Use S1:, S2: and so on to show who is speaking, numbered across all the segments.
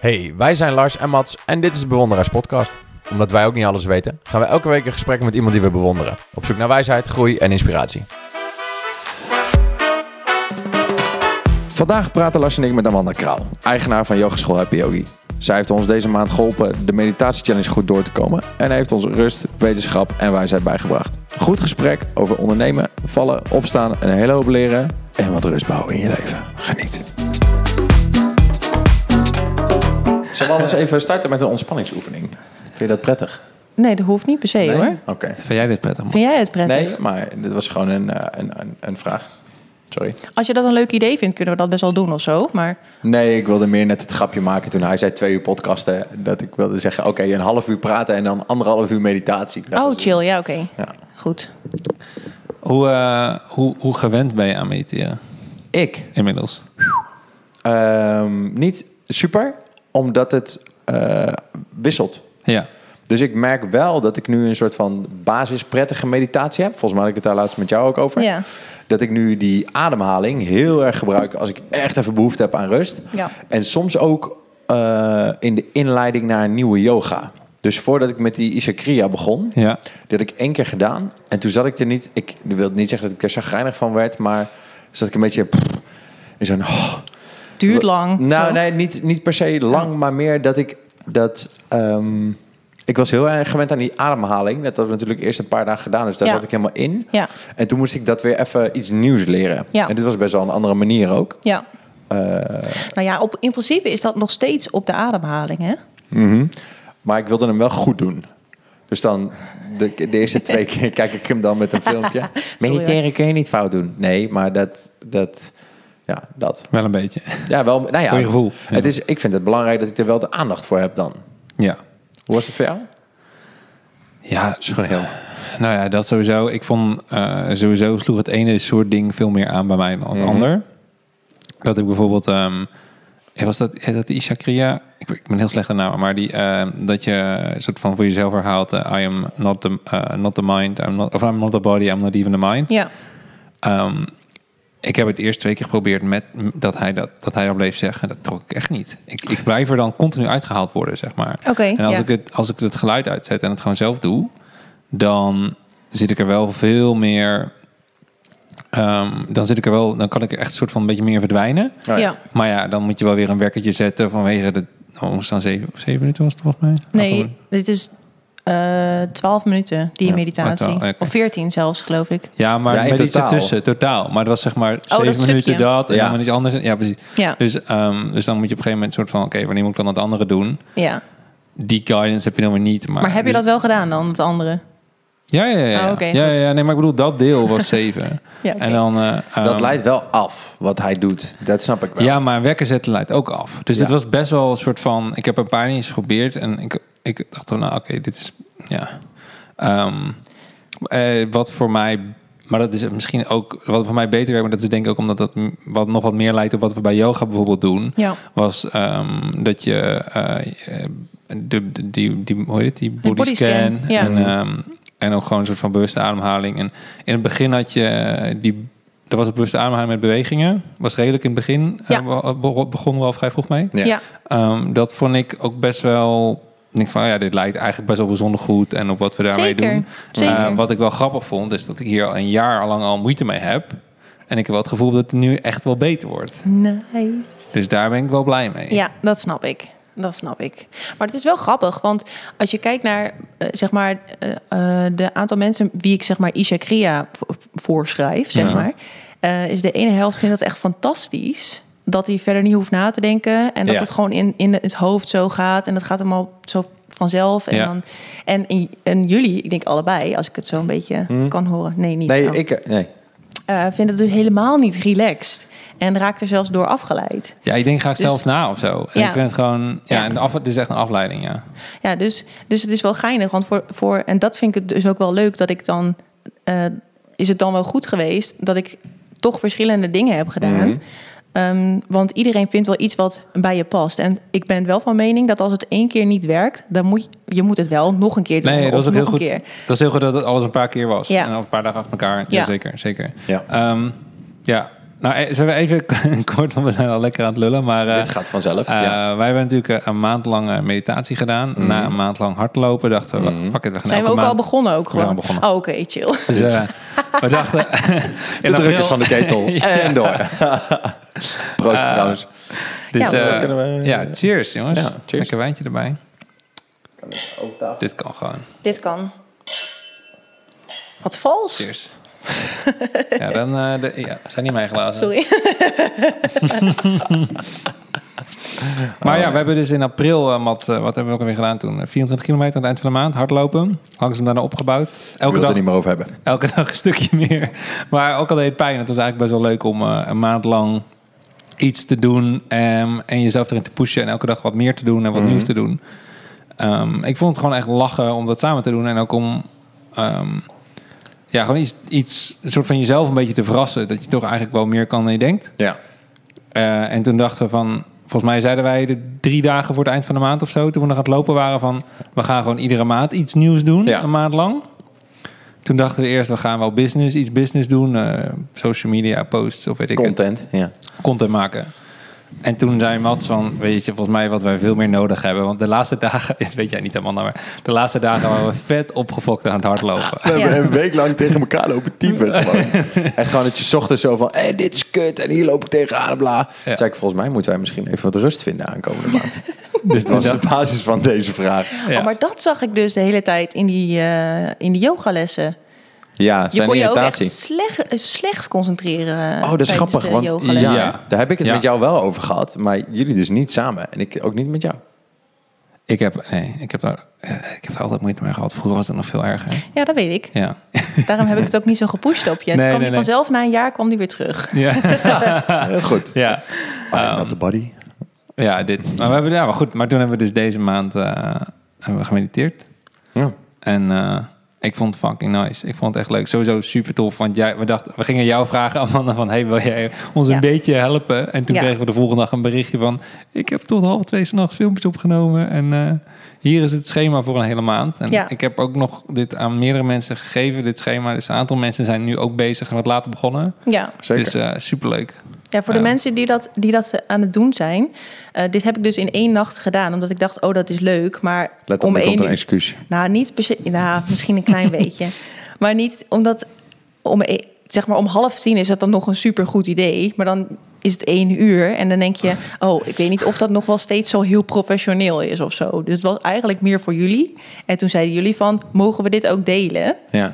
S1: Hey, wij zijn Lars en Mats en dit is de Bewonderaars Podcast. Omdat wij ook niet alles weten, gaan we elke week een gesprek met iemand die we bewonderen. Op zoek naar wijsheid, groei en inspiratie. Vandaag praten Lars en ik met Amanda Kraal, eigenaar van yogaschool Happy Yogi. Zij heeft ons deze maand geholpen de meditatiechallenge goed door te komen en heeft ons rust, wetenschap en wijsheid bijgebracht. Een goed gesprek over ondernemen, vallen, opstaan, een hele hoop leren en wat rust bouwen in je leven. Geniet. Zullen we anders even starten met een ontspanningsoefening? Vind je dat prettig?
S2: Nee, dat hoeft niet per se hoor.
S1: Oké.
S3: Vind jij dit prettig? man?
S2: Vind jij het prettig?
S1: Nee, maar dit was gewoon een, eh, een, een, een vraag. Sorry.
S2: Als je dat een leuk idee vindt, kunnen we dat best wel doen of zo. Maar
S1: Nee, ik wilde meer net het grapje maken toen hij zei twee uur podcasten. Dat ik wilde zeggen, oké, een half uur praten en dan anderhalf uur meditatie. Dat
S2: oh,
S1: was-
S2: chill, ja, oké.
S1: Ja.
S2: Goed.
S3: Hoe, eh, hoe, hoe gewend ben je aan mediteren?
S1: Ik?
S3: Inmiddels.
S1: Ehm, niet super, omdat het eh, wisselt.
S3: Ja.
S1: Dus ik merk wel dat ik nu een soort van basisprettige meditatie heb. Volgens mij had ik het daar laatst met jou ook over.
S2: Ja.
S1: Dat ik nu die ademhaling heel erg gebruik als ik echt even behoefte heb aan rust.
S2: Ja.
S1: En soms ook eh, in de inleiding naar een nieuwe yoga. Dus voordat ik met die Isakria begon,
S3: Ja.
S1: dat had ik één keer gedaan. En toen zat ik er niet... Ik wil niet zeggen dat ik er zagrijnig van werd, maar zat ik een beetje... in zo'n... oh,
S2: Duurt lang.
S1: nou,
S2: zo.
S1: nee, niet, niet per se lang, maar meer dat ik dat. ehm, ik was heel erg gewend aan die ademhaling. Dat hadden we natuurlijk eerst een paar dagen gedaan, dus daar
S2: Ja.
S1: zat ik helemaal in.
S2: Ja,
S1: En toen moest ik dat weer even iets nieuws leren.
S2: Ja.
S1: En dit was best wel een andere manier ook.
S2: ja.
S1: Eh,
S2: Nou ja, op, in principe is dat nog steeds op de ademhaling, hè?
S1: mhm. Maar ik wilde hem wel goed doen. Dus dan, de, de eerste twee keer kijk ik hem dan met een filmpje. Mediteren kun je niet fout doen. Nee, maar dat, dat, ja, dat.
S3: Wel een beetje.
S1: Ja, wel, nou ja.
S3: Voor je gevoel. Ja.
S1: Het is, ik vind het belangrijk dat ik er wel de aandacht voor heb dan.
S3: Ja.
S1: Hoe was het voor jou? Oh
S3: Ja,
S1: Sorry, heel.
S3: nou ja, dat sowieso. Ik vond eh, sowieso sloeg het ene soort ding veel meer aan bij mij dan het ander. Dat ik bijvoorbeeld... ehm, was dat, eh, dat die Isha Kriya? Ik, ben- ik ben heel slecht in namen, maar die, ehm, dat je een soort van voor jezelf herhaalt... eh, I am not the, eh, not the mind, I'm not, of I'm not the body, I'm not even the mind.
S2: Ja,
S3: Ehm, ik heb het eerst twee keer geprobeerd met m- dat hij dat, dat hij dat bleef zeggen. Dat trok ik echt niet. Ik, ik blijf er dan continu uitgehaald worden, zeg maar.
S2: Oké,
S3: en als,
S2: ja.
S3: ik het, als ik het geluid uitzet en het gewoon zelf doe, dan zit ik er wel veel meer. ehm, dan zit ik er wel, dan kan ik er echt een soort van een beetje meer verdwijnen.
S1: Oh ja.
S2: ja.
S3: Maar ja, dan moet je wel weer een wekkertje zetten vanwege de. Oh, we staan zeven, zeven minuten was het volgens mij. Had
S2: Nee,
S3: hem-
S2: dit is eh, twaalf minuten, die
S1: Ja,
S2: meditatie.
S3: oh, twaalf, oké.
S2: Of veertien zelfs, geloof ik.
S3: Ja, maar
S1: Ja, in
S3: met iets
S1: totaal.
S3: ertussen, totaal. Maar het was zeg maar
S2: Oh, dat
S3: zeven minuten
S2: stukje.
S3: dat en
S1: Ja.
S3: dan iets anders. Ja, precies.
S2: Ja,
S3: Dus, ehm, dus dan moet je op een gegeven moment soort van... oké, wanneer moet ik dan het andere doen?
S2: ja.
S3: Die guidance heb je dan weer niet. Maar,
S2: Maar
S1: Ah,
S2: heb je
S3: dus-
S2: dat wel gedaan dan, het andere?
S3: Ja, ja, ja. ja.
S2: Oh, oké,
S3: ja,
S2: goed.
S3: ja, ja. nee, maar ik bedoel, dat deel was zeven.
S2: Ja, oké.
S3: En dan... eh, ehm,
S1: Dat leidt wel af, wat hij doet. Dat snap ik wel.
S3: Ja, maar een wekker zetten leidt ook af. Dus
S1: Ja.
S3: het was best wel een soort van... Ik heb een paar dingen geprobeerd en ik, ik dacht dan... Nou, oké, dit is... Ja. Ehm, eh, wat voor mij... Maar dat is misschien ook... Wat voor mij beter werkt, maar dat is denk ik ook omdat dat... m- Wat nog wat meer lijkt op wat we bij yoga bijvoorbeeld doen.
S2: Ja.
S3: was ehm, dat je eh, eh, de, de- die, die, hoe heet het, die body,
S2: bodyscan,
S3: scan
S2: ja.
S3: en, ehm, en ook gewoon een soort van bewuste ademhaling. En in het begin had je eh, die, er was een bewuste ademhaling met bewegingen. Was redelijk in het begin.
S2: Ja.
S3: eh, we- be- begonnen we al vrij vroeg mee.
S1: Ja.
S2: Ja,
S3: Ehm, dat vond ik ook best wel. Ik denk van oh ja, dit lijkt eigenlijk best wel bijzonder goed en op wat we daarmee
S2: Zeker,
S3: doen.
S2: zeker.
S3: Eh, wat ik wel grappig vond, is dat ik hier al een jaar lang al moeite mee heb. En ik heb wel het gevoel dat het nu echt wel beter wordt.
S2: nice.
S3: Dus daar ben ik wel blij mee.
S2: Ja, dat snap ik. Dat snap ik. Maar het is wel grappig, want als je kijkt naar eh, zeg maar, eh, eh, de aantal mensen wie ik zeg maar Ishakria vo- voorschrijf, zeg
S3: Ja.
S2: maar, eh, is de ene helft vindt dat echt fantastisch. Dat hij verder niet hoeft na te denken en dat
S1: Ja.
S2: het gewoon in, in het hoofd zo gaat en dat gaat allemaal zo vanzelf. En,
S3: Ja.
S2: dan, en, en, en jullie, ik denk allebei, als ik het zo een beetje kan horen. Nee, niet.
S1: Mhm. nee,
S2: Oh.
S1: ik... Nee.
S2: Eh, vindt het dus helemaal niet relaxed en raakt er zelfs door afgeleid.
S3: Ja, ik denk graag
S2: Dus-
S3: zelf na of zo. En
S2: Ja.
S3: ik vind het gewoon... Ja,
S2: Ja.
S3: En af, het is echt een afleiding, ja.
S2: Ja, dus, dus het is wel geinig. Want voor, voor, en dat vind ik het dus ook wel leuk dat ik dan. eh, is het dan wel goed geweest dat ik toch verschillende dingen heb gedaan?
S3: Mhm.
S2: Ehm, want iedereen vindt wel iets wat bij je past. En ik ben wel van mening dat als het één keer niet werkt, dan moet je, je moet het wel nog een keer doen.
S3: Nee, dat
S2: of
S3: was ook
S2: nog
S3: heel
S2: een
S3: goed. Nou,
S2: Keer.
S3: Dat is heel goed dat het alles een paar keer was.
S2: Ja.
S3: En een paar dagen achter elkaar.
S2: Ja.
S3: Jazeker, zeker.
S1: Ja.
S3: Ehm, ja. Nou, eh, zullen we even kort, want we zijn al lekker aan het lullen. Maar eh,
S1: Dit gaat vanzelf.
S3: eh,
S1: ja. Mhm.
S3: wij hebben natuurlijk eh, een maand lang eh, meditatie gedaan. Na een maand lang hardlopen dachten we, pak het, we gaan
S2: Zijn we
S3: elke
S2: ook al
S3: maand-
S2: begonnen ook gewoon?
S3: al begonnen.
S2: Oh, oké, chill.
S3: Dus, eh, we dachten...
S1: De drukkers van de ketel. En door. Proost
S3: Eh,
S1: trouwens.
S3: Dus,
S2: Ja,
S3: ja,
S2: dat
S1: kunnen we-
S3: ja, cheers jongens.
S1: Ja, cheers.
S3: Lekker wijntje erbij. Dit kan gewoon.
S2: Dit kan. Wat vals.
S3: Cheers. ja, dan eh, de, ja, zijn niet mijn glazen.
S2: Sorry.
S3: Maar ja, we hebben dus in april, eh, Mat, eh, wat hebben we ook alweer gedaan toen? Eh, 24 kilometer aan het eind van de maand, hardlopen. Langzaam daarna opgebouwd.
S1: Ik
S3: Elke
S1: wil het
S3: dag,
S1: er niet meer over hebben.
S3: elke dag een stukje meer. Maar ook al deed het pijn, het was eigenlijk best wel leuk om eh, een maand lang iets te doen ehm, en jezelf erin te pushen en elke dag wat meer te doen en wat
S1: Mhm.
S3: nieuws te doen. Ehm, ik vond het gewoon echt lachen om dat samen te doen en ook om ehm, ja, gewoon iets, iets, een soort van jezelf een beetje te verrassen. Dat je toch eigenlijk wel meer kan dan je denkt.
S1: Ja.
S3: Eh, en toen dachten we van, volgens mij zeiden wij de drie dagen voor het eind van de maand of zo, toen we nog aan het lopen waren van, we gaan gewoon iedere maand iets nieuws doen,
S1: Ja.
S3: een maand lang. Toen dachten we eerst, we gaan wel business, iets business doen, eh, social media posts of weet ik het,
S1: Content. Ja.
S3: content maken. En toen zei Mats van, weet je, volgens mij wat wij veel meer nodig hebben, want de laatste dagen, dit weet jij niet helemaal, nou, maar de laatste dagen waren we vet opgefokt aan het hardlopen.
S1: We
S2: hebben Ja.
S1: een week lang tegen elkaar lopen typen. en gewoon dat je 's ochtends zo van, hey, dit is kut en hier loop ik tegenaan en bla. Toen zei ik, volgens mij moeten wij misschien even wat rust vinden aankomende maand.
S3: Dus
S1: Dat
S3: toen
S1: was
S3: dacht-
S1: de basis van deze vraag.
S3: ja.
S2: Oh, maar dat zag ik dus de hele tijd in die, eh, in die yogalessen.
S1: Ja,
S2: Je
S1: zijn
S2: kon je ook
S1: irritatie.
S2: echt slecht, eh, slecht concentreren. eh,
S1: Oh, dat is
S2: tijdens
S1: grappig,
S2: de
S1: want
S2: yogalessen.
S1: ja, daar heb ik het
S3: Ja.
S1: met jou wel over gehad. Maar jullie dus niet samen. En ik ook niet met jou.
S3: ik heb, nee, ik heb daar, eh, ik heb daar altijd moeite mee gehad. Vroeger was het nog veel erger.
S2: Ja, dat weet ik.
S3: Ja.
S2: Daarom heb ik het ook niet zo gepusht op je. En
S3: Nee,
S2: toen kwam
S3: nee,
S2: die
S3: nee.
S2: vanzelf na een jaar kwam die weer terug.
S3: Ja.
S1: Heel goed.
S3: ja.
S1: Ah, not the body.
S3: Ja, dit. Maar, we hebben, ja, maar goed, maar toen hebben we dus deze maand eh, hebben we gemediteerd.
S1: Ja.
S3: En eh, ik vond het fucking nice. Ik vond het echt leuk. Sowieso super tof. Want jij, we, dachten, we gingen jou vragen, Amanda, van... Hey, wil jij ons
S2: Ja.
S3: een beetje helpen? En toen
S2: Ja.
S3: kregen we de volgende dag een berichtje van... Ik heb tot half twee s'nachts filmpjes opgenomen. En eh, hier is het schema voor een hele maand. En
S2: Ja.
S3: ik heb ook nog dit aan meerdere mensen gegeven, dit schema. Dus een aantal mensen zijn nu ook bezig en wat later begonnen.
S2: Ja.
S1: Zeker.
S3: Dus eh superleuk.
S2: Ja, voor de
S3: Ja.
S2: mensen die dat, die dat eh, aan het doen zijn. eh, dit heb ik dus in één nacht gedaan, omdat ik dacht, oh, dat is leuk. Maar
S1: Let op,
S2: om
S1: er komt
S2: één
S1: een excuus.
S2: Nou, niet per se- nou, misschien een klein beetje. Maar niet omdat om, e- zeg maar om half tien is dat dan nog een supergoed idee. Maar dan is het één uur en dan denk je... oh, ik weet niet of dat nog wel steeds zo heel professioneel is of zo. Dus het was eigenlijk meer voor jullie. En toen zeiden jullie van, mogen we dit ook delen?
S1: Ja.
S2: Nou,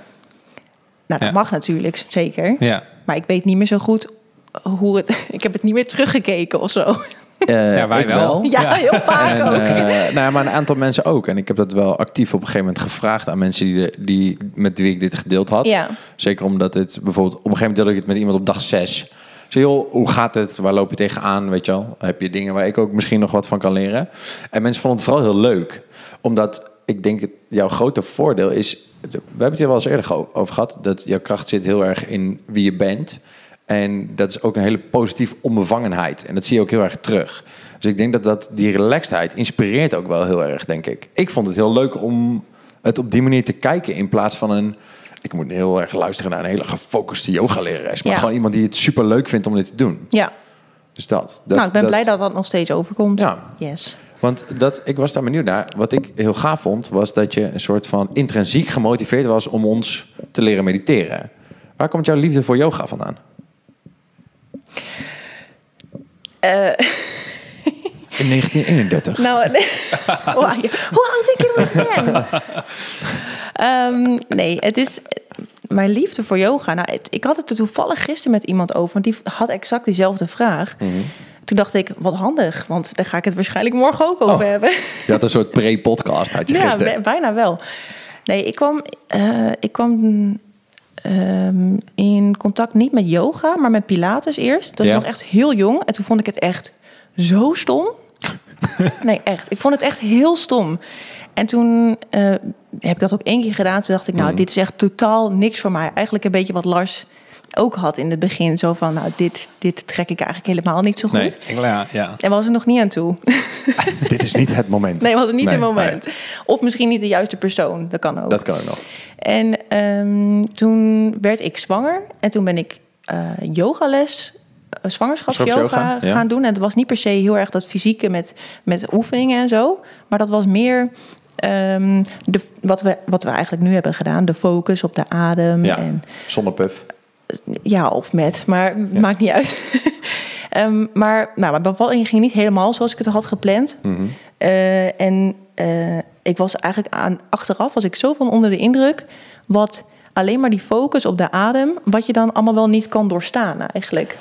S2: dat
S3: Ja.
S2: mag natuurlijk, zeker.
S3: Ja.
S2: Maar ik weet niet meer zo goed hoe het... Ik heb het niet meer teruggekeken of zo.
S1: Eh,
S3: Ja, wij
S1: ik
S3: wel.
S2: Ja,
S3: Ja.
S2: heel vaak
S1: En,
S2: ook.
S1: eh, nou ja, maar een aantal mensen ook. En ik heb dat wel actief op een gegeven moment gevraagd aan mensen die, de- die, met wie ik dit gedeeld had.
S2: Ja.
S1: Zeker omdat het bijvoorbeeld, op een gegeven moment deelde ik het met iemand op dag 6. Zeg, joh, hoe gaat het? Waar loop je tegenaan? Weet je wel, heb je dingen waar ik ook misschien nog wat van kan leren? En mensen vonden het vooral heel leuk. Omdat ik denk, het- jouw grote voordeel is, we hebben het hier wel eens eerder ge- over gehad, dat jouw kracht zit heel erg in wie je bent. En dat is ook een hele positieve onbevangenheid. En dat zie je ook heel erg terug. Dus ik denk dat, dat die relaxedheid inspireert ook wel heel erg, denk ik. Ik vond het heel leuk om het op die manier te kijken in plaats van een... Ik moet heel erg luisteren naar een hele gefocuste yogalerares. Maar
S2: Ja.
S1: gewoon iemand die het super leuk vindt om dit te doen.
S2: Ja,
S1: Dus dat. dat
S2: nou, ik ben blij dat dat nog steeds overkomt.
S1: Ja.
S2: Yes.
S1: Want dat, ik was daar benieuwd naar. Wat ik heel gaaf vond, was dat je een soort van intrinsiek gemotiveerd was om ons te leren mediteren. Waar komt jouw liefde voor yoga vandaan? In 1931.
S2: Nou, nee. hoe, oud- hoe oud denk je dat ik ben? Ehm, nee, het is mijn liefde voor yoga. Nou, het- ik had het er toevallig gisteren met iemand over, want die had exact diezelfde vraag. Toen dacht ik, wat handig, want daar ga ik het waarschijnlijk morgen ook over
S1: Oh.
S2: hebben.
S1: Je had een soort pre-podcast, had je
S2: Ja,
S1: gisteren.
S2: bij- bijna wel. Nee, ik kwam, eh, ik kwam ehm, in contact niet met yoga, maar met Pilates eerst. Dat was
S1: Ja.
S2: nog echt heel jong. En toen vond ik het echt zo stom. nee, echt. Ik vond het echt heel stom. En toen eh, heb ik dat ook één keer gedaan. Toen dacht ik,
S1: Mm.
S2: nou, dit is echt totaal niks voor mij. Eigenlijk een beetje wat Lars ook had in het begin. Zo van, nou, dit, dit trek ik eigenlijk helemaal niet zo goed.
S1: Nee.
S3: Ik, ja, ja.
S2: En was het nog niet aan toe.
S1: Dit is niet het moment.
S2: Nee, was het niet het moment.
S1: nee.
S2: Of misschien niet de juiste persoon. Dat kan ook.
S1: Dat kan ook nog.
S2: En ehm, toen werd ik zwanger. En toen ben ik eh, yogales eh, zwangerschapsyoga
S1: Zwangerschapsyoga, ja.
S2: gaan doen. En het was niet per se heel erg dat fysieke met, met oefeningen en zo. Maar dat was meer ehm, de, wat, we, wat we eigenlijk nu hebben gedaan. De focus op de adem.
S1: Ja.
S2: En,
S1: Zonnepuff.
S2: ja, of met, maar maakt niet uit. Ehm, maar nou, mijn bevalling ging niet helemaal zoals ik het had gepland.
S1: Mhm.
S2: Eh, en eh, ik was eigenlijk aan, achteraf was ik zo van onder de indruk... wat alleen maar die focus op de adem... wat je dan allemaal wel niet kan doorstaan eigenlijk.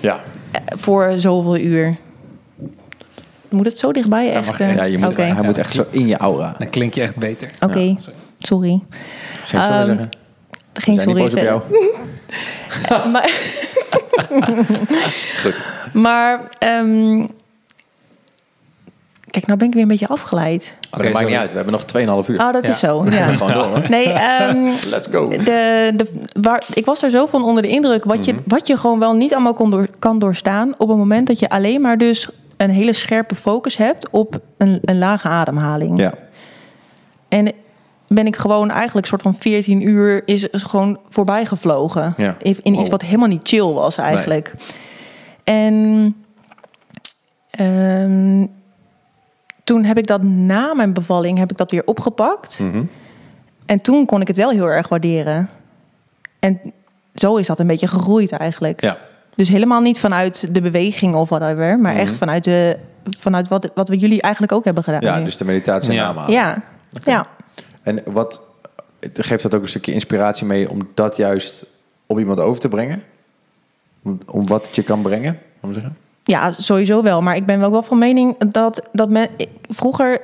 S1: Ja.
S2: Eh, voor zoveel uur. Moet het zo dichtbij echt? eh?
S1: ja je moet,
S2: Oké,
S1: Hij moet echt zo in je aura.
S3: Dan klink je echt beter.
S2: Oké, sorry.
S1: Geen sorry
S2: Ehm,
S1: zeggen. We
S2: Geen
S1: zijn niet
S2: sorry.
S1: boos op
S2: zeggen.
S1: jou.
S2: maar,
S1: Goed.
S2: maar ehm, kijk, nou ben ik weer een beetje afgeleid.
S1: Maar dat maakt niet uit. We hebben nog 2,5 uur.
S2: Oh, dat
S3: Ja.
S2: is zo. Ja.
S1: Gewoon door, hoor.
S2: Nee, ehm,
S1: Let's go.
S2: de, de, waar, ik was er zo van onder de indruk wat, je, wat je gewoon wel niet allemaal kon door, kan doorstaan op het moment dat je alleen maar dus een hele scherpe focus hebt op een, een lage ademhaling.
S1: Ja.
S2: En ben ik gewoon eigenlijk soort van 14 uur is is gewoon voorbij gevlogen.
S1: Ja.
S2: In, in
S1: Wow.
S2: iets wat helemaal niet chill was eigenlijk. En ehm, toen heb ik dat na mijn bevalling heb ik dat weer opgepakt.
S1: Mhm.
S2: En toen kon ik het wel heel erg waarderen. En zo is dat een beetje gegroeid eigenlijk.
S1: Ja.
S2: Dus helemaal niet vanuit de beweging of whatever, maar echt vanuit, de, vanuit wat, wat we jullie eigenlijk ook hebben gedaan.
S1: Mhm. ja,
S2: nu.
S1: dus de meditatie
S3: Ja.
S1: en aanhalen.
S2: ja. ja.
S1: En wat geeft dat ook een stukje inspiratie mee om dat juist op iemand over te brengen? Om, om wat het je kan brengen, om te zeggen?
S2: Ja, sowieso wel. Maar ik ben wel ook wel van mening dat, dat men, ik- vroeger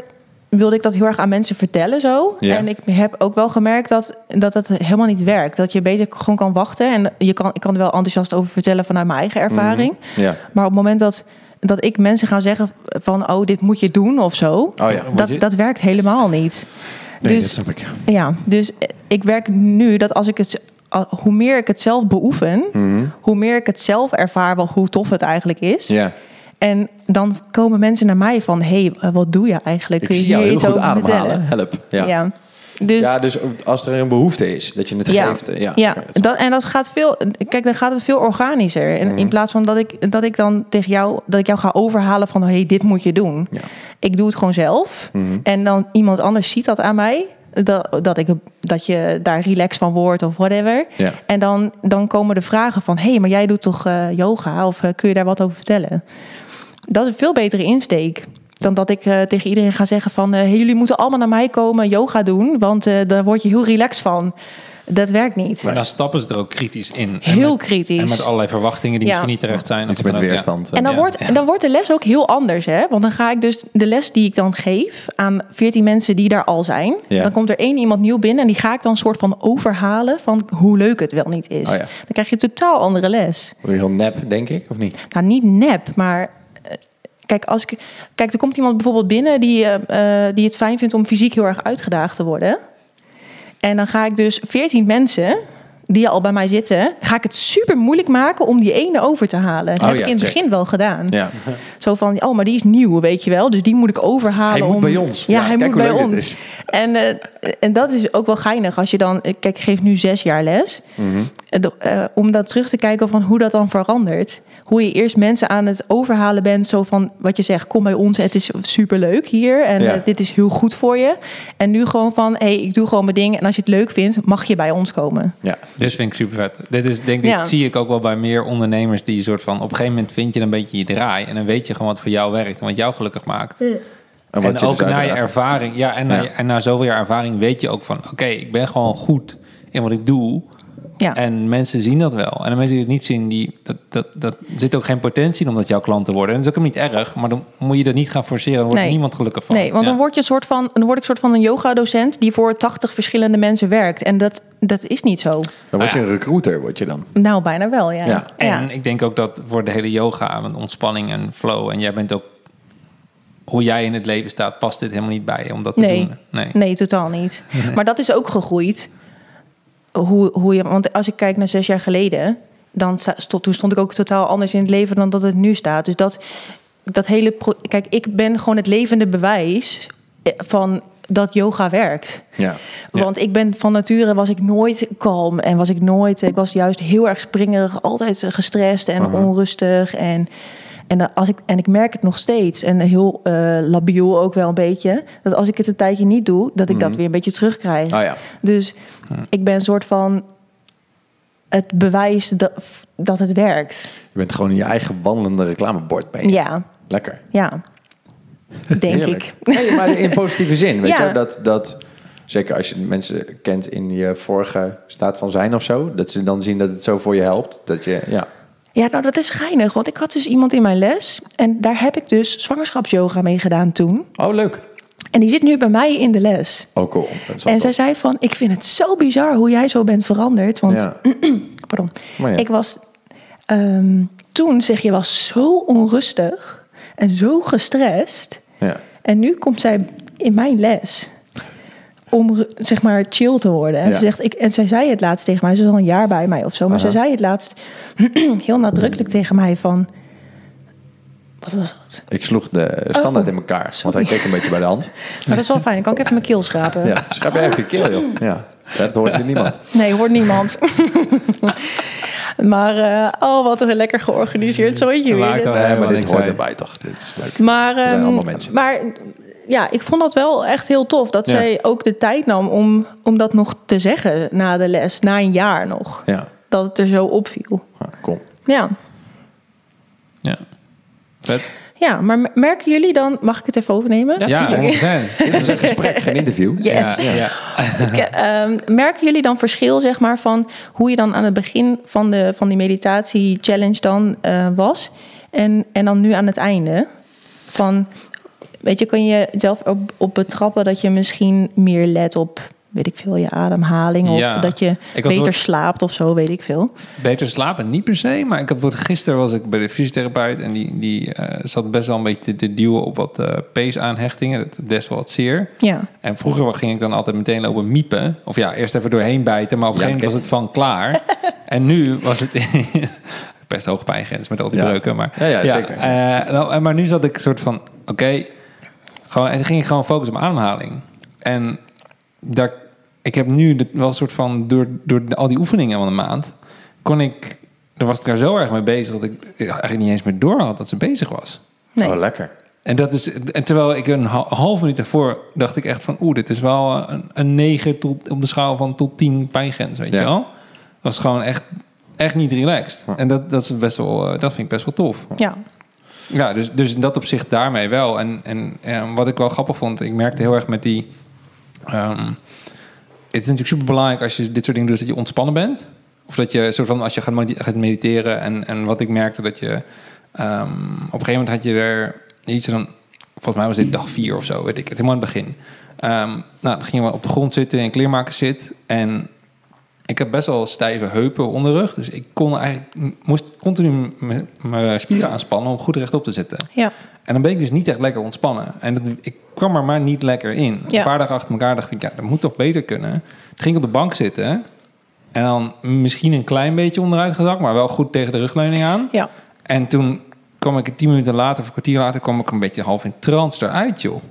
S2: wilde ik dat heel erg aan mensen vertellen zo.
S1: Ja.
S2: En ik heb ook wel gemerkt dat, dat dat helemaal niet werkt. Dat je beter gewoon kan wachten. En je kan, ik kan er wel enthousiast over vertellen vanuit mijn eigen ervaring.
S1: Ja.
S2: Maar op het moment dat, dat ik mensen ga zeggen van... oh, dit moet je doen of zo.
S1: Oh ja.
S3: Moet
S2: Dat,
S3: je-
S2: dat werkt helemaal niet. dus
S1: snap ik.
S2: ja, dus eh, ik werk nu dat als ik het, al- hoe meer ik het zelf beoefen,
S1: Mhm.
S2: hoe meer ik het zelf ervaar, wel hoe tof het eigenlijk is.
S1: Ja.
S2: En dan komen mensen naar mij van, hé, hey, eh, wat doe je eigenlijk?
S1: Ik
S2: Kun je
S1: zie jou
S2: hier
S1: heel
S2: iets
S1: goed
S2: over
S1: ademhalen.
S2: vertellen?
S1: Help. Ja.
S2: Ja.
S1: Ja.
S2: Dus,
S1: Dus,
S2: ja,
S1: als er een behoefte is dat je het geeft. eh, Ja, Oké, dat
S2: dat, en dat gaat veel, kijk, dan gaat het veel organischer.
S1: Mhm.
S2: En in plaats van dat ik, dat ik dan tegen jou, dat ik jou ga overhalen van, hé, hey, dit moet je doen.
S1: Ja. Mhm.
S2: Ik doe het gewoon zelf. En dan iemand anders ziet dat aan mij. Dat, dat, ik, dat je daar relaxed van wordt of whatever.
S1: Ja.
S2: En dan, dan komen de vragen van... hé, hey, maar jij doet toch eh, yoga? Of eh, kun je daar wat over vertellen? Dat is een veel betere insteek. Dan dat ik eh, tegen iedereen ga zeggen van... eh, hey, jullie moeten allemaal naar mij komen yoga doen... want eh, daar word je heel relaxed van. Dat werkt niet.
S3: Maar dan stappen ze er ook kritisch in. En
S2: Heel
S3: met-
S2: kritisch.
S3: En met allerlei verwachtingen die
S2: Ja.
S3: misschien niet terecht
S1: iets
S3: zijn. of dan
S1: met
S3: ook, ja.
S1: weerstand. eh,
S2: En dan,
S3: Ja.
S2: wordt, dan wordt de les ook heel anders, hè? Want dan ga ik dus de les die ik dan geef aan 14 mensen die daar al zijn.
S1: Ja.
S2: Dan komt er één iemand nieuw binnen en die ga ik dan soort van overhalen van hoe leuk het wel niet is.
S1: Oh ja.
S2: Dan krijg je een totaal andere les.
S1: Word je heel nep, denk ik, of niet?
S2: Nou, niet nep, maar. eh, Kijk, als ik, kijk, er komt iemand bijvoorbeeld binnen die, eh, eh, die het fijn vindt om fysiek heel erg uitgedaagd te worden. En dan ga ik dus 14 mensen die al bij mij zitten, ga ik het super moeilijk maken om die ene over te halen. Dat
S1: Oh
S2: heb
S1: ja,
S2: ik in het
S1: check.
S2: begin wel gedaan.
S1: Ja.
S2: Zo van, oh, maar die is nieuw, weet je wel. Dus die moet ik overhalen.
S1: Hij moet
S2: om-
S1: bij ons.
S2: Ja,
S1: Ja,
S2: hij
S1: kijk
S2: moet
S1: hoe
S2: bij
S1: leuk dit
S2: ons.
S1: is.
S2: En, eh, en dat is ook wel geinig. Als je dan, eh, kijk, ik geef nu zes jaar les.
S1: Mhm.
S2: En de- eh, om dan terug te kijken van hoe dat dan verandert. Hoe je eerst mensen aan het overhalen bent. Zo van, wat je zegt, kom bij ons. Het is superleuk hier. En
S1: Ja.
S2: eh, dit is heel goed voor je. En nu gewoon van, hé, hey, ik doe gewoon mijn ding. En als je het leuk vindt, mag je bij ons komen.
S1: Ja.
S3: Dus vind ik super vet. Dit is denk ik,
S2: Ja.
S3: zie ik ook wel bij meer ondernemers die soort van op een gegeven moment vind je een beetje je draai en dan weet je gewoon wat voor jou werkt en wat jou gelukkig maakt.
S1: En,
S3: En
S1: wat je
S3: ook
S1: dus
S3: na je
S1: uitdraagt.
S3: ervaring, ja, en, Na,
S1: Ja.
S3: je- en na zoveel jaar ervaring weet je ook van oké, ik ben gewoon goed in wat ik doe.
S2: Ja.
S3: En mensen zien dat wel. En de mensen die het niet zien, die, dat, dat, dat er zit ook geen potentie in om dat jouw klant te worden. En dat is ook niet erg, maar dan moet je dat niet gaan forceren. Dan wordt
S2: Nee.
S3: niemand gelukkig van.
S2: Nee, want
S3: Ja.
S2: dan word je een soort van, dan word ik een soort van een yoga-docent die voor 80 verschillende mensen werkt. En dat, dat is niet zo.
S1: Dan word je
S3: Ah,
S1: een recruiter, word je dan.
S2: Nou, bijna wel, ja.
S1: Ja,
S3: En ik denk ook dat voor de hele yoga, want ontspanning en flow. En jij bent ook, hoe jij in het leven staat, past dit helemaal niet bij je om dat te
S2: nee,
S3: doen.
S2: nee. totaal niet. Maar dat is ook gegroeid. Hoe, hoe je, want als ik kijk naar zes jaar geleden, dan sta- stond, toen stond ik ook totaal anders in het leven dan dat het nu staat. Dus dat, dat hele. pro- Kijk, ik ben gewoon het levende bewijs eh, van dat yoga werkt.
S1: Ja.
S3: Ja.
S2: Want ik ben van nature was ik nooit kalm en was ik nooit. Ik was juist heel erg springerig, altijd eh, gestrest en onrustig. En, en, dan als ik, en ik merk het nog steeds en heel eh, labiel ook wel een beetje. Dat als ik het een tijdje niet doe, dat ik dat weer een beetje terugkrijg.
S1: Mhm. Oh ja.
S2: Dus ik ben een soort van het bewijs dat, dat het werkt.
S1: Je bent gewoon je eigen wandelende reclamebord. Ben je.
S2: Ja,
S1: Lekker.
S2: ja. Denk
S1: Heerlijk.
S2: ik.
S1: Nee, maar in positieve zin. Weet
S2: Ja.
S1: je, dat, dat, zeker als je mensen kent in je vorige staat van zijn of zo, dat ze dan zien dat het zo voor je helpt. Dat je, ja.
S2: Ja, nou dat is geinig, want ik had dus iemand in mijn les en daar heb ik dus zwangerschapsyoga mee gedaan toen.
S1: Oh, leuk.
S2: En die zit nu bij mij in de les.
S1: Oh, cool. Dat is wel
S2: en
S1: tof.
S2: zij zei van, ik vind het zo bizar hoe jij zo bent veranderd. Want,
S1: Ja.
S2: pardon,
S1: Maar ja.
S2: ik was ehm, toen, zeg je, was zo onrustig en zo gestrest.
S1: ja.
S2: En nu komt zij in mijn les om ru- zeg maar chill te worden. En,
S1: Ja.
S2: ze zegt, ik, en zij zei het laatst tegen mij, ze is al een jaar bij mij of zo, maar
S1: Aha. Mm.
S2: ze zei het laatst heel nadrukkelijk tegen mij van, wat was dat?
S1: Ik sloeg de standaard
S2: Oh,
S1: in elkaar,
S2: sorry.
S1: want hij keek een beetje bij de hand.
S2: Maar dat is wel fijn, kan ik even mijn keel schrapen?
S1: Ja, schrijf even je keel, joh. Ja, dat hoort hier niemand.
S2: Nee, hoort niemand. maar, eh, oh, wat een lekker georganiseerd zooitje weer.
S3: Maakt
S2: dit.
S3: al
S1: Nee, maar
S3: wat
S1: dit
S3: ik
S1: hoort
S3: zei.
S1: erbij, toch? Dit is leuk.
S2: Maar,
S1: zijn
S2: ehm,
S1: allemaal mensen.
S2: maar ja, ik vond dat wel echt heel tof. Dat
S1: Ja.
S2: zij ook de tijd nam om, om dat nog te zeggen na de les. Na een jaar nog.
S1: Ja,
S2: Dat het er zo opviel.
S1: ah, cool.
S2: Ja.
S3: Ja. Vet.
S2: ja, maar me- merken jullie dan... Mag ik het even overnemen?
S3: Ja, 100%.
S1: Dit is een gesprek, geen interview.
S2: Yes.
S3: Ja, ja.
S2: Ik, ehm, merken jullie dan verschil, zeg maar, van hoe je dan aan het begin van, de, van die meditatie-challenge dan eh, was en, en dan nu aan het einde? Van, weet je, kun je zelf op, op betrappen dat je misschien meer let op, weet ik veel, je ademhaling of
S3: Ja.
S2: dat je
S3: Ik was
S2: beter
S3: ook-
S2: slaapt of zo, weet ik veel.
S3: Beter slapen, niet per se. Maar ik heb, bijvoorbeeld gisteren was ik bij de fysiotherapeut. En die, die eh, zat best wel een beetje te, te duwen op wat eh peesaanhechtingen. Dat deed best wel wat zeer.
S2: Ja,
S3: En vroeger ging ik dan altijd meteen lopen miepen. Of ja, eerst even doorheen bijten. Maar op een
S1: Ja,
S3: gegeven moment was het van klaar. en nu was het... best hoog pijngrens met al die
S1: Ja.
S3: breuken. Maar,
S1: Ja, ja, zeker.
S3: eh, nou, en maar nu zat ik een soort van... Oké, gewoon, en dan ging ik gewoon focussen op ademhaling. En daar, ik heb nu de- wel een soort van... Door, door de- al die oefeningen van de maand... kon ik... Daar was ik daar zo erg mee bezig... dat ik eigenlijk niet eens meer door had dat ze bezig was.
S2: nee.
S1: Oh, lekker.
S3: En, dat is, en terwijl ik een ha- half minuut daarvoor dacht ik echt van... oeh, dit is wel een, een 9 tot, op de schaal van tot 10 pijngrens, weet
S1: Ja.
S3: je wel? Dat was gewoon echt, echt niet relaxed. En dat, dat, is best wel, eh, dat vind ik best wel tof.
S2: ja.
S3: Ja, dus, dus in dat opzicht daarmee wel. En, en, eh, wat ik wel grappig vond, ik merkte heel erg met die... ehm, het is natuurlijk super belangrijk als je dit soort dingen doet, dat je ontspannen bent. Of dat je, soort van, als je gaat, medi- gaat mediteren. En, en wat ik merkte, dat je... ehm, op een gegeven moment had je er iets dan... Volgens mij was dit dag vier of zo, weet ik het. Helemaal aan het begin. Ehm, nou, dan gingen we op de grond zitten in kleermakerszit. En ik heb best wel stijve heupen onderrug. Dus ik kon eigenlijk, m- moest continu m- m- mijn spieren aanspannen om goed rechtop te zitten.
S2: ja.
S3: En dan ben ik dus niet echt lekker ontspannen. En dat, ik kwam er maar niet lekker in.
S2: Ja.
S3: Een paar dagen achter elkaar dacht ik, ja, dat moet toch beter kunnen. Toen ging ik op de bank zitten. En dan misschien een klein beetje onderuit gezakt, maar wel goed tegen de rugleuning aan.
S2: ja.
S3: En toen kwam ik tien minuten later, of een kwartier later, kwam ik een beetje half in trance eruit, joh.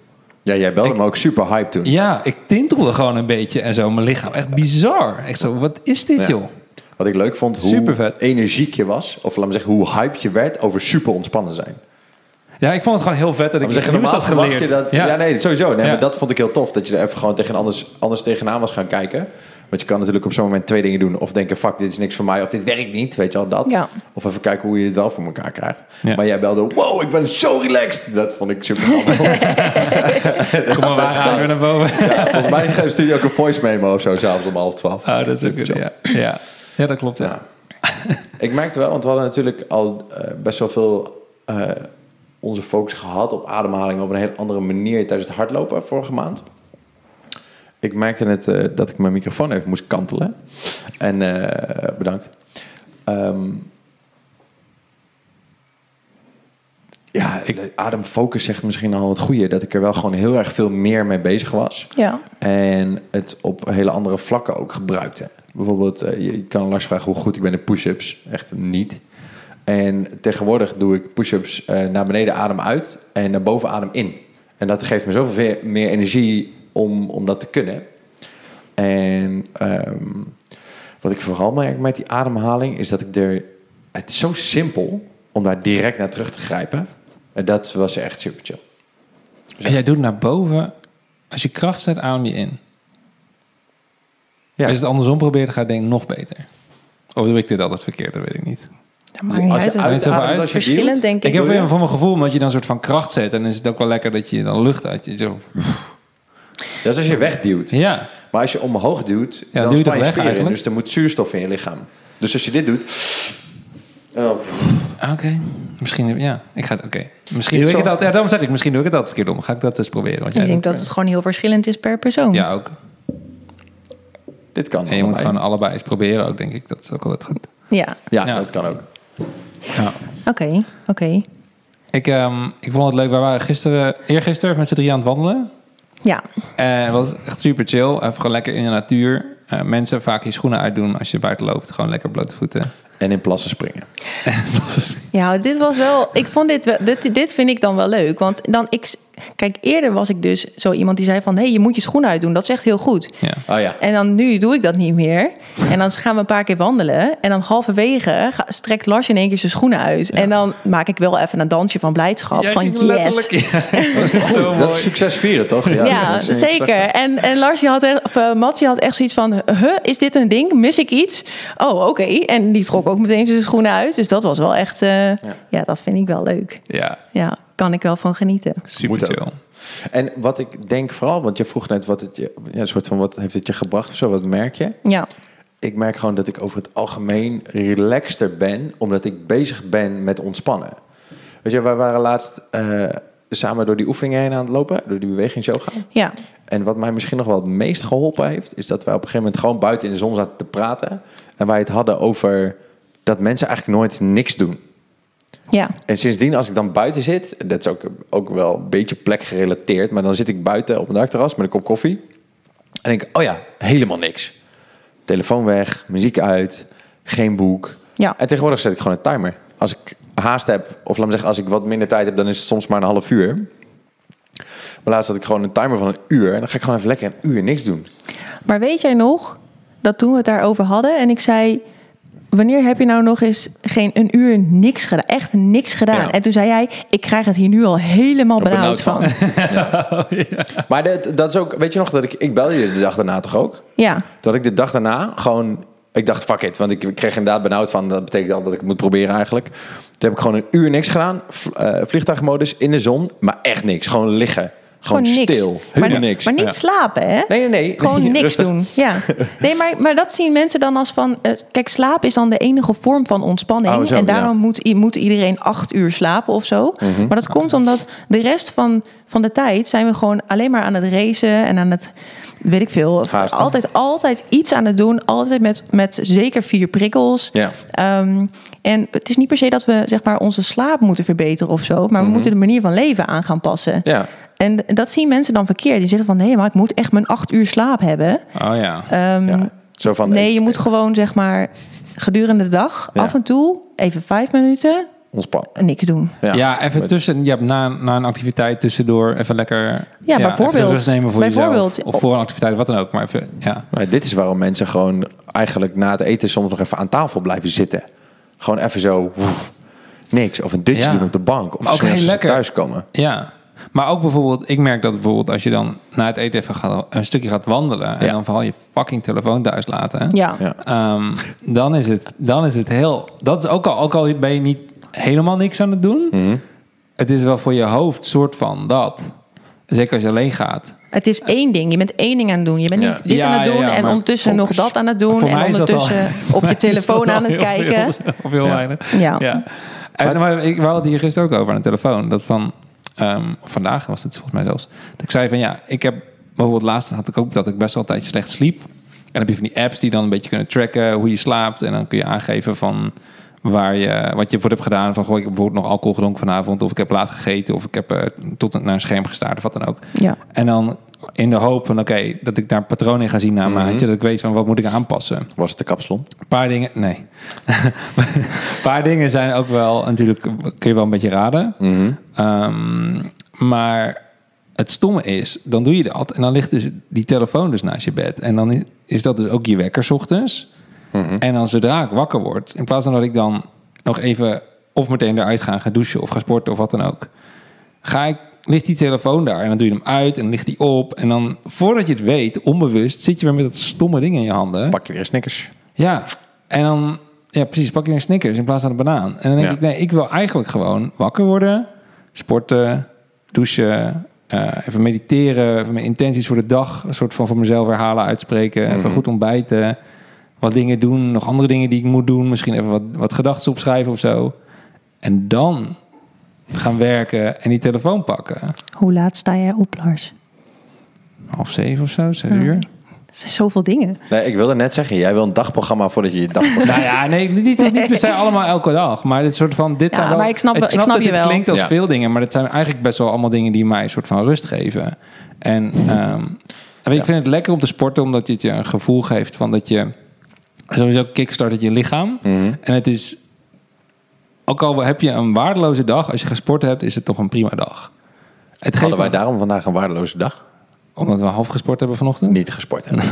S1: Ja, jij belde me ook super hype toen.
S3: Ja, ik tintelde gewoon een beetje en zo, mijn lichaam. Echt bizar. Echt zo, wat is dit,
S1: Ja.
S3: joh?
S1: Wat ik leuk vond, hoe
S3: Supervet.
S1: energiek je was. Of laat me zeggen, hoe hype je werd over super ontspannen zijn.
S3: Ja, ik vond het gewoon heel vet dat ik
S1: We
S3: iets
S1: zeggen
S3: nieuws
S1: normaal
S3: had
S1: verwacht
S3: geleerd.
S1: je dat. Ja,
S3: ja.
S1: nee, sowieso. Nee,
S3: Ja.
S1: maar dat vond ik heel tof. Dat je er even gewoon tegen een anders, anders tegenaan was gaan kijken. Want je kan natuurlijk op zo'n moment twee dingen doen. Of denken, fuck, dit is niks voor mij. Of dit werkt niet, weet je wel, dat.
S2: Ja.
S1: Of even kijken hoe je het wel voor elkaar krijgt.
S3: Ja.
S1: Maar jij belde, wow, ik ben zo relaxed. Dat vond ik super grappig.
S3: Kom maar, waar gaan we naar boven?
S1: ja, volgens mij stuur je ook een voice memo of zo, s'avonds om half twaalf.
S3: Oh, dat is ook
S1: Zo.
S3: ja. Ja. ja, dat klopt. Ja.
S1: Ja. ik merkte wel, want we hadden natuurlijk al eh, best wel veel eh, onze focus gehad op ademhaling op een heel andere manier tijdens het hardlopen vorige maand. Ik merkte net eh, dat ik mijn microfoon even moest kantelen. En eh, bedankt. Ehm, ja, ik, ademfocus zegt misschien al het goede. Dat ik er wel gewoon heel erg veel meer mee bezig was.
S2: ja.
S1: En het op hele andere vlakken ook gebruikte. Bijvoorbeeld, eh, je je kan Lars vragen hoe goed ik ben in push-ups. Echt niet. En tegenwoordig doe ik push-ups eh, naar beneden adem uit en naar boven adem in. En dat geeft me zoveel ve- meer energie om, om dat te kunnen. En ehm, wat ik vooral merk met die ademhaling is dat ik er. Het is zo simpel om daar direct naar terug te grijpen. En dat was echt super chill.
S3: Dus Als jij doet naar boven, als je kracht zet, adem je in.
S1: Ja.
S3: Als je het andersom probeert, dan gaat het denk ik nog beter. Of doe ik dit altijd verkeerd, dat weet ik niet.
S2: Dat maakt niet
S1: Als
S2: uit.
S1: je
S2: Het-
S3: uit-
S1: uitademt,
S3: uit-
S1: als je
S2: verschillend,
S1: hield,
S2: denk ik.
S3: Ik heb
S1: Doe je?
S3: weer van mijn gevoel, omdat je dan een soort van kracht zet... en dan is het ook wel lekker dat je dan lucht uit je... Zo,
S1: Dat is als je wegduwt.
S3: ja,
S1: Maar als je omhoog duwt,
S3: Ja,
S1: dan
S3: duw
S1: span je
S3: je toch weg
S1: spieren.
S3: eigenlijk?
S1: Dus er moet zuurstof in je lichaam. Dus als je dit doet... Oh,
S3: Ah, oké. Misschien, ja. Ik ga, oké. Misschien
S1: Niet
S3: doe ik
S1: zo-
S3: het dat. Ja, daarom zeg ik, misschien doe ik het dat verkeerd om. Ga ik dat eens proberen? Want jij
S2: Ik denk
S3: doet-
S2: dat het gewoon heel verschillend is per persoon.
S3: Ja, ook.
S1: dit kan
S3: En je moet
S1: allebei.
S3: gewoon allebei eens proberen ook, denk ik. Dat is ook altijd goed.
S2: Ja,
S1: Ja,
S3: Ja.
S1: dat kan ook.
S3: Ja.
S2: oké, oké.
S3: Ik, ehm, ik vond het leuk. Wij waren gisteren, eergisteren met z'n drie aan het wandelen.
S2: Ja,
S3: En het Eh, was echt super chill. Even gewoon lekker in de natuur. Eh, mensen vaak je schoenen uitdoen als je buiten loopt. Gewoon lekker blote voeten.
S1: En in plassen springen.
S2: ja, dit was wel. Ik vond dit wel. Dit, dit vind ik dan wel leuk. Want dan ik. Kijk, eerder was ik dus zo iemand die zei van hé, hey, je moet je schoenen uitdoen. Dat is echt heel goed.
S3: Ja.
S1: Oh ja.
S2: En dan nu doe ik dat niet meer. En dan gaan we een paar keer wandelen. En dan halverwege ga- strekt Lars in één keer zijn schoenen uit. En dan maak ik wel even een dansje van blijdschap.
S3: Jij
S2: van
S3: ging
S2: yes.
S3: letterlijk- Ja, dat is toch
S1: Goed,
S3: zo
S1: dat
S3: mooi.
S1: is succes vieren, toch?
S2: Ja,
S1: dat is-
S2: zeker. En, en Lars die had echt, of, eh, Mats die had echt zoiets van... Huh, is dit een ding? Mis ik iets? Oh, oké. En die trok ook meteen zijn schoenen uit. Dus dat was wel echt... eh, ja. dat vind ik wel leuk.
S3: Ja,
S2: Ja, kan ik wel van genieten.
S3: super
S1: Moet ook.
S3: chill.
S1: En wat ik denk vooral, want je vroeg net wat het je, ja, een soort van wat heeft het je gebracht of zo, wat merk je?
S2: Ja,
S1: Ik merk gewoon dat ik over het algemeen relaxter ben, omdat ik bezig ben met ontspannen. Weet je, wij waren laatst eh, samen door die oefeningen heen aan het lopen, door die bewegingsyoga.
S2: ja.
S1: En wat mij misschien nog wel het meest geholpen heeft, is dat wij op een gegeven moment gewoon buiten in de zon zaten te praten. En wij het hadden over dat mensen eigenlijk nooit niks doen.
S2: ja.
S1: En sindsdien, als ik dan buiten zit, dat is ook, ook wel een beetje plek gerelateerd, maar dan zit ik buiten op een dakterras met een kop koffie. En denk, ik, oh ja, helemaal niks. Telefoon weg, muziek uit, geen boek.
S2: Ja.
S1: En tegenwoordig zet ik gewoon een timer. Als ik haast heb, of laat me zeggen, als ik wat minder tijd heb, dan is het soms maar een half uur. Maar laatst had ik gewoon een timer van een uur. En dan ga ik gewoon even lekker een uur niks doen.
S2: Maar weet jij nog dat toen we het daarover hadden... en ik zei... Wanneer heb je nou nog eens geen een uur niks gedaan? Echt niks gedaan.
S1: Ja.
S2: En toen zei jij, ik krijg het hier nu al helemaal benauwd
S1: benauwd
S2: van.
S1: Maar dat, dat is ook, weet je nog, dat ik, ik belde je de dag daarna toch ook?
S2: Ja,
S1: Dat ik de dag daarna gewoon... Ik dacht, fuck it. Want ik kreeg inderdaad benauwd van... Dat betekent al dat ik het moet proberen eigenlijk. Toen heb ik gewoon een uur niks gedaan. v- eh, vliegtuigmodus in de zon. Maar echt niks. Gewoon liggen. Gewoon,
S2: gewoon niks.
S1: stil.
S2: maar,
S1: Helemaal niks.
S2: Maar niet
S1: Ja.
S2: slapen, hè?
S1: Nee, nee, nee.
S2: Gewoon
S1: Nee,
S2: niks
S1: rustig.
S2: doen. Ja. Nee, maar, maar dat zien mensen dan als van. eh, kijk, slaap is dan de enige vorm van ontspanning.
S1: Oh, zo,
S2: en
S1: ja. Mhm.
S2: daarom moet, i- moet iedereen acht uur slapen of zo. Maar dat komt omdat de rest van, van de tijd zijn we gewoon alleen maar aan het racen en aan het. Weet ik veel.
S1: Haasten.
S2: Altijd, altijd iets aan het doen. Altijd met, met zeker vier prikkels.
S1: Ja.
S2: Ehm, en het is niet per se dat we zeg maar, onze slaap moeten verbeteren of zo. Maar
S1: Mhm.
S2: we moeten de manier van leven aan gaan passen.
S1: Ja.
S2: En dat zien mensen dan verkeerd. Die zeggen van nee, maar ik moet echt mijn acht uur slaap hebben.
S3: Oh ja.
S2: Ehm,
S1: Ja. Zo van...
S2: nee,
S1: ik-
S2: je moet gewoon zeg maar gedurende de dag
S1: Ja.
S2: af en toe even vijf minuten
S1: Ontspannen.
S2: niks doen.
S1: Ja.
S3: Ja, even
S1: Met-
S3: tussen. Je hebt na, na een activiteit tussendoor even lekker. even
S2: bijvoorbeeld.
S3: de rust nemen voor
S2: Bijvoorbeeld.
S3: jezelf. Of voor een activiteit, wat dan ook. Maar even, ja.
S1: Maar dit is waarom mensen gewoon eigenlijk na het eten soms nog even aan tafel blijven zitten. Gewoon even zo... woef, niks. Of een dutje
S3: Ja.
S1: doen op de bank. Of
S3: Maar ook
S1: zo als
S3: heel
S1: ze
S3: lekker.
S1: thuiskomen.
S3: ja. Maar ook bijvoorbeeld, ik merk dat bijvoorbeeld als je dan na het eten even gaat, een stukje gaat wandelen. En
S1: Ja.
S3: dan vooral je fucking telefoon thuis laten.
S2: Ja.
S1: Ja.
S3: Ehm, dan, is het, dan is het heel. Dat is ook al, ook al ben je niet helemaal niks aan het doen. Het is wel voor je hoofd soort van dat. Zeker als je alleen gaat.
S2: Het is één ding. Je bent één ding aan het doen. Je bent
S1: Ja.
S2: niet dit
S3: Ja,
S2: aan het
S3: ja,
S2: doen
S3: ja,
S2: en
S3: maar
S2: ondertussen nog
S3: focus.
S2: dat aan het doen
S3: Voor
S2: en
S3: mij is dat
S2: ondertussen
S3: al-
S2: op je
S3: Is dat
S2: telefoon
S3: al
S2: aan het
S3: heel veel,
S2: kijken.
S3: of heel weinig.
S2: Ja.
S3: En, maar ik, we hadden het hier gisteren ook over aan de telefoon. Dat van, ehm, of vandaag was het volgens mij zelfs. Dat ik zei van ja, ik heb bijvoorbeeld laatst had ik ook dat ik best wel een tijdje slecht sliep. En dan heb je van die apps die dan een beetje kunnen tracken hoe je slaapt. En dan kun je aangeven van waar je, wat je voor hebt gedaan. Van goh, ik heb bijvoorbeeld nog alcohol gedronken vanavond. Of ik heb laat gegeten. Of ik heb eh, tot een- naar een scherm gestaard of wat dan ook.
S2: Ja.
S3: En dan in de hoop van oké, dat ik daar patronen in ga zien na een maandje. Dat ik weet van wat moet ik aanpassen.
S1: Was het de kapsalon?
S3: Een paar dingen, nee. een paar dingen zijn ook wel, natuurlijk kun je wel een beetje raden. Ehm, maar het stomme is, dan doe je dat en dan ligt dus die telefoon dus naast je bed. En dan i- is dat dus ook je wekker 's ochtends. En dan zodra ik wakker word, in plaats van dat ik dan nog even of meteen eruit ga, ga douchen of ga sporten of wat dan ook, ga ik, ligt die telefoon daar en dan doe je hem uit en dan ligt die op. En dan, voordat je het weet, onbewust, zit je weer met dat stomme ding in je handen.
S1: Pak je weer snickers.
S3: Ja, en dan, ja precies, pak je een Snickers in plaats van een banaan. En dan denk
S1: Ja.
S3: ik, nee, ik wil eigenlijk gewoon wakker worden, sporten, douchen, eh, even mediteren, even mijn intenties voor de dag, een soort van voor mezelf herhalen, uitspreken, even goed ontbijten, wat dingen doen, nog andere dingen die ik moet doen, misschien even wat, wat gedachten opschrijven of zo. En dan gaan werken en die telefoon pakken.
S2: Hoe laat sta jij op, Lars?
S3: Half zeven of zo, zes uur.
S2: Er zijn zoveel dingen.
S1: Nee, ik wilde net zeggen, jij wil een dagprogramma voordat je je dag...
S3: Nou ja, nee, niet, niet per se allemaal elke dag. Maar dit soort van, dit
S2: Ja,
S3: zijn wel...
S2: maar ik snap wel- ik snap
S3: dat
S2: je
S3: dit
S2: wel.
S3: klinkt als
S1: Ja.
S3: veel dingen, maar dat zijn eigenlijk best wel allemaal dingen die mij een soort van rust geven. En ehm, weet je, ik vind het lekker om te sporten, omdat dit je een gevoel geeft van dat je... Sowieso kickstart het je lichaam.
S1: Mhm.
S3: En het is... Ook al heb je een waardeloze dag, als je gesport hebt, is het toch een prima dag. Het geeft
S1: Hadden wij
S3: wel-
S1: daarom vandaag een waardeloze dag?
S3: omdat we half gesport hebben vanochtend?
S1: Niet gesport hebben.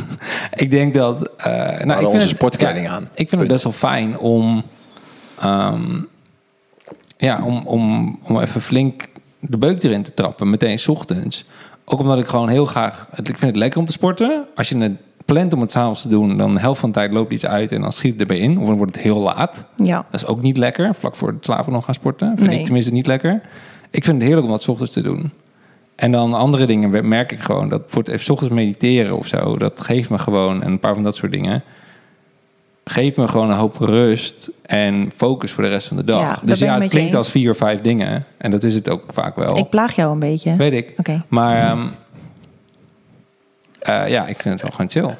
S3: Ik denk dat. eh nou, ik vind
S1: onze
S3: het-
S1: sportkleding
S3: ja,
S1: aan.
S3: Ik vind het best wel fijn om. ehm, ja, om, om, om even flink de beuk erin te trappen. Meteen 's ochtends. Ook omdat ik gewoon heel graag. het- Ik vind het lekker om te sporten. Als je het plant om het s'avonds te doen, dan de helft van de tijd loopt iets uit en dan schiet het erbij in. Of dan wordt het heel laat.
S2: Ja.
S3: Dat is ook niet lekker. Vlak voor het slapen nog gaan sporten. Vind
S2: Nee.
S3: ik tenminste niet lekker. Ik vind het heerlijk om dat 's ochtends te doen. En dan andere dingen merk ik gewoon. Dat wordt even 's ochtends mediteren of zo. Dat geeft me gewoon en een paar van dat soort dingen. Geeft me gewoon een hoop rust en focus voor de rest van de dag.
S2: Ja, daar
S3: dus
S2: ben ik
S3: ja, het
S2: met je
S3: klinkt
S2: eens.
S3: als vier of vijf dingen. En dat is het ook vaak wel.
S2: Ik plaag jou een beetje.
S3: Weet ik.
S2: Oké.
S3: Maar ehm, eh, ja, ik vind het wel gewoon chill.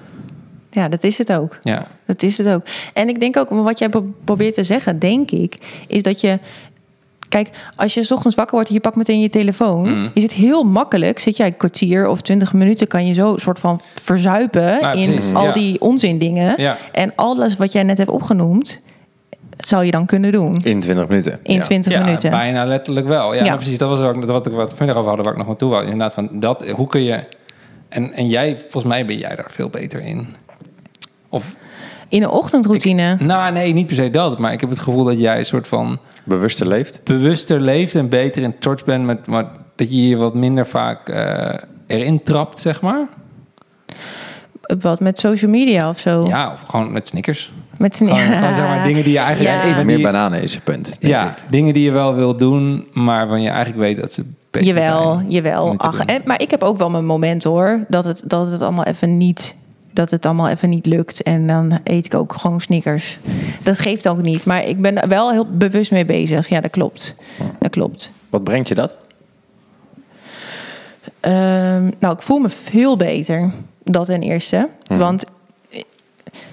S2: Ja, dat is het ook.
S3: Ja.
S2: Dat is het ook. En ik denk ook, wat jij pro- probeert te zeggen, denk ik, is dat je. Kijk, als je 's ochtends wakker wordt en je pakt meteen je telefoon,
S3: Mm.
S2: is het heel makkelijk. Zit jij een kwartier of twintig minuten, kan je zo een soort van verzuipen
S3: Nou,
S2: in
S3: precies,
S2: al
S3: ja.
S2: die onzin dingen.
S3: Ja.
S2: En alles wat jij net hebt opgenoemd, zou je dan kunnen doen
S1: In 20 minuten.
S2: in
S1: Ja.
S2: twintig
S3: ja,
S2: minuten.
S3: bijna letterlijk wel. Ja,
S2: Ja.
S3: nou precies. Dat was ook wat ik wat we vanmiddag over hadden, waar ik nog naartoe wou. Inderdaad, van dat, hoe kun je... En, en jij, volgens mij ben jij daar veel beter in. Of,
S2: In een ochtendroutine.
S3: nou nee, niet per se dat. Maar ik heb het gevoel dat jij een soort van
S1: Bewuster leeft.
S3: bewuster leeft en beter in touch bent met... Maar dat je je wat minder vaak eh, erin trapt, zeg maar.
S2: Wat met social media of zo.
S3: Ja, of gewoon met snickers.
S2: Met
S3: Gewoon, gewoon zeg maar dingen die je eigenlijk...
S2: Ja.
S3: eh,
S1: Meer
S3: die-
S1: bananen is het punt. denk
S3: ja,
S1: ik.
S3: dingen die je wel wil doen, maar van je eigenlijk weet dat ze beter
S2: jawel,
S3: zijn. om
S2: jawel.
S3: het te
S2: Ach,
S3: doen.
S2: en, maar ik heb ook wel mijn moment hoor. Dat het, dat het allemaal even niet. Dat het allemaal even niet lukt. En dan eet ik ook gewoon snickers. Dat geeft ook niet. Maar ik ben daar wel heel bewust mee bezig. Ja, dat klopt. Dat klopt.
S1: Wat brengt je dat?
S2: Ehm, nou, ik voel me veel beter. Dat ten eerste.
S3: Mhm.
S2: Want eh,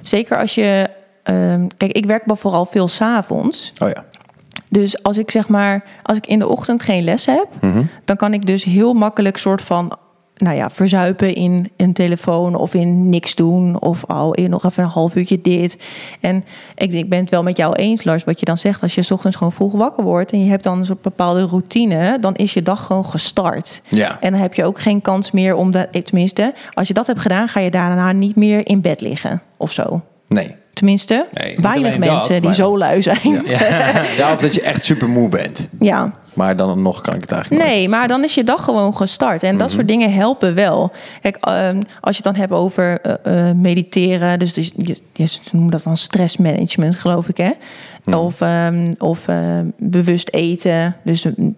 S2: zeker als je. ehm, kijk, ik werk vooral veel s'avonds.
S1: Oh ja.
S2: Dus als ik zeg maar, als ik in de ochtend geen les heb, dan kan ik dus heel makkelijk soort van, nou ja, verzuipen in een telefoon of in niks doen of al in nog even een half uurtje dit. En ik, ik ben het wel met jou eens, Lars, wat je dan zegt. Als je 's ochtends gewoon vroeg wakker wordt en je hebt dan een soort bepaalde routine, dan is je dag gewoon gestart.
S1: Ja.
S2: En dan heb je ook geen kans meer om dat, eh, tenminste, als je dat hebt gedaan, ga je daarna niet meer in bed liggen of zo.
S1: Nee.
S2: Tenminste,
S3: Nee, niet
S2: weinig
S3: alleen dat,
S2: mensen die
S1: maar-
S2: zo lui zijn. Ja.
S1: Ja, of dat je echt super moe bent. Maar dan nog kan ik het eigenlijk
S2: Nee, maar dan is je dag gewoon gestart. En dat soort dingen helpen wel. Kijk, ehm, als je het dan hebt over eh, eh, mediteren. Dus, dus je, je- ze noemen dat dan stressmanagement, geloof ik. Hè? Of, ehm, of ehm, bewust eten. Dus mm,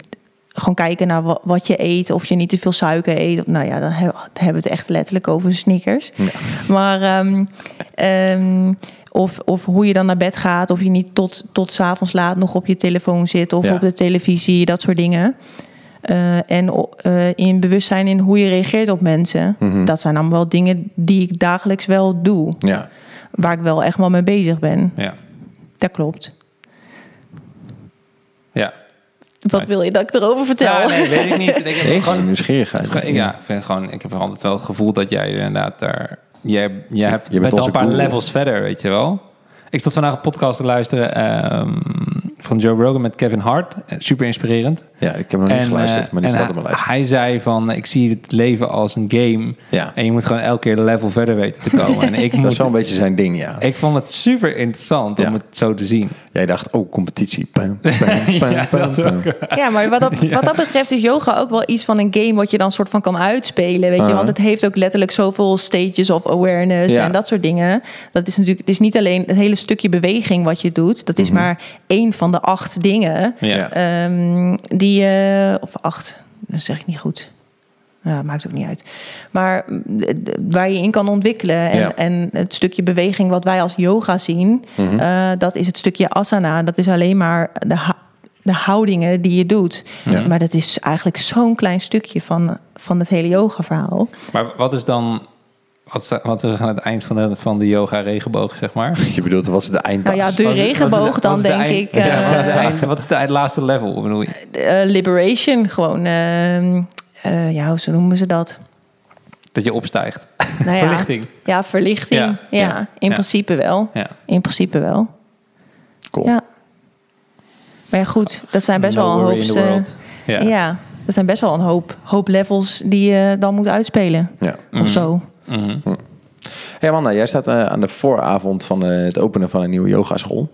S2: gewoon kijken naar wa- wat je eet. Of je niet te veel suiker eet. Of- Nou ja, dan he- hebben we het echt letterlijk over sneakers. Maar... ehm, ehm, of, of hoe je dan naar bed gaat. Of je niet tot, tot s'avonds laat nog op je telefoon zit. Of
S1: Ja.
S2: op de televisie. Dat soort dingen. Eh, en o- eh, in bewustzijn in hoe je reageert op mensen.
S3: Mhm.
S2: Dat zijn allemaal wel dingen die ik dagelijks wel doe.
S1: niet. Ja.
S2: Waar ik wel echt wel mee bezig ben.
S3: Ja,
S2: Dat klopt.
S3: ja.
S2: Wat wil je dat ik erover vertel?
S3: Ja, nee, weet ik niet. Ik heb
S1: Deze
S3: gewoon,
S1: nieuwsgierigheid.
S3: ja, ik vind gewoon, ik heb altijd wel het gevoel dat jij inderdaad daar... Jij, jij hebt,
S1: bent
S3: bent al
S1: onze
S3: een paar
S1: guru.
S3: levels verder, weet je wel. Ik zat vandaag een podcast te luisteren ehm, van Joe Rogan met Kevin Hart. Eh, Super inspirerend.
S1: Ja, ik heb hem nog niet geluisterd,
S3: eh,
S1: maar die
S3: en
S1: staat op mijn
S3: hij-
S1: lijst.
S3: Hij zei van, ik zie het leven als een game.
S1: Ja.
S3: En je moet gewoon elke keer een level verder weten te komen. en ik,
S1: Dat is
S3: moet,
S1: wel een beetje zijn ding, ja.
S3: ik vond het super interessant
S1: Ja.
S3: om het zo te zien.
S1: Jij dacht, oh, competitie. Pam, pam, pam,
S3: Ja,
S1: pam,
S3: dat
S1: pam.
S2: Ja, maar wat dat, wat dat betreft is yoga ook wel iets van een game wat je dan soort van kan uitspelen. Weet je?
S1: Uh-huh.
S2: Want het heeft ook letterlijk zoveel stages of awareness
S1: Ja.
S2: en dat soort dingen. Dat is natuurlijk, het is niet alleen het hele stukje beweging wat je doet. Dat is
S1: Mhm.
S2: maar één van de acht dingen.
S1: Ja.
S2: ehm, die je, of acht, dat zeg ik niet goed. Ja, maakt ook niet uit. Maar mm, d- d- waar je in kan ontwikkelen. En,
S1: Ja.
S2: en het stukje beweging wat wij als yoga zien, eh, dat is het stukje asana. Dat is alleen maar de, ha- de houdingen die je doet.
S1: Ja.
S2: Maar dat is eigenlijk zo'n klein stukje van, van het hele yoga verhaal.
S3: Maar wat is dan... Wat, zou- wat is aan het eind van de, van de yoga regenboog, zeg maar?
S1: Je bedoelt, wat is de eindbaas?
S2: Nou ja, de
S3: Wat is- wat is de-
S2: regenboog
S3: wat
S2: dan
S3: is de
S2: denk
S3: eind-
S2: ik.
S3: Ja,
S2: eh,
S3: wat is de eind- Wat is de eind- laatste level? Ik bedoel,
S2: eh, liberation, gewoon. ehm, eh, ja, hoe ze noemen ze dat?
S3: dat je opstijgt.
S2: Nou ja.
S3: Verlichting.
S2: Ja, verlichting.
S3: Ja,
S2: Ja,
S1: ja,
S2: in
S3: ja.
S2: principe wel.
S3: Ja.
S2: In principe wel.
S1: Cool.
S2: Ja. Maar ja, goed, dat zijn best
S3: No
S2: wel een
S3: worry
S2: hoop.
S3: in the
S2: eh,
S3: world. Ja.
S2: ja. dat zijn best wel een hoop, hoop levels die je dan moet uitspelen.
S1: Ja.
S2: Of zo.
S3: Mhm.
S1: Hey Amanda, jij staat eh, aan de vooravond van eh, het openen van een nieuwe yogaschool.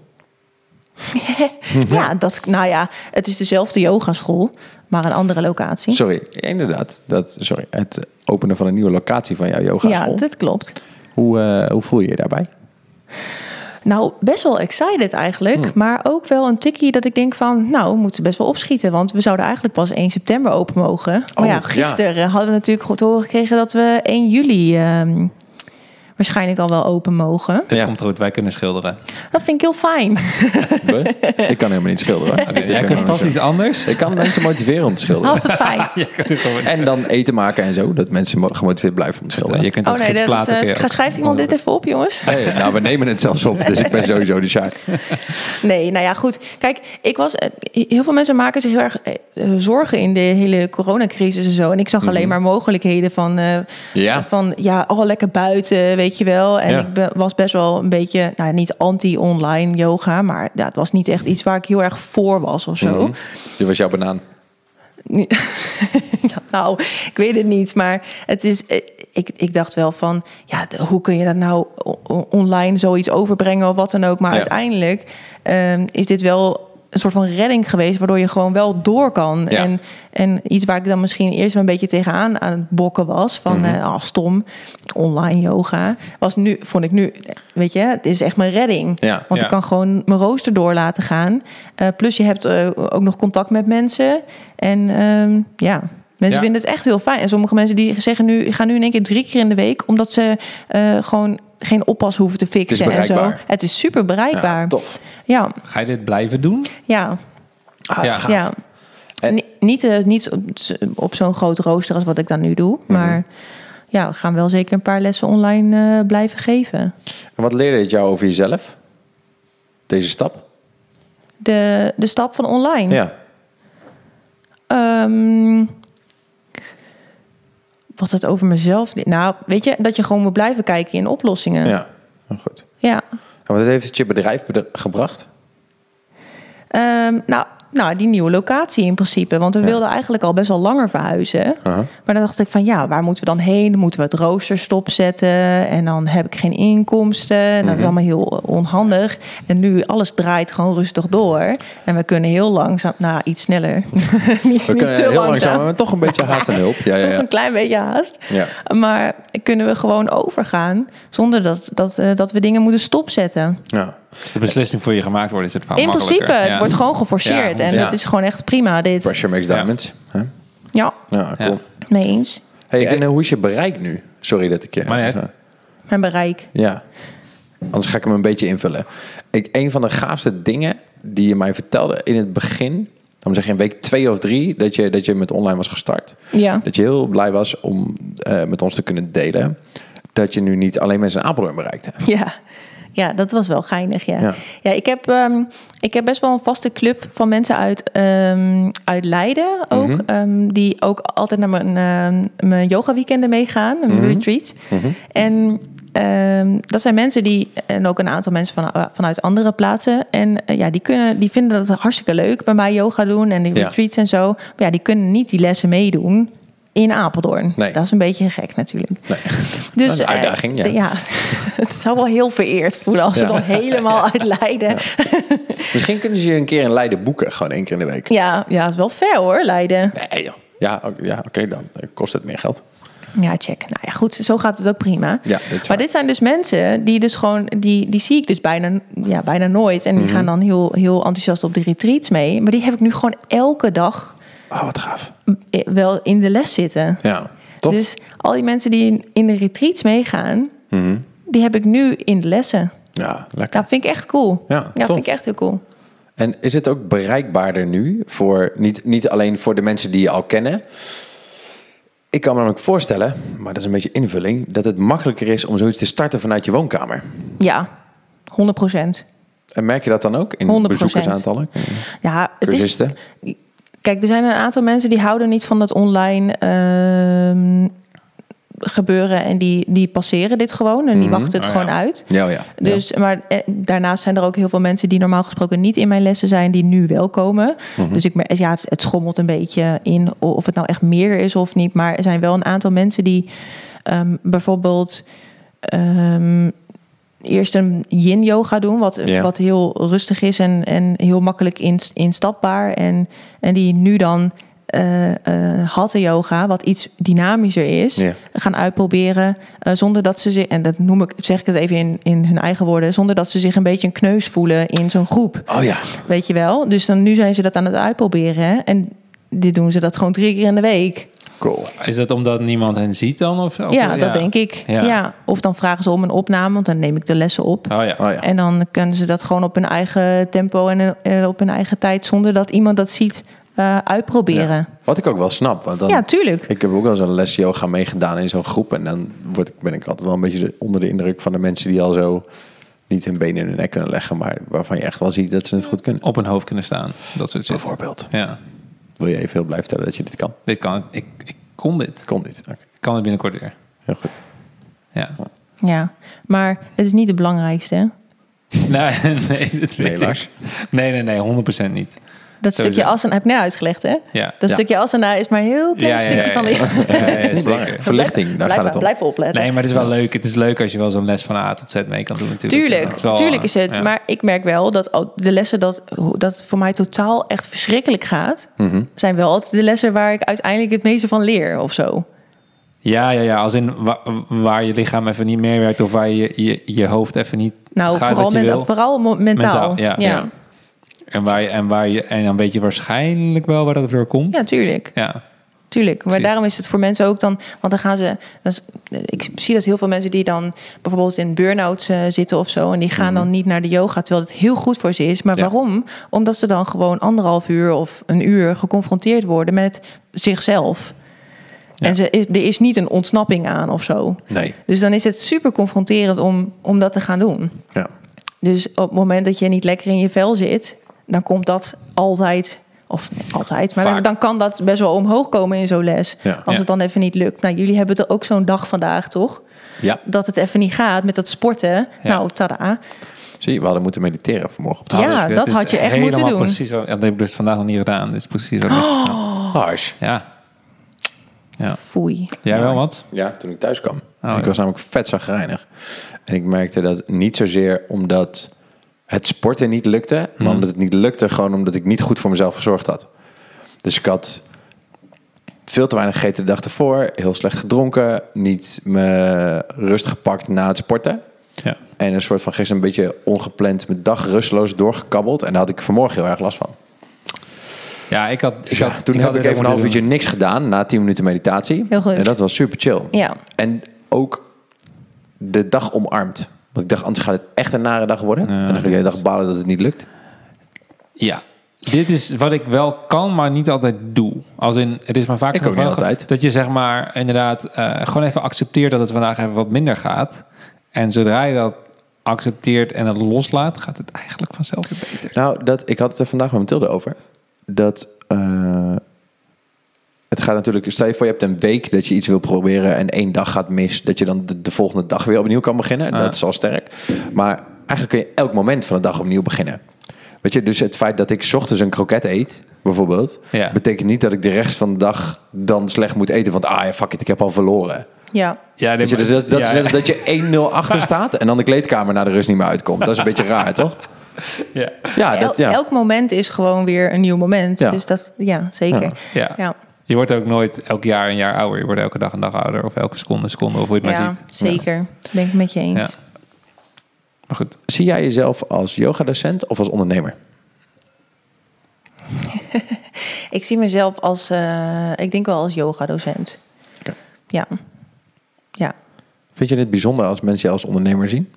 S2: Ja, dat, nou ja, het is dezelfde yogaschool, maar een andere locatie.
S1: Sorry, inderdaad. Dat, sorry, het openen van een nieuwe locatie van jouw
S2: ja,
S1: yogaschool.
S2: dat klopt.
S1: hoe, eh, hoe voel je je daarbij?
S2: Nou, best wel excited eigenlijk.
S3: Mhm.
S2: Maar ook wel een tikkie dat ik denk van... nou, we moeten best wel opschieten. Want we zouden eigenlijk pas 1 september open mogen. Maar
S1: Oh,
S2: ja,
S1: ja.
S2: gisteren hadden we natuurlijk goed horen gekregen... dat we 1 juli ehm, waarschijnlijk al wel open mogen.
S3: Dit
S1: Ja.
S3: komt goed, wij kunnen schilderen.
S2: Dat vind ik heel fijn.
S1: We? ik kan helemaal niet schilderen. hoor. Ik
S3: jij
S1: kan
S3: kunt
S1: helemaal
S3: vast
S1: niet
S3: iets anders.
S1: Ik kan mensen motiveren om te schilderen.
S2: Oh, wat fijn.
S3: Je kunt, ook gewoon-
S1: En dan eten maken en zo. Dat mensen mo- gemotiveerd blijven om te schilderen.
S3: je kunt
S2: Oh
S3: ook
S2: nee, dat,
S3: gipsplaten
S2: eh,
S3: kun je ook-
S2: schrijft iemand dit even op, jongens?
S1: Hey, nou, we nemen het zelfs op, dus ik ben sowieso de sjaak.
S2: Nee, nou ja, goed. Kijk, ik was. eh, Heel veel mensen maken zich heel erg eh, eh, zorgen in de hele coronacrisis en zo. En ik zag alleen maar mogelijkheden van. eh,
S1: Mhm. Ja.
S2: Van ja, oh, lekker buiten, weet je wel. En
S1: Ja.
S2: ik be- was best wel een beetje, nou niet anti-online yoga, maar ja, het was niet echt iets waar ik heel erg voor was of zo.
S1: Mhm. Dit Hm. was jouw banaan.
S2: Niet- Ja, nou, ik weet het niet. Maar het is, eh, ik, ik dacht wel van, ja, de- hoe kun je dat nou o- o- online zoiets overbrengen of wat dan ook. Maar
S1: Ja.
S2: uiteindelijk ehm, is dit wel een soort van redding geweest, waardoor je gewoon wel door kan.
S1: Ja.
S2: En, en iets waar ik dan misschien eerst wel een beetje tegenaan aan het bokken was, van
S1: Mhm.
S2: eh, ah, stom, online yoga, was nu, vond ik nu, weet je, het is echt mijn redding.
S1: Ja.
S2: Want
S3: Ja.
S2: ik kan gewoon mijn rooster door laten gaan. Eh, plus je hebt eh, ook nog contact met mensen. En ehm, ja, mensen
S1: Ja.
S2: vinden het echt heel fijn. En sommige mensen die zeggen nu, gaan nu in één keer drie keer in de week... omdat ze eh, gewoon geen oppas hoeven te fixen en zo.
S1: bereikbaar.
S2: Het is super bereikbaar.
S1: Ja, tof.
S2: Ja,
S3: Ga je dit blijven doen?
S2: ja,
S1: Ah,
S3: Ja.
S1: gaaf.
S2: ja.
S1: En-
S2: Ni- Niet, eh, niet op z- op zo'n groot rooster als wat ik dan nu doe.
S1: Mhm.
S2: Maar ja, we gaan wel zeker een paar lessen online eh, blijven geven.
S1: En wat leerde het jou over jezelf? Deze stap?
S2: De, de stap van online.
S1: Ja.
S2: Ehm, wat het over mezelf. Nou, weet je, dat je gewoon moet blijven kijken in oplossingen.
S1: Ja. Nou, goed.
S2: Ja.
S1: En wat heeft het je bedrijf bede- gebracht?
S2: Ehm, nou, nou, die nieuwe locatie in principe. Want we wilden eigenlijk al best wel langer verhuizen.
S1: Aha.
S2: Maar dan dacht ik van ja, waar moeten we dan heen? Moeten we het rooster stopzetten? En dan heb ik geen inkomsten. En
S1: Mhm.
S2: dat is allemaal heel eh, onhandig. En nu alles draait gewoon rustig door. En we kunnen heel langzaam, nou iets sneller. niet,
S1: We
S2: niet
S1: kunnen
S2: te
S1: heel
S2: langzaam.
S1: langzaam, maar toch een beetje haast en hulp. Ja, ja,
S2: Toch
S1: ja.
S2: een klein beetje haast.
S1: Ja.
S2: Maar kunnen we gewoon overgaan zonder dat, dat, eh, dat we dingen moeten stopzetten?
S1: ja.
S3: Is de beslissing voor je gemaakt wordt, is het vaak
S2: In principe,
S3: makkelijker.
S2: het
S3: Ja.
S2: wordt gewoon geforceerd.
S3: Ja,
S2: en
S1: ja.
S2: dat is gewoon echt prima, dit.
S1: Pressure makes
S3: Ja.
S1: diamonds. hè?
S2: Ja,
S1: Ja, cool.
S3: Ja.
S2: mee eens.
S1: Hey, en eh, hoe is je bereik nu? Sorry dat ik je...
S3: Maar niet uit.
S1: Ja.
S2: Mijn bereik.
S1: Ja. Anders ga ik hem een beetje invullen. Ik, een van de gaafste dingen die je mij vertelde in het begin... Dan zeg je in week twee of drie dat je, dat je met online was gestart.
S2: Ja.
S1: Dat je heel blij was om eh, met ons te kunnen delen. Dat je nu niet alleen mensen in Apeldoorn bereikte.
S2: Ja. Ja, dat was wel geinig, ja.
S1: Ja.
S2: Ja, ik, heb, ehm, ik heb best wel een vaste club van mensen uit, ehm, uit Leiden ook.
S1: Mhm.
S2: ehm,
S1: Mhm.
S2: die ook altijd naar mijn, ehm mijn yoga weekenden meegaan, mijn retreats. En Ehm, dat zijn mensen die, en ook een aantal mensen van, eh, vanuit andere plaatsen. En eh, ja, die, kunnen, die vinden dat hartstikke leuk bij mij yoga doen en die
S1: Ja.
S2: retreats en zo. Maar ja, die kunnen niet die lessen meedoen in Apeldoorn.
S1: Nee.
S2: Dat is een beetje gek natuurlijk.
S1: Nee.
S2: Dus,
S1: Dat is een
S2: eh,
S1: uitdaging, ja.
S2: het zou wel heel vereerd voelen als ze
S1: Ja.
S2: dan helemaal uit Leiden. Ja.
S1: Misschien kunnen ze je een keer in Leiden boeken, gewoon één keer in de week.
S2: Ja, is wel ver hoor, Leiden.
S1: Nee joh. Ja, oké, ja, oké, dan kost het meer geld.
S2: Ja, check. Nou ja, goed, zo gaat het ook prima.
S1: Ja, dit is waar.
S2: maar dit zijn dus mensen die dus gewoon, die, die zie ik dus bijna, ja, bijna nooit. En die
S1: Mhm.
S2: gaan dan heel, heel enthousiast op de retreats mee. Maar die heb ik nu gewoon elke dag
S1: Oh, wat gaaf.
S2: eh, wel in de les zitten.
S1: Ja, toch?
S2: Dus al die mensen die in de retreats meegaan,
S1: Mhm.
S2: die heb ik nu in de lessen.
S1: Ja, lekker.
S2: Dat vind ik echt cool.
S1: Ja, tof.
S2: dat vind ik echt heel cool.
S1: En is het ook bereikbaarder nu voor niet, niet alleen voor de mensen die je al kennen? Ik kan me namelijk voorstellen, maar dat is een beetje invulling, dat het makkelijker is om zoiets te starten vanuit je woonkamer.
S2: Ja, 100 procent.
S1: En merk je dat dan ook in
S2: 100%.
S1: bezoekersaantallen?
S2: Ja, het is,
S1: Cursisten?
S2: Kijk, er zijn een aantal mensen die houden niet van dat online ehm, gebeuren en die, die passeren dit gewoon en die wachten het
S3: Oh,
S2: gewoon
S3: ja.
S2: uit.
S1: Ja, oh Mhm. ja.
S2: Dus, maar eh, daarnaast zijn er ook heel veel mensen die normaal gesproken niet in mijn lessen zijn, die nu wel komen.
S1: Mhm.
S2: Dus ik, mer- ja, het, het schommelt een beetje in o- of het nou echt meer is of niet. Maar er zijn wel een aantal mensen die ehm, bijvoorbeeld ehm, eerst een yin yoga doen, wat,
S1: Ja.
S2: wat heel rustig is en, en heel makkelijk inst- instapbaar. En, en die nu dan eh eh, hatha yoga, wat iets dynamischer is,
S1: Ja.
S2: gaan uitproberen. eh, zonder dat ze zich, en dat noem ik, zeg ik het even in, in hun eigen woorden, zonder dat ze zich een beetje een kneus voelen in zo'n groep.
S1: ja. Oh ja.
S2: Weet je wel? Dus dan nu zijn ze dat aan het uitproberen. hè. En dit doen ze dat gewoon drie keer in de week.
S1: Cool.
S3: Is dat omdat niemand hen ziet dan? Of, of-
S2: ja, dat denk ik.
S3: Ja.
S2: Ja. Of dan vragen ze om een opname, want dan neem ik de lessen op.
S3: Oh ja.
S1: Oh ja.
S2: En dan kunnen ze dat gewoon op hun eigen tempo en eh, op hun eigen tijd, zonder dat iemand dat ziet, eh, uitproberen.
S1: Wat ik ook wel snap. Want dan,
S2: Ja, tuurlijk.
S1: Ik heb ook wel eens een les yoga meegedaan in zo'n groep. En dan word ik, ben ik altijd wel een beetje de- onder de indruk van de mensen die al zo niet hun benen in hun nek kunnen leggen. Maar waarvan je echt wel ziet dat ze het goed kunnen.
S3: Op een hoofd kunnen staan. Dat soort shit.
S1: Bijvoorbeeld.
S3: Ja.
S1: Wil je even heel blij vertellen dat je dit kan?
S3: Dit kan. Ik, ik kon dit.
S1: Kon dit. Oké,
S3: Ik kan het binnenkort weer.
S1: heel goed.
S3: Ja.
S2: Ja, maar het is niet het belangrijkste. hè?
S3: Nee, nee, dat weet ik.
S1: Lars.
S3: Nee, nee, nee, 100% niet.
S2: Dat
S3: Sowieso.
S2: stukje as en heb ik net uitgelegd, hè?
S3: Ja.
S2: Dat
S1: Ja.
S2: stukje as en is maar een heel klein
S3: Ja, ja, ja,
S2: stukje van de.
S3: ja, ja, ja,
S1: Dat is niet
S3: zeker.
S1: belangrijk. Verlichting, daar
S2: blijf,
S1: gaat het om.
S2: Blijf opletten.
S3: Nee, maar het is wel leuk. Het is leuk als je wel zo'n les van A tot Z mee kan doen natuurlijk.
S2: Tuurlijk,
S3: Dat is wel, eh,
S2: tuurlijk is het.
S3: ja.
S2: Maar ik merk wel dat al de lessen dat, dat het voor mij totaal echt verschrikkelijk gaat,
S3: Mhm.
S2: zijn wel altijd de lessen waar ik uiteindelijk het meeste van leer of zo. Nou,
S3: Ja, ja, ja. Als in wa- waar je lichaam even niet meer werkt of waar je je, je hoofd even niet
S2: Nou,
S3: gaat
S2: vooral,
S3: dat je
S2: menta-
S3: wil.
S2: vooral mo- mentaal.
S3: Mentaal, ja.
S2: ja.
S1: Ja.
S3: En, waar je, en, waar je, en dan weet je waarschijnlijk wel waar dat door komt.
S2: Ja, tuurlijk.
S3: ja.
S2: Tuurlijk, maar
S3: Precies.
S2: daarom is het voor mensen ook dan, want dan gaan ze, dan is- ik zie dat heel veel mensen die dan bijvoorbeeld in burn-out eh, zitten of zo, en die gaan dan niet naar de yoga, terwijl het heel goed voor ze is. Maar
S1: Mhm. Ja.
S2: waarom? Omdat ze dan gewoon anderhalf uur of een uur geconfronteerd worden met zichzelf. En ze is, er is niet een ontsnapping aan of zo.
S1: Nee.
S2: Dus dan is het super confronterend om, om dat te gaan doen.
S1: Ja.
S2: Dus op het moment dat je niet lekker in je vel zit, dan komt dat altijd, of nee, altijd, maar dan,
S3: Vaak.
S2: dan kan dat best wel omhoog komen in zo'n les.
S1: Ja.
S2: Als
S3: Ja.
S2: het dan even niet lukt. Nou, jullie hebben er ook zo'n dag vandaag, toch?
S1: ja.
S2: Dat het even niet gaat met dat sporten.
S3: Ja.
S2: Nou, tada.
S1: Zie je, we hadden moeten mediteren vanmorgen op de
S2: Ja.
S1: ja.
S3: dit
S2: dat
S3: is
S2: had je echt
S3: helemaal
S2: moeten doen. Oh.
S3: Precies wat, ja, dat heb ik dus vandaag nog niet gedaan. Dit is precies wat ik mis-
S1: Harsh.
S3: Ja. Ja.
S2: Foei.
S3: Jij wel wat?
S1: Ja, toen ik thuis kwam.
S3: Oh,
S1: ik
S3: ja.
S1: was namelijk vet zagrijnig. En ik merkte dat niet zozeer omdat het sporten niet lukte, maar
S3: Mhm.
S1: omdat het niet lukte gewoon omdat ik niet goed voor mezelf gezorgd had. Dus ik had veel te weinig gegeten de dag ervoor, heel slecht gedronken, niet me rust gepakt na het sporten.
S3: Ja.
S1: En een soort van gisteren een beetje ongepland mijn dag rusteloos doorgekabbeld. En daar had ik vanmorgen heel erg last van.
S3: Ja, ik had... Ik
S1: Dus ja,
S3: had
S1: toen
S3: ik
S1: heb
S3: had
S1: ik
S3: dit
S1: even een
S3: ook
S1: half
S3: moeten
S1: uurtje niks gedaan na 10 minuten meditatie.
S2: Heel goed.
S1: En dat was super chill.
S2: Ja.
S1: En ook de dag omarmd. Want ik dacht, anders gaat het echt een nare dag worden. en dan ga je de dag balen dat het niet lukt.
S3: doen. Ja. Dit is wat ik wel kan, maar niet altijd doe. Als in, het is maar vaak
S1: Ik ook
S3: nog wel
S1: niet
S3: ge-
S1: altijd.
S3: dat je zeg maar inderdaad eh, gewoon even accepteert dat het vandaag even wat minder gaat. En zodra je dat accepteert en het loslaat, gaat het eigenlijk vanzelf weer beter.
S1: Nou, dat, ik had het er vandaag met Mathilde over. Dat eh, het gaat gaat natuurlijk, stel je voor je hebt een week dat je iets wil proberen en één dag gaat mis, dat je dan de, de volgende dag weer opnieuw kan beginnen.
S3: Ah.
S1: Dat is al sterk. Maar eigenlijk kun je elk moment van de dag opnieuw beginnen. Weet je, dus het feit dat ik 's ochtends een kroket eet, bijvoorbeeld,
S3: Ja.
S1: betekent niet dat ik de rest van de dag dan slecht moet eten. Want ah ja, fuck it, ik heb al verloren.
S2: Ja.
S3: Ja,
S1: Weet je, dus dat, dat is net als dat je 1-0 achter staat en dan de kleedkamer naar de rust niet meer uitkomt. Dat is een beetje raar, toch?
S3: ja.
S1: Ja, Ah, dat,
S2: El-
S1: ja.
S2: Elk moment is gewoon weer een nieuw moment.
S1: Ja.
S2: Dus dat, ja, zeker.
S3: Ja.
S2: Ja.
S3: Je wordt ook nooit elk jaar een jaar ouder. Je wordt elke dag een dag ouder. Of elke seconde een seconde. Of hoe je
S2: Ja,
S3: het maar ziet.
S2: zeker. Ben ik met je eens.
S3: Ja. Maar goed.
S1: Zie jij jezelf als yogadocent of als ondernemer?
S2: Ik zie mezelf als, eh, ik denk wel als yoga-docent.
S1: Oké.
S2: Ja. Ja.
S1: Vind je dit bijzonder als mensen jou als ondernemer zien?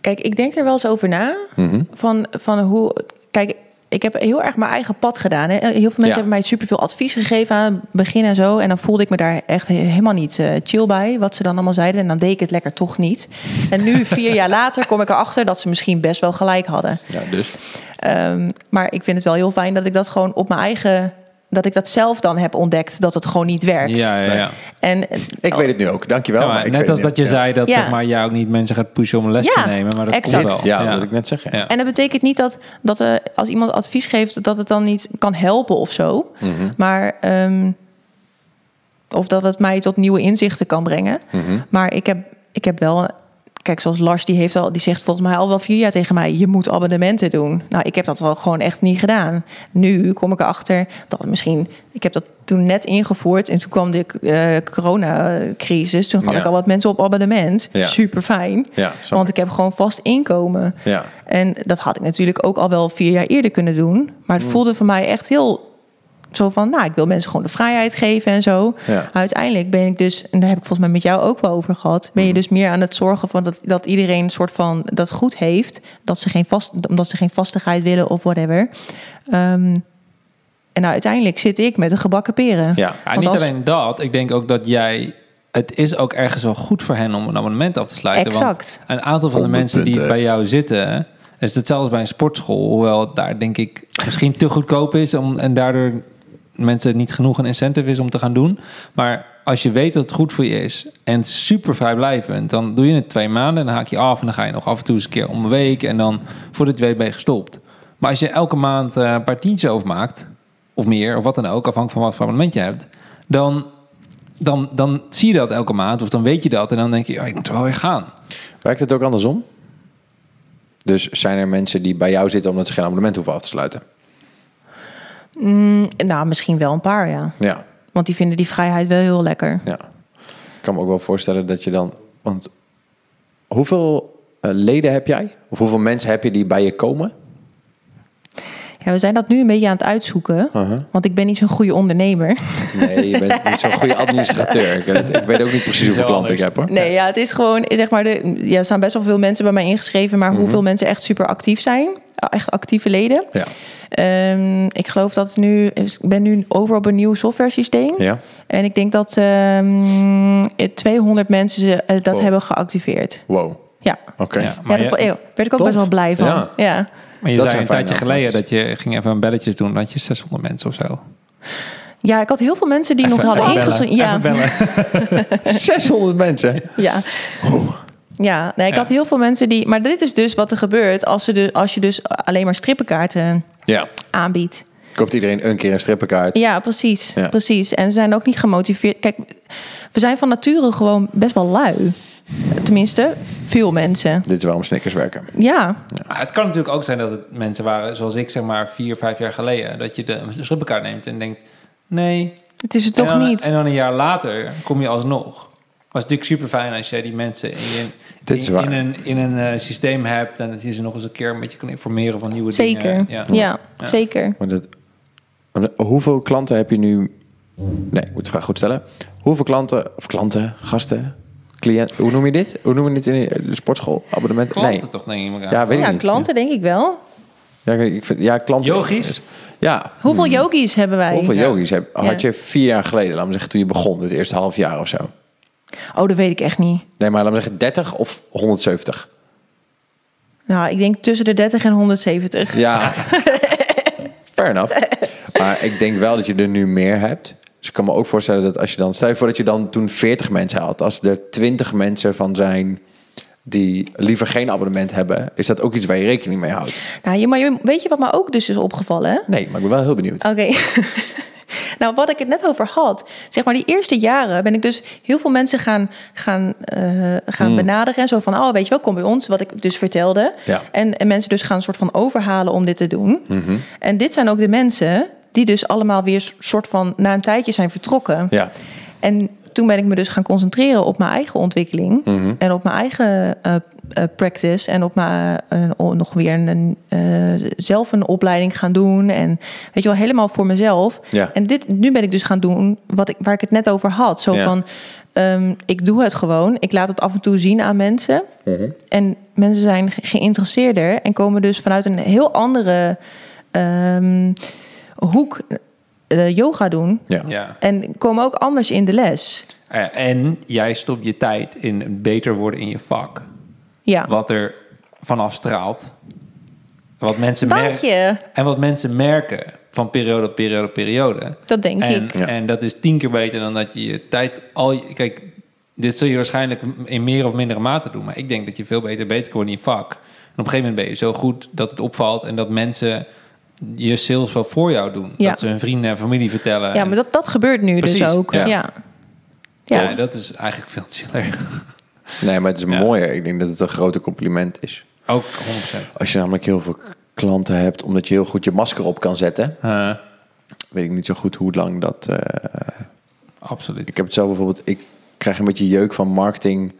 S2: Kijk, ik denk er wel eens over na.
S1: Mhm.
S2: Van, van hoe. Kijk, ik heb heel erg mijn eigen pad gedaan. Hè. Eh, Heel veel mensen
S1: Ja.
S2: hebben mij superveel advies gegeven aan het begin en zo. En dan voelde ik me daar echt he- helemaal niet eh, chill bij. Wat ze dan allemaal zeiden. En dan deed ik het lekker toch niet. En nu, vier jaar later, kom ik erachter dat ze misschien best wel gelijk hadden.
S1: Ja, dus.
S2: Ehm, maar ik vind het wel heel fijn dat ik dat gewoon op mijn eigen. Dat ik dat zelf dan heb ontdekt dat het gewoon niet werkt.
S3: Ja, ja, ja.
S2: En
S1: Ik weet het nu ook, dankjewel.
S3: Ja, maar
S1: maar Oh, ik
S3: net
S1: weet
S3: als
S1: het
S3: dat
S1: nu.
S3: je zei dat
S2: Ja.
S3: zeg maar, jij ook niet mensen gaat pushen om les
S2: Ja,
S3: te nemen. Maar dat
S2: exact.
S3: komt wel.
S1: Ja, dat wil ik net zeggen.
S3: Ja.
S2: En dat betekent niet dat, dat eh, als iemand advies geeft, dat het dan niet kan helpen of zo.
S1: Mhm.
S2: Maar. ehm, of dat het mij tot nieuwe inzichten kan brengen.
S1: Mhm.
S2: Maar ik heb, ik heb wel. Kijk, zoals Lars, die, heeft al, die zegt volgens mij al wel vier jaar tegen mij: je moet abonnementen doen. Nou, ik heb dat al gewoon echt niet gedaan. Nu kom ik erachter dat misschien. Ik heb dat toen net ingevoerd en toen kwam de eh, coronacrisis. Toen had
S1: Ja.
S2: ik al wat mensen op abonnement.
S1: Ja.
S2: Super fijn.
S1: Ja, snap
S2: want ik heb gewoon vast inkomen.
S1: Ja.
S2: En dat had ik natuurlijk ook al wel vier jaar eerder kunnen doen. Maar
S1: Mm.
S2: het voelde voor mij echt heel zo van, nou, ik wil mensen gewoon de vrijheid geven en zo.
S1: Ja.
S2: Uiteindelijk ben ik dus, en daar heb ik volgens mij met jou ook wel over gehad, ben je
S1: Mm.
S2: dus meer aan het zorgen van dat, dat iedereen een soort van dat goed heeft, dat ze geen vast, omdat ze geen vastigheid willen of whatever. Ehm, en nou, uiteindelijk zit ik met een gebakken peren.
S1: Ja.
S3: Ja,
S2: Want
S3: niet
S2: als-
S3: alleen dat. Ik denk ook dat jij... Het is ook ergens wel goed voor hen om een abonnement af te sluiten.
S2: Exact.
S3: Want een aantal van de
S1: 100
S3: mensen die
S1: punten.
S3: bij jou zitten... is hetzelfde als bij een sportschool. Hoewel daar denk ik misschien te goedkoop is... Om, en daardoor mensen niet genoeg een incentive is om te gaan doen. Maar als je weet dat het goed voor je is... en het is super vrijblijvend... dan doe je het twee maanden en dan haak je af... en dan ga je nog af en toe eens een keer om de week... en dan voor de twee ben je gestopt. Maar als je elke maand eh, een paar tientjes overmaakt... of meer, of wat dan ook... afhankelijk van wat voor abonnement je hebt... dan dan, dan zie je dat elke maand of dan weet je dat en dan denk je, oh, ik moet er wel weer gaan.
S1: Werkt het ook andersom? Dus zijn er mensen die bij jou zitten omdat ze geen abonnement hoeven af te sluiten?
S2: Nou, misschien wel een paar, ja.
S1: Ja,
S2: Want die vinden die vrijheid wel heel lekker.
S1: ja. Ik kan me ook wel voorstellen dat je dan... Want hoeveel eh, leden heb jij? Of hoeveel mensen heb je die bij je komen?
S2: Ja, we zijn dat nu een beetje aan het uitzoeken.
S1: Uh-huh.
S2: Want ik ben niet zo'n goede ondernemer.
S1: Nee, je bent niet zo'n goede administrateur. Ik, weet- ik weet ook niet precies hoeveel klanten ik heb hoor.
S2: Nee, ja, het is gewoon, zeg maar, de, ja, er staan best wel veel mensen bij mij ingeschreven, maar hoeveel mensen echt super actief zijn, echt actieve leden.
S1: Mhm. Ja.
S2: Ehm, ik geloof dat het nu, ik ben nu over op een nieuw software systeem.
S1: Ja.
S2: En ik denk dat ehm, 200 mensen ze, eh, dat
S1: Wow.
S2: hebben geactiveerd.
S1: Wow,
S2: Ja.
S1: oké.
S3: Ja,
S2: Ja,
S3: maar
S2: daar
S3: je,
S2: eh, werd ik ook
S1: Tof.
S2: best wel blij van.
S1: Ja.
S2: Ja.
S3: maar je
S1: Dat
S3: zei
S1: zijn
S3: een
S1: fijne
S3: tijdje geleden dat
S1: abonnementen.
S3: je ging even een belletjes doen, dan had je 600 mensen of zo.
S2: Ja, ik had heel veel mensen die nog hadden ingeschreven. Ja.
S1: 600 mensen.
S2: Ja.
S1: Oh.
S2: Ja, nee, ik
S3: Ja.
S2: had heel veel mensen die. Maar dit is dus wat er gebeurt als, ze dus, als je dus alleen maar strippenkaarten
S1: Ja,
S2: aanbiedt.
S1: koopt iedereen een keer een strippenkaart.
S2: Ja, precies.
S1: Ja.
S2: precies. En ze zijn ook niet gemotiveerd. Kijk, we zijn van nature gewoon best wel lui. Tenminste, veel mensen.
S1: Dit is waarom snickers werken.
S2: Ja,
S3: het kan natuurlijk ook zijn dat het mensen waren zoals ik, zeg maar, vier, vijf jaar geleden. Dat je de strippenkaart neemt en denkt, nee.
S2: het is het toch
S3: en dan,
S2: niet.
S3: En dan een jaar later kom je alsnog. Maar het is natuurlijk super fijn als jij die mensen in, je-
S1: Dit is
S3: in,
S1: waar.
S3: in een, in een eh, systeem hebt en dat je ze nog eens een keer een beetje kan informeren van nieuwe
S2: Zeker.
S3: dingen.
S2: Ja,
S3: Ja.
S2: zeker.
S1: Maar dat, maar dat- hoeveel klanten heb je nu... Nee, ik moet de vraag goed stellen. Hoeveel klanten, of klanten, gasten, cliënten... Hoe noem je dit? Hoe noem je dit in de sportschool? Abonnement?
S3: Klanten
S1: nee.
S3: toch, denk ik. elkaar.
S1: Ja, weet ik
S2: Ja,
S1: niet.
S2: klanten denk ik wel.
S1: Ja, ik vind, ja klanten.
S3: Yogis?
S1: Ja.
S2: Hoeveel yogis hebben wij?
S1: Hmm. Hoeveel
S3: Ja.
S1: yogis heb, had
S2: Ja.
S1: je vier jaar geleden, laten we zeggen, toen je begon, het eerste half jaar of zo?
S2: Oh, dat weet ik echt niet.
S1: Nee, maar laten we zeggen 30 of 170?
S2: Nou, ik denk tussen de 30 en 170.
S1: Ja. Fair enough. Maar ik denk wel dat je er nu meer hebt. Dus ik kan me ook voorstellen dat als je dan... Stel je voor dat je dan toen 40 mensen had. Als er 20 mensen van zijn die liever geen abonnement hebben... is dat ook iets waar je rekening mee houdt?
S2: Nou, je, maar je- weet je wat me ook dus is opgevallen?
S1: Nee, maar ik ben wel heel benieuwd.
S2: Oké. nou, wat ik het net over had. Zeg maar, die eerste jaren ben ik dus heel veel mensen gaan, gaan, eh, gaan
S1: Hmm.
S2: benaderen. En zo van, oh, weet je wel, kom bij ons. Wat ik dus vertelde.
S1: Ja. Mhm.
S2: En, en mensen dus gaan soort van overhalen om dit te doen. En dit zijn ook de mensen die dus allemaal weer soort van na een tijdje zijn vertrokken.
S1: Ja.
S2: En toen ben ik me dus gaan concentreren op mijn eigen ontwikkeling.
S1: Mhm.
S2: En op mijn eigen eh, eh, practice. En op mijn, eh, oh, nog weer een, een, eh, zelf een opleiding gaan doen. En weet je wel, helemaal voor mezelf.
S1: Ja.
S2: En dit, nu ben ik dus gaan doen wat ik, waar ik het net over had. Zo
S1: Ja.
S2: van, ehm, ik doe het gewoon. Ik laat het af en toe zien aan mensen.
S1: Mhm.
S2: En mensen zijn ge- geïnteresseerder. En komen dus vanuit een heel andere ehm, hoek eh, yoga doen.
S1: Ja.
S3: Ja.
S2: En komen ook anders in de les.
S3: Eh, En jij stopt je tijd in beter worden in je vak.
S2: Ja.
S3: Wat er vanaf straalt. Wat mensen
S2: Dank
S3: merken.
S2: je.
S3: En wat mensen merken van periode op periode op periode.
S2: Dat denk
S3: en,
S2: ik.
S1: Ja.
S3: En dat is tien keer beter dan dat je je tijd al... je- Kijk, dit zul je waarschijnlijk in meer of mindere mate doen. Maar ik denk dat je veel beter beter kan worden in je vak. En op een gegeven moment ben je zo goed dat het opvalt... en dat mensen je sales wel voor jou doen.
S2: Ja.
S3: Dat ze hun vrienden en familie vertellen.
S2: Ja,
S3: En-
S2: maar dat, dat gebeurt nu dus
S3: Precies,
S2: ook.
S3: ja.
S2: Ja. Ja.
S3: ja, dat is eigenlijk veel chiller.
S1: Nee, maar het is
S3: Ja.
S1: mooier. Ik denk dat het een grote compliment is.
S3: Ook 100%.
S1: Als je namelijk heel veel klanten hebt... omdat je heel goed je masker op kan zetten...
S3: Eh,
S1: weet ik niet zo goed hoe lang dat... eh,
S3: absoluut.
S1: Ik heb het zelf bijvoorbeeld, ik krijg een beetje jeuk van marketing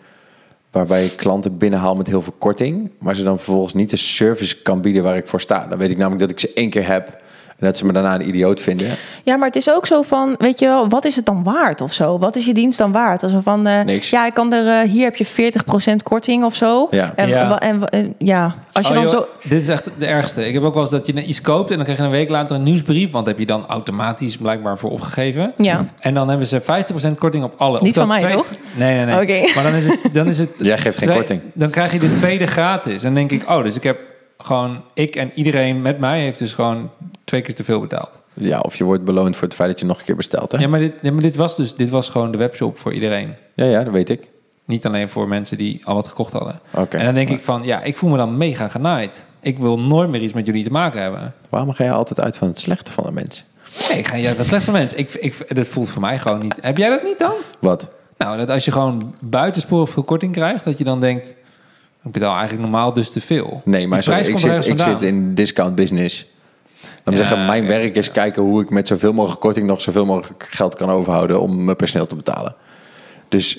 S1: waarbij ik klanten binnenhaal met heel veel korting, maar ze dan vervolgens niet de service kan bieden waar ik voor sta. Dan weet ik namelijk dat ik ze één keer heb en dat ze me daarna een idioot vinden.
S2: Ja, maar het is ook zo van, weet je wel, wat is het dan waard of zo? Wat is je dienst dan waard? Als van, eh,
S1: Niks.
S2: ja, ik kan er, eh, hier heb je 40% korting of zo.
S1: Ja.
S2: En,
S3: Ja.
S2: wa- en, wa- en- ja, als je
S3: Oh,
S2: dan
S3: joh,
S2: zo...
S3: Dit is echt de ergste. Ik heb ook wel eens dat je iets koopt en dan krijg je een week later een nieuwsbrief. Want heb je dan automatisch blijkbaar voor opgegeven.
S2: Ja.
S3: En dan hebben ze 50% korting op alle.
S2: Niet
S3: Oftewel
S2: van mij,
S3: twee-
S2: toch?
S3: Nee, nee, nee.
S2: Oké.
S3: Maar dan is het... Dan is het
S1: Jij geeft geen
S3: twee-
S1: korting.
S3: Dan krijg je de tweede gratis. En dan denk ik, oh, dus ik heb gewoon... Ik en iedereen met mij heeft dus gewoon twee keer te veel betaald.
S1: Ja, of je wordt beloond voor het feit dat je nog een keer bestelt. Hè?
S3: Ja, maar dit, nee, maar dit was dus... Dit was gewoon de webshop voor iedereen.
S1: Ja, ja, dat weet ik.
S3: Niet alleen voor mensen die al wat gekocht hadden.
S1: Oké.
S3: En dan denk ik van, ja, ik voel me dan mega genaaid. Ik wil nooit meer iets met jullie te maken hebben.
S1: Waarom ga je altijd uit van het slechte van een mens?
S3: Nee, ik ga juist wat slecht van mensen. Ik, ik, dat voelt voor mij gewoon niet. Heb jij dat niet dan?
S1: Wat?
S3: Nou, dat als je gewoon buitensporig veel korting krijgt, dat je dan denkt, ik betaal eigenlijk normaal dus te veel.
S1: Nee, maar
S3: Die
S1: sorry,
S3: prijs
S1: ik,
S3: komt
S1: zit,
S3: ergens
S1: ik
S3: vandaan.
S1: zit in discount business. Dan
S3: Ja,
S1: zeggen, mijn
S3: oké.
S1: werk is kijken hoe ik met zoveel mogelijk korting nog zoveel mogelijk geld kan overhouden om mijn personeel te betalen. Dus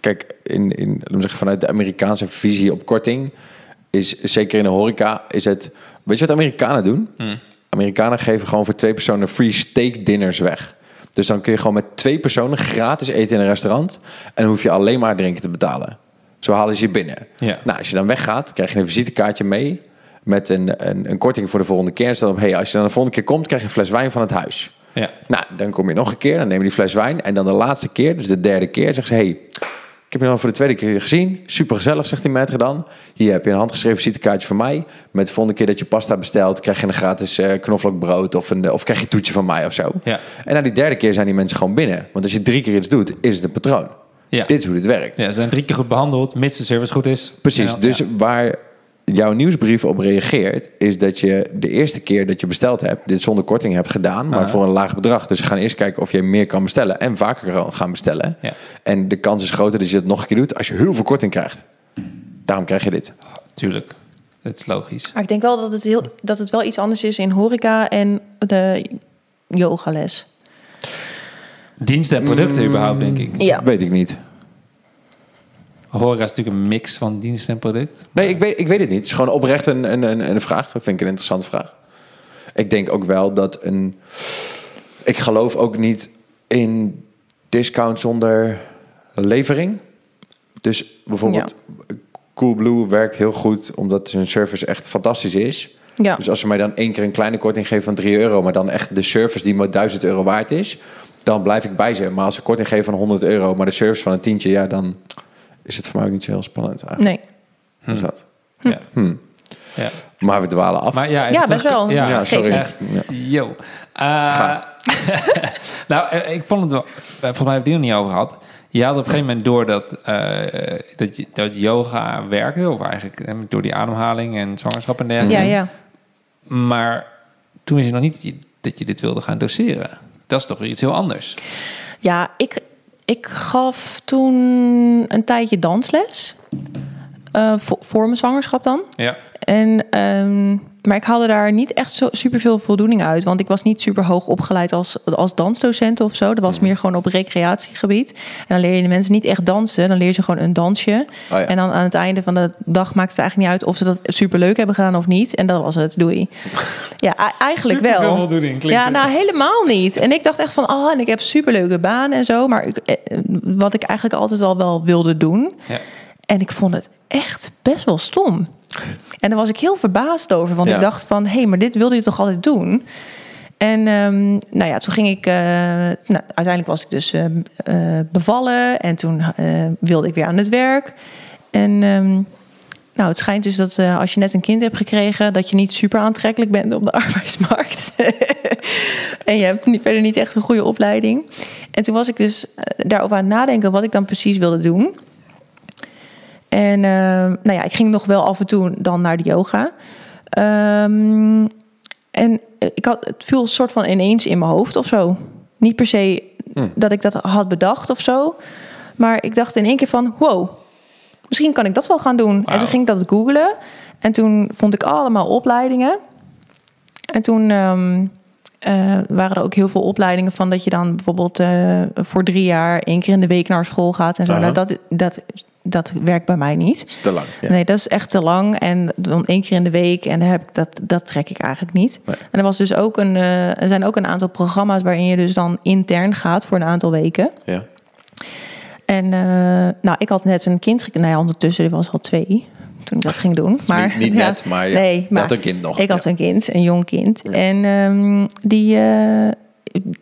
S1: kijk, in, in, laten we zeggen, vanuit de Amerikaanse visie op korting is zeker in de horeca is het. Weet je wat Amerikanen doen? Amerikanen geven gewoon voor twee personen free steak dinners weg. Dus dan kun je gewoon met twee personen gratis eten in een restaurant en dan hoef je alleen maar drinken te betalen. Zo halen ze je binnen.
S3: Ja.
S1: Nou, als je dan weggaat, krijg je een visitekaartje mee met een, een, een korting voor de volgende keer. En staat op, hey, als je dan de volgende keer komt, krijg je een fles wijn van het huis.
S3: Ja.
S1: Nou, dan kom je nog een keer, dan neem je die fles wijn. En dan de laatste keer, dus de derde keer, zegt ze... Hey, ik heb je dan voor de tweede keer gezien. Supergezellig, zegt die meid dan. Hier heb je een handgeschreven visitekaartje van mij. Met de volgende keer dat je pasta bestelt... krijg je een gratis eh, knoflookbrood of, een, eh, of krijg je een toetje van mij of zo.
S3: Ja.
S1: En na die derde keer zijn die mensen gewoon binnen. Want als je drie keer iets doet, is het een patroon.
S3: Ja.
S1: Dit is hoe dit werkt.
S3: ja, ze zijn drie keer goed behandeld, mits de service goed is.
S1: Precies,
S3: Ja,
S1: dus
S3: Nou, ja.
S1: waar jouw nieuwsbrief op reageert, is dat je de eerste keer dat je besteld hebt, dit zonder korting hebt gedaan, maar voor een laag bedrag. Dus we gaan eerst kijken of je meer kan bestellen en vaker kan gaan bestellen.
S3: Ja.
S1: En de kans is groter dat je dat nog een keer doet als je heel veel korting krijgt. Daarom krijg je dit.
S3: Tuurlijk, dat is logisch.
S2: Maar ik denk wel dat het, heel, dat het wel iets anders is in horeca en de yogales.
S3: Diensten en
S1: Mm.
S3: producten überhaupt, denk ik.
S2: Ja.
S1: Weet ik niet.
S3: Horeca is natuurlijk een mix van dienst en product.
S1: Nee, ik weet, ik weet het niet. Het is gewoon oprecht een, een, een, een vraag. Dat vind ik een interessante vraag. Ik denk ook wel dat een... Ik geloof ook niet in discount zonder levering. Dus bijvoorbeeld Coolblue werkt heel goed... omdat hun service echt fantastisch is.
S2: Ja.
S1: Dus als ze mij dan één keer een kleine korting geven van 3 euro... maar dan echt de service die me 1000 euro waard is... dan blijf ik bij ze. Maar als ze korting geven van 100 euro... maar de service van een tientje,
S2: Hm.
S1: Dus ja, dan is het voor mij ook niet zo heel spannend. Eigenlijk.
S2: Nee.
S1: Is dat?
S3: Ja. Ja.
S1: Maar we dwalen af.
S3: Maar ja, even
S2: Ja,
S3: terug-
S2: best wel.
S3: Ja,
S1: ja,
S2: geef
S1: sorry.
S3: Echt,
S1: Ja.
S3: yo. Eh,
S1: Ga.
S3: nou, eh, ik vond het wel... eh, Volgens mij hebben we het hier nog niet over gehad. Je had op een gegeven moment door dat, eh, dat, je- dat yoga werkte. Of eigenlijk eh, door die ademhaling en zwangerschap en
S2: Ja,
S3: dergelijke.
S2: ja.
S3: Maar toen wist je nog niet dat je dit wilde gaan doseren. Dat is toch weer iets heel anders.
S2: Ja, ik, ik gaf toen een tijdje dansles. Eh, voor, voor mijn zwangerschap dan.
S3: Ja.
S2: En, ehm, maar ik haalde daar niet echt zo superveel voldoening uit. Want ik was niet super hoog opgeleid als, als dansdocent of zo. Dat
S3: Mhm.
S2: was meer gewoon op recreatiegebied. En dan leer je de mensen niet echt dansen. Dan leer je ze gewoon een dansje.
S3: Oh
S1: ja.
S2: En dan aan het einde van de dag maakt het eigenlijk niet uit... of ze dat superleuk hebben gedaan of niet. En dat was het, doei. Ja, e- eigenlijk wel.
S3: Superveel voldoening, klinkt
S2: Ja,
S3: het.
S2: nou helemaal niet. En ik dacht echt van, oh, en ik heb superleuke baan en zo. Maar ik, eh, wat ik eigenlijk altijd al wel wilde doen...
S3: Ja.
S2: En ik vond het echt best wel stom. En daar was ik heel verbaasd over. Want
S1: Ja.
S2: ik dacht van, hé, hey, maar dit wilde je toch altijd doen? En ehm, nou ja, toen ging ik... eh, nou, uiteindelijk was ik dus eh, eh, bevallen. En toen eh, wilde ik weer aan het werk. En ehm, nou, het schijnt dus dat eh, als je net een kind hebt gekregen... dat je niet super aantrekkelijk bent op de arbeidsmarkt. en je hebt niet, verder niet echt een goede opleiding. En toen was ik dus eh, daarover aan het nadenken... wat ik dan precies wilde doen... En ehm, nou ja, ik ging nog wel af en toe dan naar de yoga. Ehm, en eh, ik had, het viel een soort van ineens in mijn hoofd of zo. Niet per se dat ik dat had bedacht of zo. Maar ik dacht in één keer van, wow, misschien kan ik dat wel gaan doen. En
S3: Wauw.
S2: toen ging ik dat googlen. En toen vond ik allemaal opleidingen. En toen ehm, eh, waren er ook heel veel opleidingen van dat je dan bijvoorbeeld eh, voor drie jaar één keer in de week naar school gaat en zo.
S1: Aha.
S2: Nou, dat, dat, dat werkt bij mij niet.
S1: Het is te lang. Ja.
S2: Nee, dat is echt te lang. En dan één keer in de week. En dan heb ik dat, dat trek ik eigenlijk niet.
S1: Nee.
S2: En er, was dus ook een, eh, er zijn ook een aantal programma's waarin je dus dan intern gaat voor een aantal weken.
S1: Ja.
S2: En eh, nou, ik had net een kind gekregen. Nou ja, ondertussen die was al twee toen ik dat ging doen. Maar,
S1: Niet- niet
S2: ja,
S1: net, maar ja,
S2: nee,
S1: je
S2: maar
S1: had een kind nog,
S2: Ik had
S1: ja.
S2: een kind, een jong kind. En ehm, die, eh,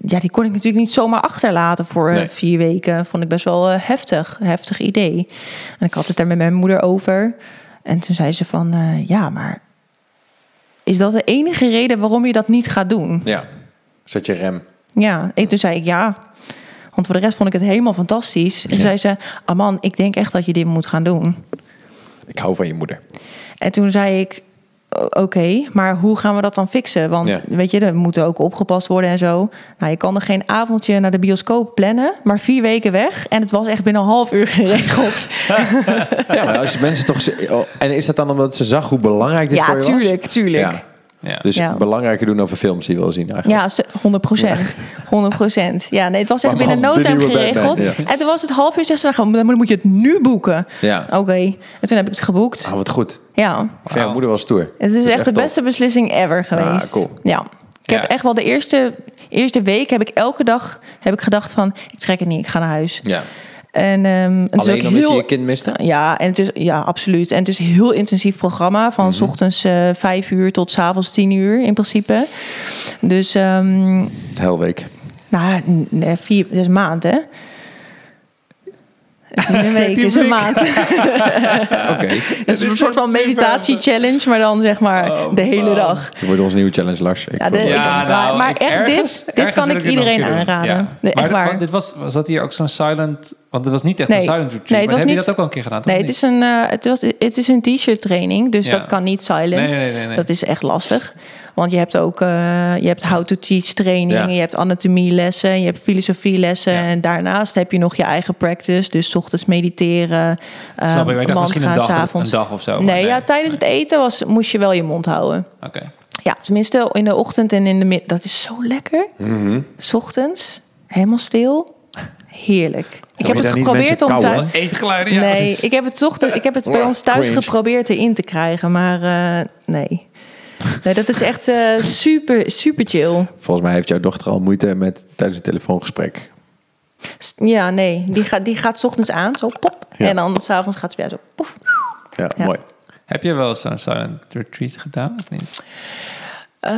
S2: ja, die kon ik natuurlijk niet zomaar achterlaten voor eh,
S1: Nee.
S2: vier weken. Vond ik best wel eh, heftig, heftig idee. En ik had het daar met mijn moeder over. En toen zei ze van, eh, ja, maar is dat de enige reden waarom je dat niet gaat doen?
S1: ja. Zet je rem.
S2: Ja, ik, toen zei ik ja. Want voor de rest vond ik het helemaal fantastisch. En toen zei ze, ah man, ik denk echt dat je dit moet gaan doen.
S1: Ik hou van je moeder.
S2: En toen zei ik, o- oké, maar hoe gaan we dat dan fixen? Want
S1: Ja.
S2: weet je, er moeten ook opgepast worden en zo. Nou, je kan er geen avondje naar de bioscoop plannen, maar vier weken weg. En het was echt binnen een half uur geregeld.
S1: Ja, maar als je mensen toch... ze- oh, en is dat dan omdat ze zag hoe belangrijk dit voor
S2: ja,
S1: je
S2: tuurlijk,
S1: was?
S2: tuurlijk. Ja.
S3: Ja.
S1: Dus
S2: Ja.
S1: belangrijker doen dan voor films die je wil zien eigenlijk.
S2: ze- 100 procent. 100 procent. Ja, nee, het was echt
S1: Maar
S2: binnen
S1: man,
S2: no
S1: de
S2: time
S1: nieuwe Batman,
S2: geregeld. En toen was het half uur, zegt ze, nou, dan moet je het nu boeken.
S1: Ja.
S2: Oké, en toen heb ik het geboekt.
S1: Ah, wat goed. Ik
S2: Ja,
S1: vind jouw moeder wel stoer.
S2: het is,
S1: Dat
S2: echt de
S1: top.
S2: beste beslissing ever geweest.
S1: Ah, cool.
S2: Ja. Ik
S3: Ja.
S2: heb echt wel de eerste, eerste week heb ik elke dag heb ik gedacht van ik trek het niet, ik ga naar huis.
S1: Ja.
S2: En, ehm het is
S1: Alleen
S2: ook
S1: omdat
S2: heel,
S1: je je kind miste?
S2: Ja, en het is, ja, absoluut. En het is een heel intensief programma. Van
S1: Mhm.
S2: s ochtends eh vijf uur tot s avonds tien uur in principe. Dus ehm
S1: Helweek.
S2: nou, n- nee, vier, dat is een maand hè. Het is niet een week, het is een
S3: blik.
S2: maand.
S1: Oké.
S2: Het is
S3: dit
S2: een soort van
S3: wordt super.
S2: meditatie-challenge, maar dan zeg maar
S3: Oh,
S2: de hele
S3: man.
S2: dag.
S1: Dit wordt onze nieuwe challenge, Lars. Ik
S2: Ja, de-
S1: vond-
S2: Eh, ik-
S3: Ja,
S2: maar-
S3: nou,
S2: maar
S3: ik-
S2: echt
S3: ergens-
S2: dit- dit
S3: ergens
S2: kan
S3: wil
S2: ik
S3: dit nog een
S2: iedereen
S3: keer doen.
S2: aanraden.
S3: Ja.
S2: Nee,
S3: maar
S2: echt
S3: dit-
S2: waar.
S3: want Dit was, was dat hier ook zo'n silent... Want het was niet echt
S2: Nee.
S3: een silent retreat.
S2: Nee, het
S3: maar
S2: was
S3: heb je
S2: niet-
S3: dat ook al een keer gedaan?
S2: Nee,
S3: of
S2: het
S3: niet?
S2: is een, eh, het was, het is een t-shirt training, dus
S3: Ja.
S2: dat kan niet silent.
S3: Nee, nee, nee, nee, nee.
S2: Dat is echt lastig. Want je hebt ook eh, je hebt how to teach training,
S1: Ja.
S2: je hebt anatomielessen, je hebt filosofielessen.
S3: Ja.
S2: En daarnaast heb je nog je eigen practice. Dus 's ochtends mediteren, eh
S3: Snap ik, maar ik dacht misschien een
S2: gaan
S3: dag, een
S2: s'avonds.
S3: dag of zo. maar
S2: Nee, ja, tijdens het eten was, moest je wel je mond houden.
S3: Oké.
S2: Ja, tenminste in de ochtend en in de middag. Dat is zo lekker.
S3: Mhm.
S2: S ochtends, helemaal stil. Heerlijk. Ik heb
S1: je
S2: het
S1: daar niet
S2: geprobeerd
S1: mensen
S2: om
S1: kauwen?
S2: thuis...
S3: Eetgeluiden, ja.
S2: Nee, ik heb het, toch, ik heb het bij
S1: Wow,
S2: ons thuis
S1: cringe.
S2: geprobeerd erin te krijgen, maar eh, nee. Nee, dat is echt eh, super, super chill.
S1: Volgens mij heeft jouw dochter al moeite met tijdens het telefoongesprek.
S2: S- Ja, nee, die, gaat die gaat 's ochtends aan, zo pop.
S1: Ja.
S2: En dan s'avonds gaat ze weer zo poef.
S1: Ja,
S2: Ja.
S1: mooi.
S3: Heb je wel zo'n silent retreat gedaan of niet?
S2: Eh,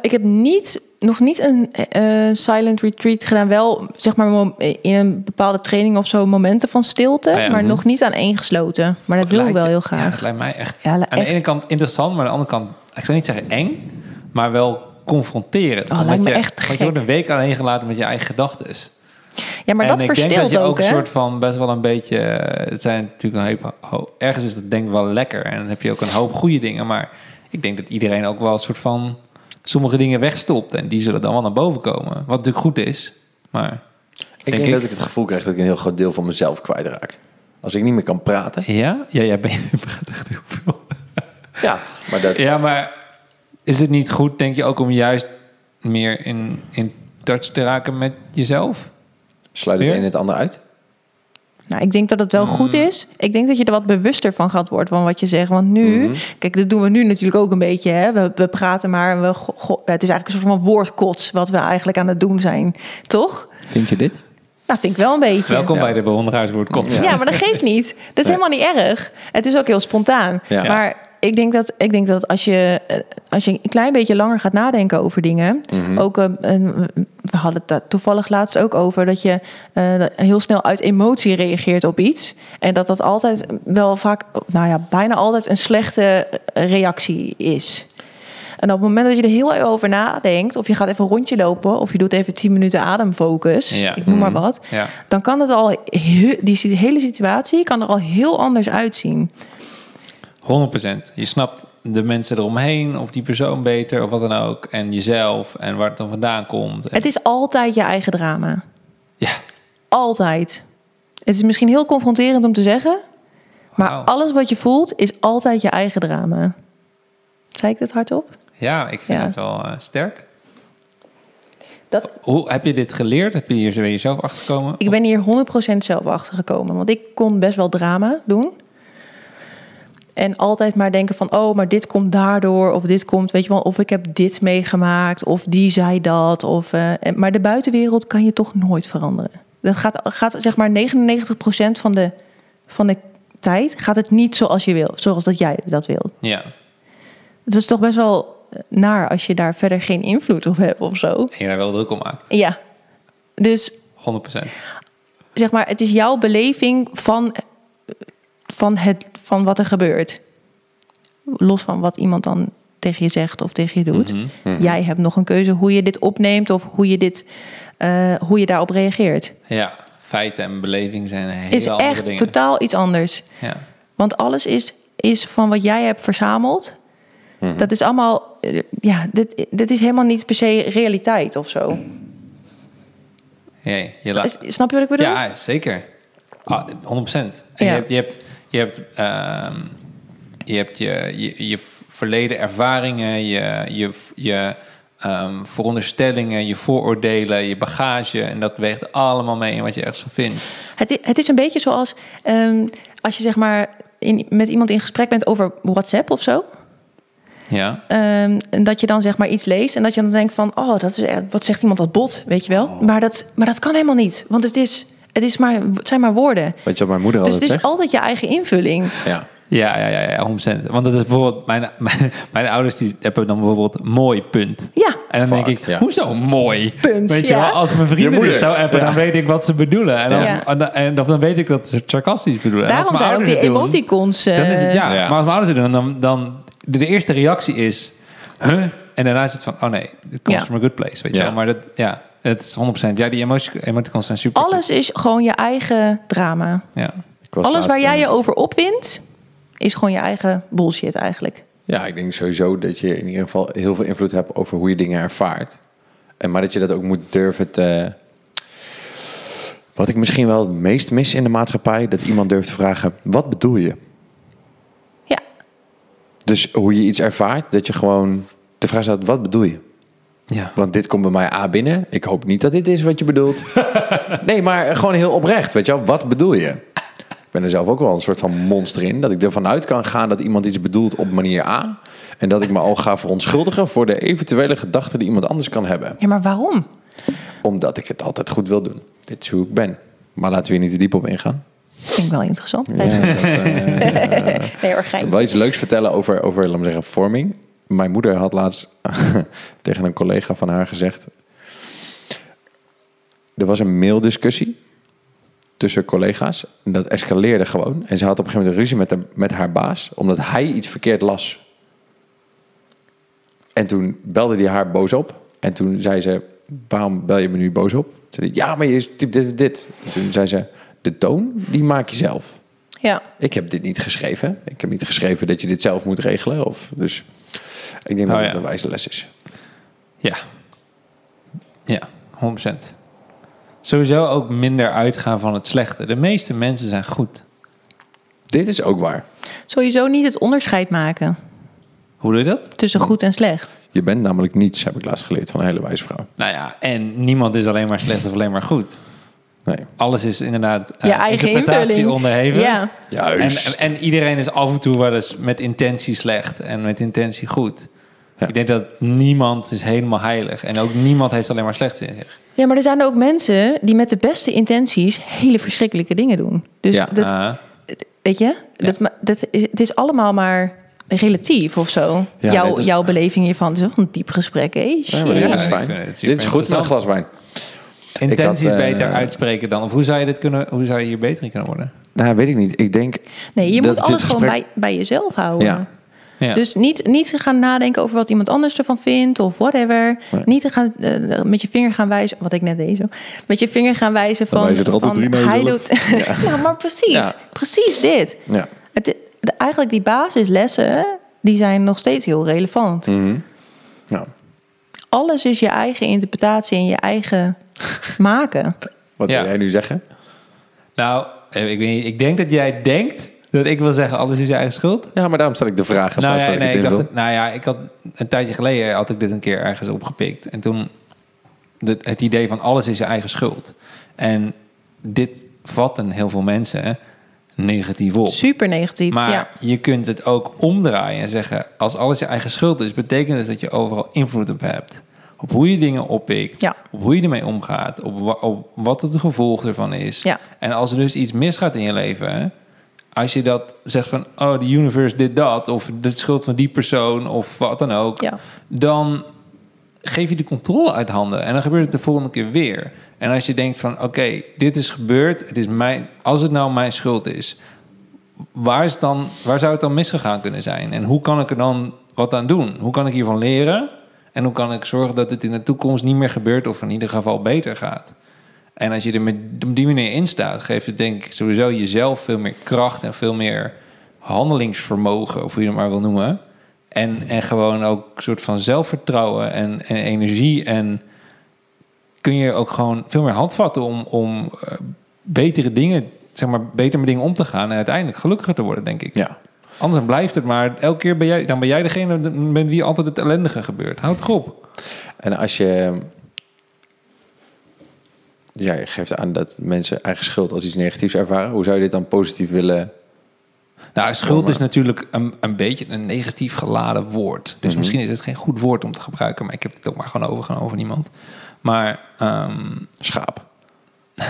S2: ik heb niet, nog niet een eh, eh, silent retreat gedaan. Wel zeg maar mom- in een bepaalde training of zo momenten van stilte.
S3: Ah ja,
S2: maar
S3: mhm.
S2: nog niet aan één gesloten. Maar dat
S3: Het
S2: wil ik
S3: lijkt-
S2: wel heel
S3: Ja,
S2: graag.
S3: het lijkt mij echt.
S2: Ja, li-
S3: aan de
S2: echt.
S3: ene kant interessant, maar aan de andere kant, ik zou niet zeggen eng, maar wel confronterend.
S2: Oh,
S3: Omdat
S2: lijkt me
S3: je,
S2: echt
S3: Want
S2: gek.
S3: je wordt een week alleen gelaten met je eigen gedachten.
S2: Ja, maar dat
S3: en ik denk dat
S2: verstilt
S3: je ook,
S2: ook,
S3: een
S2: hè?
S3: soort van best wel een beetje. eh, Het zijn natuurlijk een hoop. ho- Ergens is dat denk ik wel lekker. En dan heb je ook een hoop goede dingen. Maar ik denk dat iedereen ook wel een soort van sommige dingen wegstopt. En die zullen dan wel naar boven komen. Wat natuurlijk goed is. Maar
S1: Ik denk,
S3: Denk ik.
S1: dat ik het gevoel krijg dat ik een heel groot deel van mezelf kwijtraak. Als ik niet meer kan praten.
S3: ja, ja, ja ben je praat echt heel veel.
S1: Ja, maar dat...
S3: Ja, maar is het niet goed, denk je, ook om juist meer in, in touch te raken met jezelf?
S1: Sluit het
S3: Weer?
S1: een en het ander uit?
S2: Nou, ik denk dat het wel goed is. Ik denk dat je er wat bewuster van gaat worden van wat je zegt. Want nu, kijk, dat doen we nu natuurlijk ook een beetje. Hè? We, we praten maar. en We, go- go- het is eigenlijk een soort van woordkots wat we eigenlijk aan het doen zijn. Toch?
S3: Vind je dit?
S2: Nou, vind ik wel een beetje.
S3: Welkom bij de bewonderaars wordt
S2: Ja,
S3: kotsen.
S2: maar dat geeft niet. Dat is
S1: Nee.
S2: helemaal niet erg. Het is ook heel spontaan.
S1: Ja.
S2: Maar ik denk dat, ik denk dat als, je, eh, als je een klein beetje langer gaat nadenken over dingen.
S1: Mhm.
S2: Ook, eh, en we hadden het daar toevallig laatst ook over. Dat je eh, heel snel uit emotie reageert op iets. En dat dat altijd wel vaak, nou ja, bijna altijd een slechte eh, reactie is. En op het moment dat je er heel even over nadenkt, of je gaat even een rondje lopen, of je doet even 10 minuten ademfocus,
S3: Ja.
S2: ik noem maar wat,
S3: Mhm. Ja.
S2: dan kan het al he- die si- hele situatie kan er al heel anders uitzien.
S3: 100%. Je snapt de mensen eromheen of die persoon beter of wat dan ook. En jezelf en waar het dan vandaan komt. En-
S2: Het is altijd je eigen drama.
S3: ja,
S2: Altijd. Het is misschien heel confronterend om te zeggen, maar
S3: Wauw.
S2: alles wat je voelt is altijd je eigen drama. Zei ik dat hardop?
S3: ja, ik vind
S2: Ja.
S3: het wel eh, sterk.
S2: Dat,
S3: Hoe, heb je dit geleerd? Heb je hier zo bij jezelf achtergekomen?
S2: ik ben hier 100% zelf achter gekomen, want ik kon best wel drama doen. En altijd maar denken van, oh, maar dit komt daardoor, of dit komt, weet je wel, of ik heb dit meegemaakt, of die zei dat. Of, eh, en- maar de buitenwereld kan je toch nooit veranderen. Dat gaat, gaat zeg maar 99% van de, van de tijd gaat het niet zoals je wil, zoals dat jij dat wil.
S3: Ja,
S2: Het is toch best wel eh, naar als je daar verder geen invloed op hebt of zo.
S3: en je daar wel druk om maakt.
S2: Ja, dus
S3: 100%.
S2: zeg maar, het is jouw beleving van, van, het, van wat er gebeurt. Los van wat iemand dan tegen je zegt of tegen je doet.
S3: Mhm,
S2: Jij hebt nog een keuze hoe je dit opneemt of hoe je, dit, eh, hoe je daarop reageert.
S3: Ja, feiten en beleving zijn hele
S2: Is
S3: andere
S2: echt
S3: dingen.
S2: totaal iets anders.
S3: Ja.
S2: Want alles is, is van wat jij hebt verzameld.
S3: Mhm.
S2: Dat is allemaal, eh, ja, dit, dit is helemaal niet per se realiteit of zo.
S3: Jee, je laat-
S2: Snap je wat ik bedoel?
S3: Ja, zeker. Ah, 100%. En je
S2: Ja.
S3: hebt je, hebt, je, hebt, ehm, je, hebt je, je, je verleden ervaringen, je, je, je ehm, veronderstellingen, je vooroordelen, je bagage. En dat weegt allemaal mee in wat je ergens van vindt.
S2: Het is, het is een beetje zoals ehm, als je zeg maar in, met iemand in gesprek bent over WhatsApp of zo.
S3: Ja,
S2: Ehm, en dat je dan zeg maar iets leest en dat je dan denkt van... oh, dat is, echt- wat zegt iemand dat bot, weet je wel?
S1: Oh.
S2: Maar, dat, maar dat kan helemaal niet, want het, is, het, is maar, het zijn maar woorden.
S1: Weet je wat mijn moeder
S2: Dus
S1: altijd
S2: het is
S1: Oh, zegt?
S2: altijd je eigen invulling.
S1: Ja.
S3: ja, ja, ja, ja 100%. Want dat is bijvoorbeeld, mijn, mijn, mijn ouders die hebben dan bijvoorbeeld mooi punt.
S2: Ja,
S3: En dan denk
S1: Fuck,
S3: ik,
S1: ja.
S3: hoezo mooi?
S2: Punt,
S3: Weet je
S2: ja.
S3: wel, als mijn
S1: Je
S3: vrienden
S1: moeder.
S3: dit zou appen,
S1: Ja.
S3: dan weet ik wat ze bedoelen. En dan,
S2: Ja.
S3: en dan, en dan weet ik dat ze het sarcastisch bedoelen. en als
S2: daarom
S3: mijn
S2: zijn ook die
S3: ouders het doen,
S2: emoticons... eh,
S3: dan is het, ja,
S1: Ja.
S3: maar als mijn ouders het doen, dan, dan de, de eerste reactie is, huh? En daarna is het van, oh nee, dit komt
S2: Ja.
S3: from a good place, weet je
S1: Ja.
S3: wel. Maar dat, ja, het is 100%. Ja, die emoti- emoticons zijn super.
S2: Alles is gewoon je eigen drama.
S3: Ja.
S1: Ik was
S2: Alles
S1: laatst
S2: waar jij
S1: in-
S2: je over opwindt, is gewoon je eigen bullshit eigenlijk.
S1: Ja, ik denk sowieso dat je in ieder geval heel veel invloed hebt over hoe je dingen ervaart. En maar dat je dat ook moet durven te... Wat ik misschien wel het meest mis in de maatschappij, dat iemand durft te vragen, wat bedoel je?
S2: Ja,
S1: Dus hoe je iets ervaart, dat je gewoon de vraag stelt, wat bedoel je?
S3: Ja.
S1: Want dit komt bij mij A binnen. Ik hoop niet dat dit is wat je bedoelt. nee, maar eh, gewoon heel oprecht, weet je wel. Wat bedoel je? Ik ben er zelf ook wel een soort van monster in. Dat ik ervan uit kan gaan dat iemand iets bedoelt op manier A. En dat ik me al ga verontschuldigen voor de eventuele gedachten die iemand anders kan hebben.
S2: ja maar waarom?
S1: Omdat ik het altijd goed wil doen. Dit is hoe ik ben. Maar laten we hier niet te diep op ingaan.
S2: Vind ik wel interessant. Nee, hoor, geintje.
S1: eh, Wel iets leuks vertellen over, over laten we zeggen, vorming. Mijn moeder had laatst tegen een collega van haar gezegd. Er was een maildiscussie tussen collega's. En dat escaleerde gewoon. En ze had op een gegeven moment een ruzie met, hem- met haar baas. Omdat hij iets verkeerd las. En toen belde hij haar boos op. En toen zei ze, waarom bel je me nu boos op? Ze zei, ja, maar je typt dit en dit. En toen zei ze, de toon, die maak je zelf.
S2: Ja,
S1: Ik heb dit niet geschreven. Ik heb niet geschreven dat je dit zelf moet regelen. Of, dus ik denk
S3: Oh,
S1: dat
S3: ja.
S1: het een wijze les is.
S3: Ja. Ja, 100%. Sowieso ook minder uitgaan van het slechte. De meeste mensen zijn goed.
S1: Dit is ook waar.
S2: sowieso niet het onderscheid maken
S3: Hoe doe je dat?
S2: tussen goed en slecht.
S1: Je bent namelijk niets, heb ik laatst geleerd van een hele wijze vrouw.
S3: Nou ja, en niemand is alleen maar slecht of alleen maar goed.
S1: Nee.
S3: Alles is inderdaad eh,
S2: je eigen
S3: interpretatie
S2: invulling.
S3: onderhevig.
S2: Ja,
S3: En,
S1: Juist.
S3: en, en iedereen is af en toe wel eens met intentie slecht en met intentie goed.
S1: Ja.
S3: Ik denk dat niemand is helemaal heilig. En ook niemand heeft alleen maar slecht in zich.
S2: ja, maar er zijn ook mensen die met de beste intenties hele verschrikkelijke dingen doen. Dus
S1: Ja, eh.
S2: dat,
S3: Ah.
S2: weet je, dat, ma- dat is, het is allemaal maar relatief of zo.
S1: Ja,
S2: jouw,
S1: dit is-
S2: jouw beleving hiervan. Het is wel een diep gesprek, hé?
S1: Ja, maar dit
S3: Ja,
S1: is
S3: ik
S1: fijn.
S3: vind het super
S1: dit is goed met een
S3: interessant.
S1: glas wijn.
S3: Intenties
S1: Ik had, eh,
S3: beter uitspreken dan. Of hoe zou je dit kunnen? Hoe zou je hier beter in kunnen worden?
S1: Nou, weet ik niet. Ik denk...
S2: Nee, je
S1: dat
S2: moet
S1: dit
S2: alles gewoon
S1: gesprek-
S2: bij, bij jezelf houden.
S1: Ja.
S3: Ja.
S2: Dus niet, niet te gaan nadenken over wat iemand anders ervan vindt of whatever. Niet te gaan eh, met je vinger gaan wijzen, wat ik net deed zo. Met je vinger gaan wijzen
S1: Dan
S2: van.
S1: wijzen er altijd
S2: van,
S1: drie naar
S2: hij
S1: jezelf.
S2: doet. Ja. maar precies.
S1: Ja.
S2: Precies dit.
S1: Ja.
S2: Het, de- eigenlijk die basislessen, die zijn nog steeds heel relevant.
S1: Mm. Nou,
S2: Alles is je eigen interpretatie en je eigen maken.
S1: wat
S3: Ja.
S1: wil jij nu zeggen?
S3: Nou, eh, ik, weet niet, ik denk dat jij denkt dat ik wil zeggen alles is je eigen schuld.
S1: Ja, maar daarom stel ik de vraag. in
S3: Nou
S1: plaats
S3: ja,
S1: van dat
S3: nee,
S1: het
S3: ik dacht,
S1: invul.
S3: dat- nou ja, ik had een tijdje geleden had ik dit een keer ergens opgepikt. En toen de- het idee van alles is je eigen schuld. En dit vatten heel veel mensen negatief op.
S2: Super negatief.
S3: Maar
S2: ja.
S3: je kunt het ook omdraaien en zeggen: als alles je eigen schuld is, betekent dus dat dat je overal invloed op hebt. Op hoe je dingen oppikt,
S2: Ja.
S3: op hoe je ermee omgaat, op, wa- op wat het gevolg ervan is.
S2: Ja.
S3: En als er dus iets misgaat in je leven, als je dat zegt van: oh, de universe did dat, of de schuld van die persoon, of wat dan ook,
S2: Ja.
S3: dan geef je de controle uit handen. En dan gebeurt het de volgende keer weer. En als je denkt van, oké, dit is gebeurd. Het is mijn, als het nou mijn schuld is, waar, is dan, waar zou het dan misgegaan kunnen zijn? En hoe kan ik er dan wat aan doen? Hoe kan ik hiervan leren? En hoe kan ik zorgen dat het in de toekomst niet meer gebeurt... of in ieder geval beter gaat? En als je er met, op die manier in staat... geeft het denk ik sowieso jezelf veel meer kracht... en veel meer handelingsvermogen, of hoe je het maar wil noemen. En, en gewoon ook een soort van zelfvertrouwen en, en energie. En kun je ook gewoon veel meer handvatten om, om eh, betere dingen... zeg maar, beter met dingen om te gaan... en uiteindelijk gelukkiger te worden, denk ik.
S1: Ja.
S3: Anders dan blijft het maar... elke keer ben jij, dan ben jij degene met wie altijd het ellendige gebeurt. Houd toch op.
S1: En als je... Jij geeft aan dat mensen eigen schuld als iets negatiefs ervaren. Hoe zou je dit dan positief willen...
S3: Nou, schuld is natuurlijk een, een beetje een negatief geladen woord. Dus misschien is het geen goed woord om te gebruiken... maar ik heb dit ook maar gewoon overgenomen van iemand. Maar... ehm,
S1: Schaap.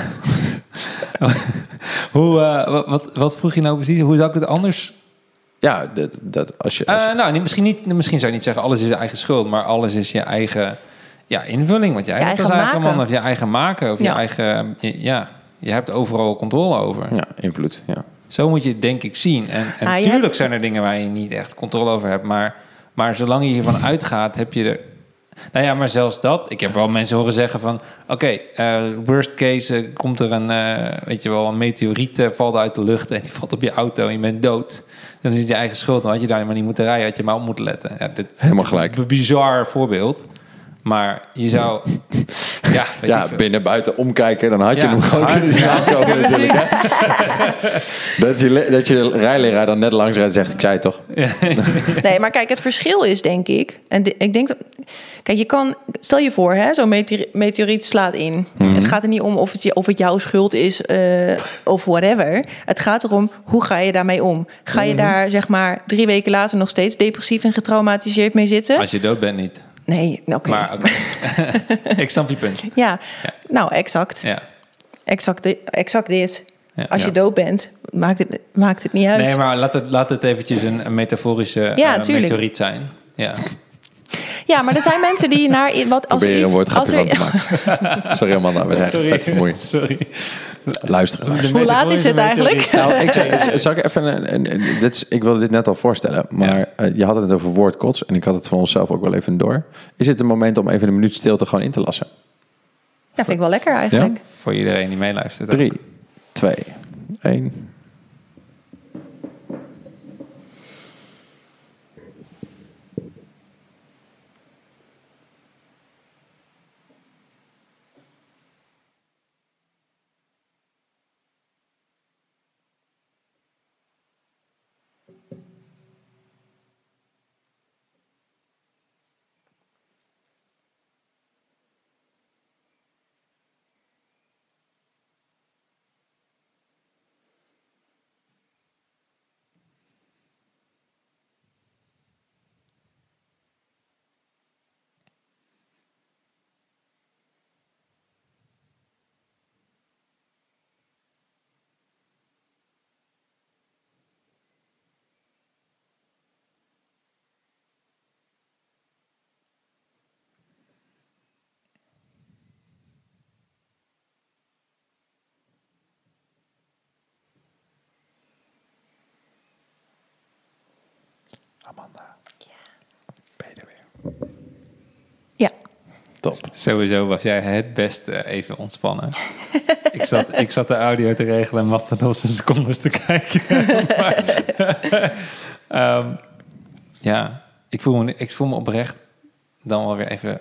S3: Hoe, eh, wa- wat, wat vroeg je nou precies? Hoe zou ik het anders?
S1: Ja, dat, dat als je...
S3: Eh,
S1: Als je-
S3: nou, niet- misschien, niet, misschien zou je niet zeggen alles is je eigen schuld, maar alles is je eigen ja, invulling. Want jij
S2: Je
S3: hebt als
S2: eigen
S3: eigen
S2: maken.
S3: man of je eigen maken of je
S2: Ja.
S3: eigen. je- Ja, je hebt overal controle over.
S1: Ja, invloed. Ja.
S3: Zo moet je het denk ik zien. En
S2: Ah, je
S3: natuurlijk
S2: hebt-
S3: zijn er dingen waar je niet echt controle over hebt, maar, maar zolang je hiervan uitgaat, heb je er. Nou ja, maar zelfs dat. Ik heb wel mensen horen zeggen van... oké, eh, worst case eh, komt er een, eh, weet je wel, een meteoriet eh, valt uit de lucht... en die valt op je auto en je bent dood. Dan is het je eigen schuld. Dan had je daar maar niet moeten rijden, had je maar op moeten letten. Ja, dit
S1: Helemaal gelijk.
S3: Een bizar voorbeeld. Maar je zou... ja, weet ik
S1: Ja,
S3: veel.
S1: binnen, buiten, omkijken. Dan had je
S3: Ja,
S1: hem gewoon
S3: hard-
S1: kunnen zien aankomen natuurlijk. Hè? dat, je, le- dat je rijleraar dan net langs rijdt en zegt... Ik zei het toch?
S2: Nee, maar kijk, het verschil is denk ik. En di- ik denk dat. Kijk, je kan. Stel je voor, hè, zo'n meteori- meteoriet slaat in. Het gaat er niet om of het, je, of het jouw schuld is eh, of whatever. Het gaat erom hoe ga je daarmee om? Ga je daar zeg maar drie weken later nog steeds depressief en getraumatiseerd mee zitten?
S3: Als je dood bent niet.
S2: Nee, nou, oké.
S3: Maar oké. ik snap je punt.
S2: Ja, nou exact.
S3: Ja.
S2: Exact, di- exact dit.
S3: Ja.
S2: Als je
S1: Ja.
S2: dood bent, maakt het, maakt het niet uit.
S3: Nee, maar laat het, laat het eventjes een, een metaforische
S2: Ja,
S3: eh,
S2: tuurlijk.
S3: meteoriet zijn. Ja.
S2: Ja, maar er zijn mensen die naar wat als er
S1: Proberen een
S2: iets, als
S1: woordgrapje
S2: er,
S1: van te maken. Sorry Amanda, we zijn echt vet vermoeid.
S3: Sorry.
S1: Luisteraars.
S2: Hoe laat is het eigenlijk?
S1: Nou, ik, zeg- zal ik even een, een- een- dit is, ik wilde dit net al voorstellen, maar
S3: Ja.
S1: eh, je had het over woordkots en ik had het van onszelf ook wel even door. Is het een moment om even een minuut stilte gewoon in te lassen?
S2: Ja, vind ik wel lekker eigenlijk.
S3: Voor iedereen die meeluistert.
S1: Drie, twee, één. Amanda, ben je er weer?
S2: Ja.
S1: Top.
S3: Sowieso was jij het beste eh, even ontspannen. ik, zat, ik zat de audio te regelen en Mats zat al zijn secondes te kijken. Maar, ehm, ja, ik voel, me, nu- ik voel me oprecht dan wel weer even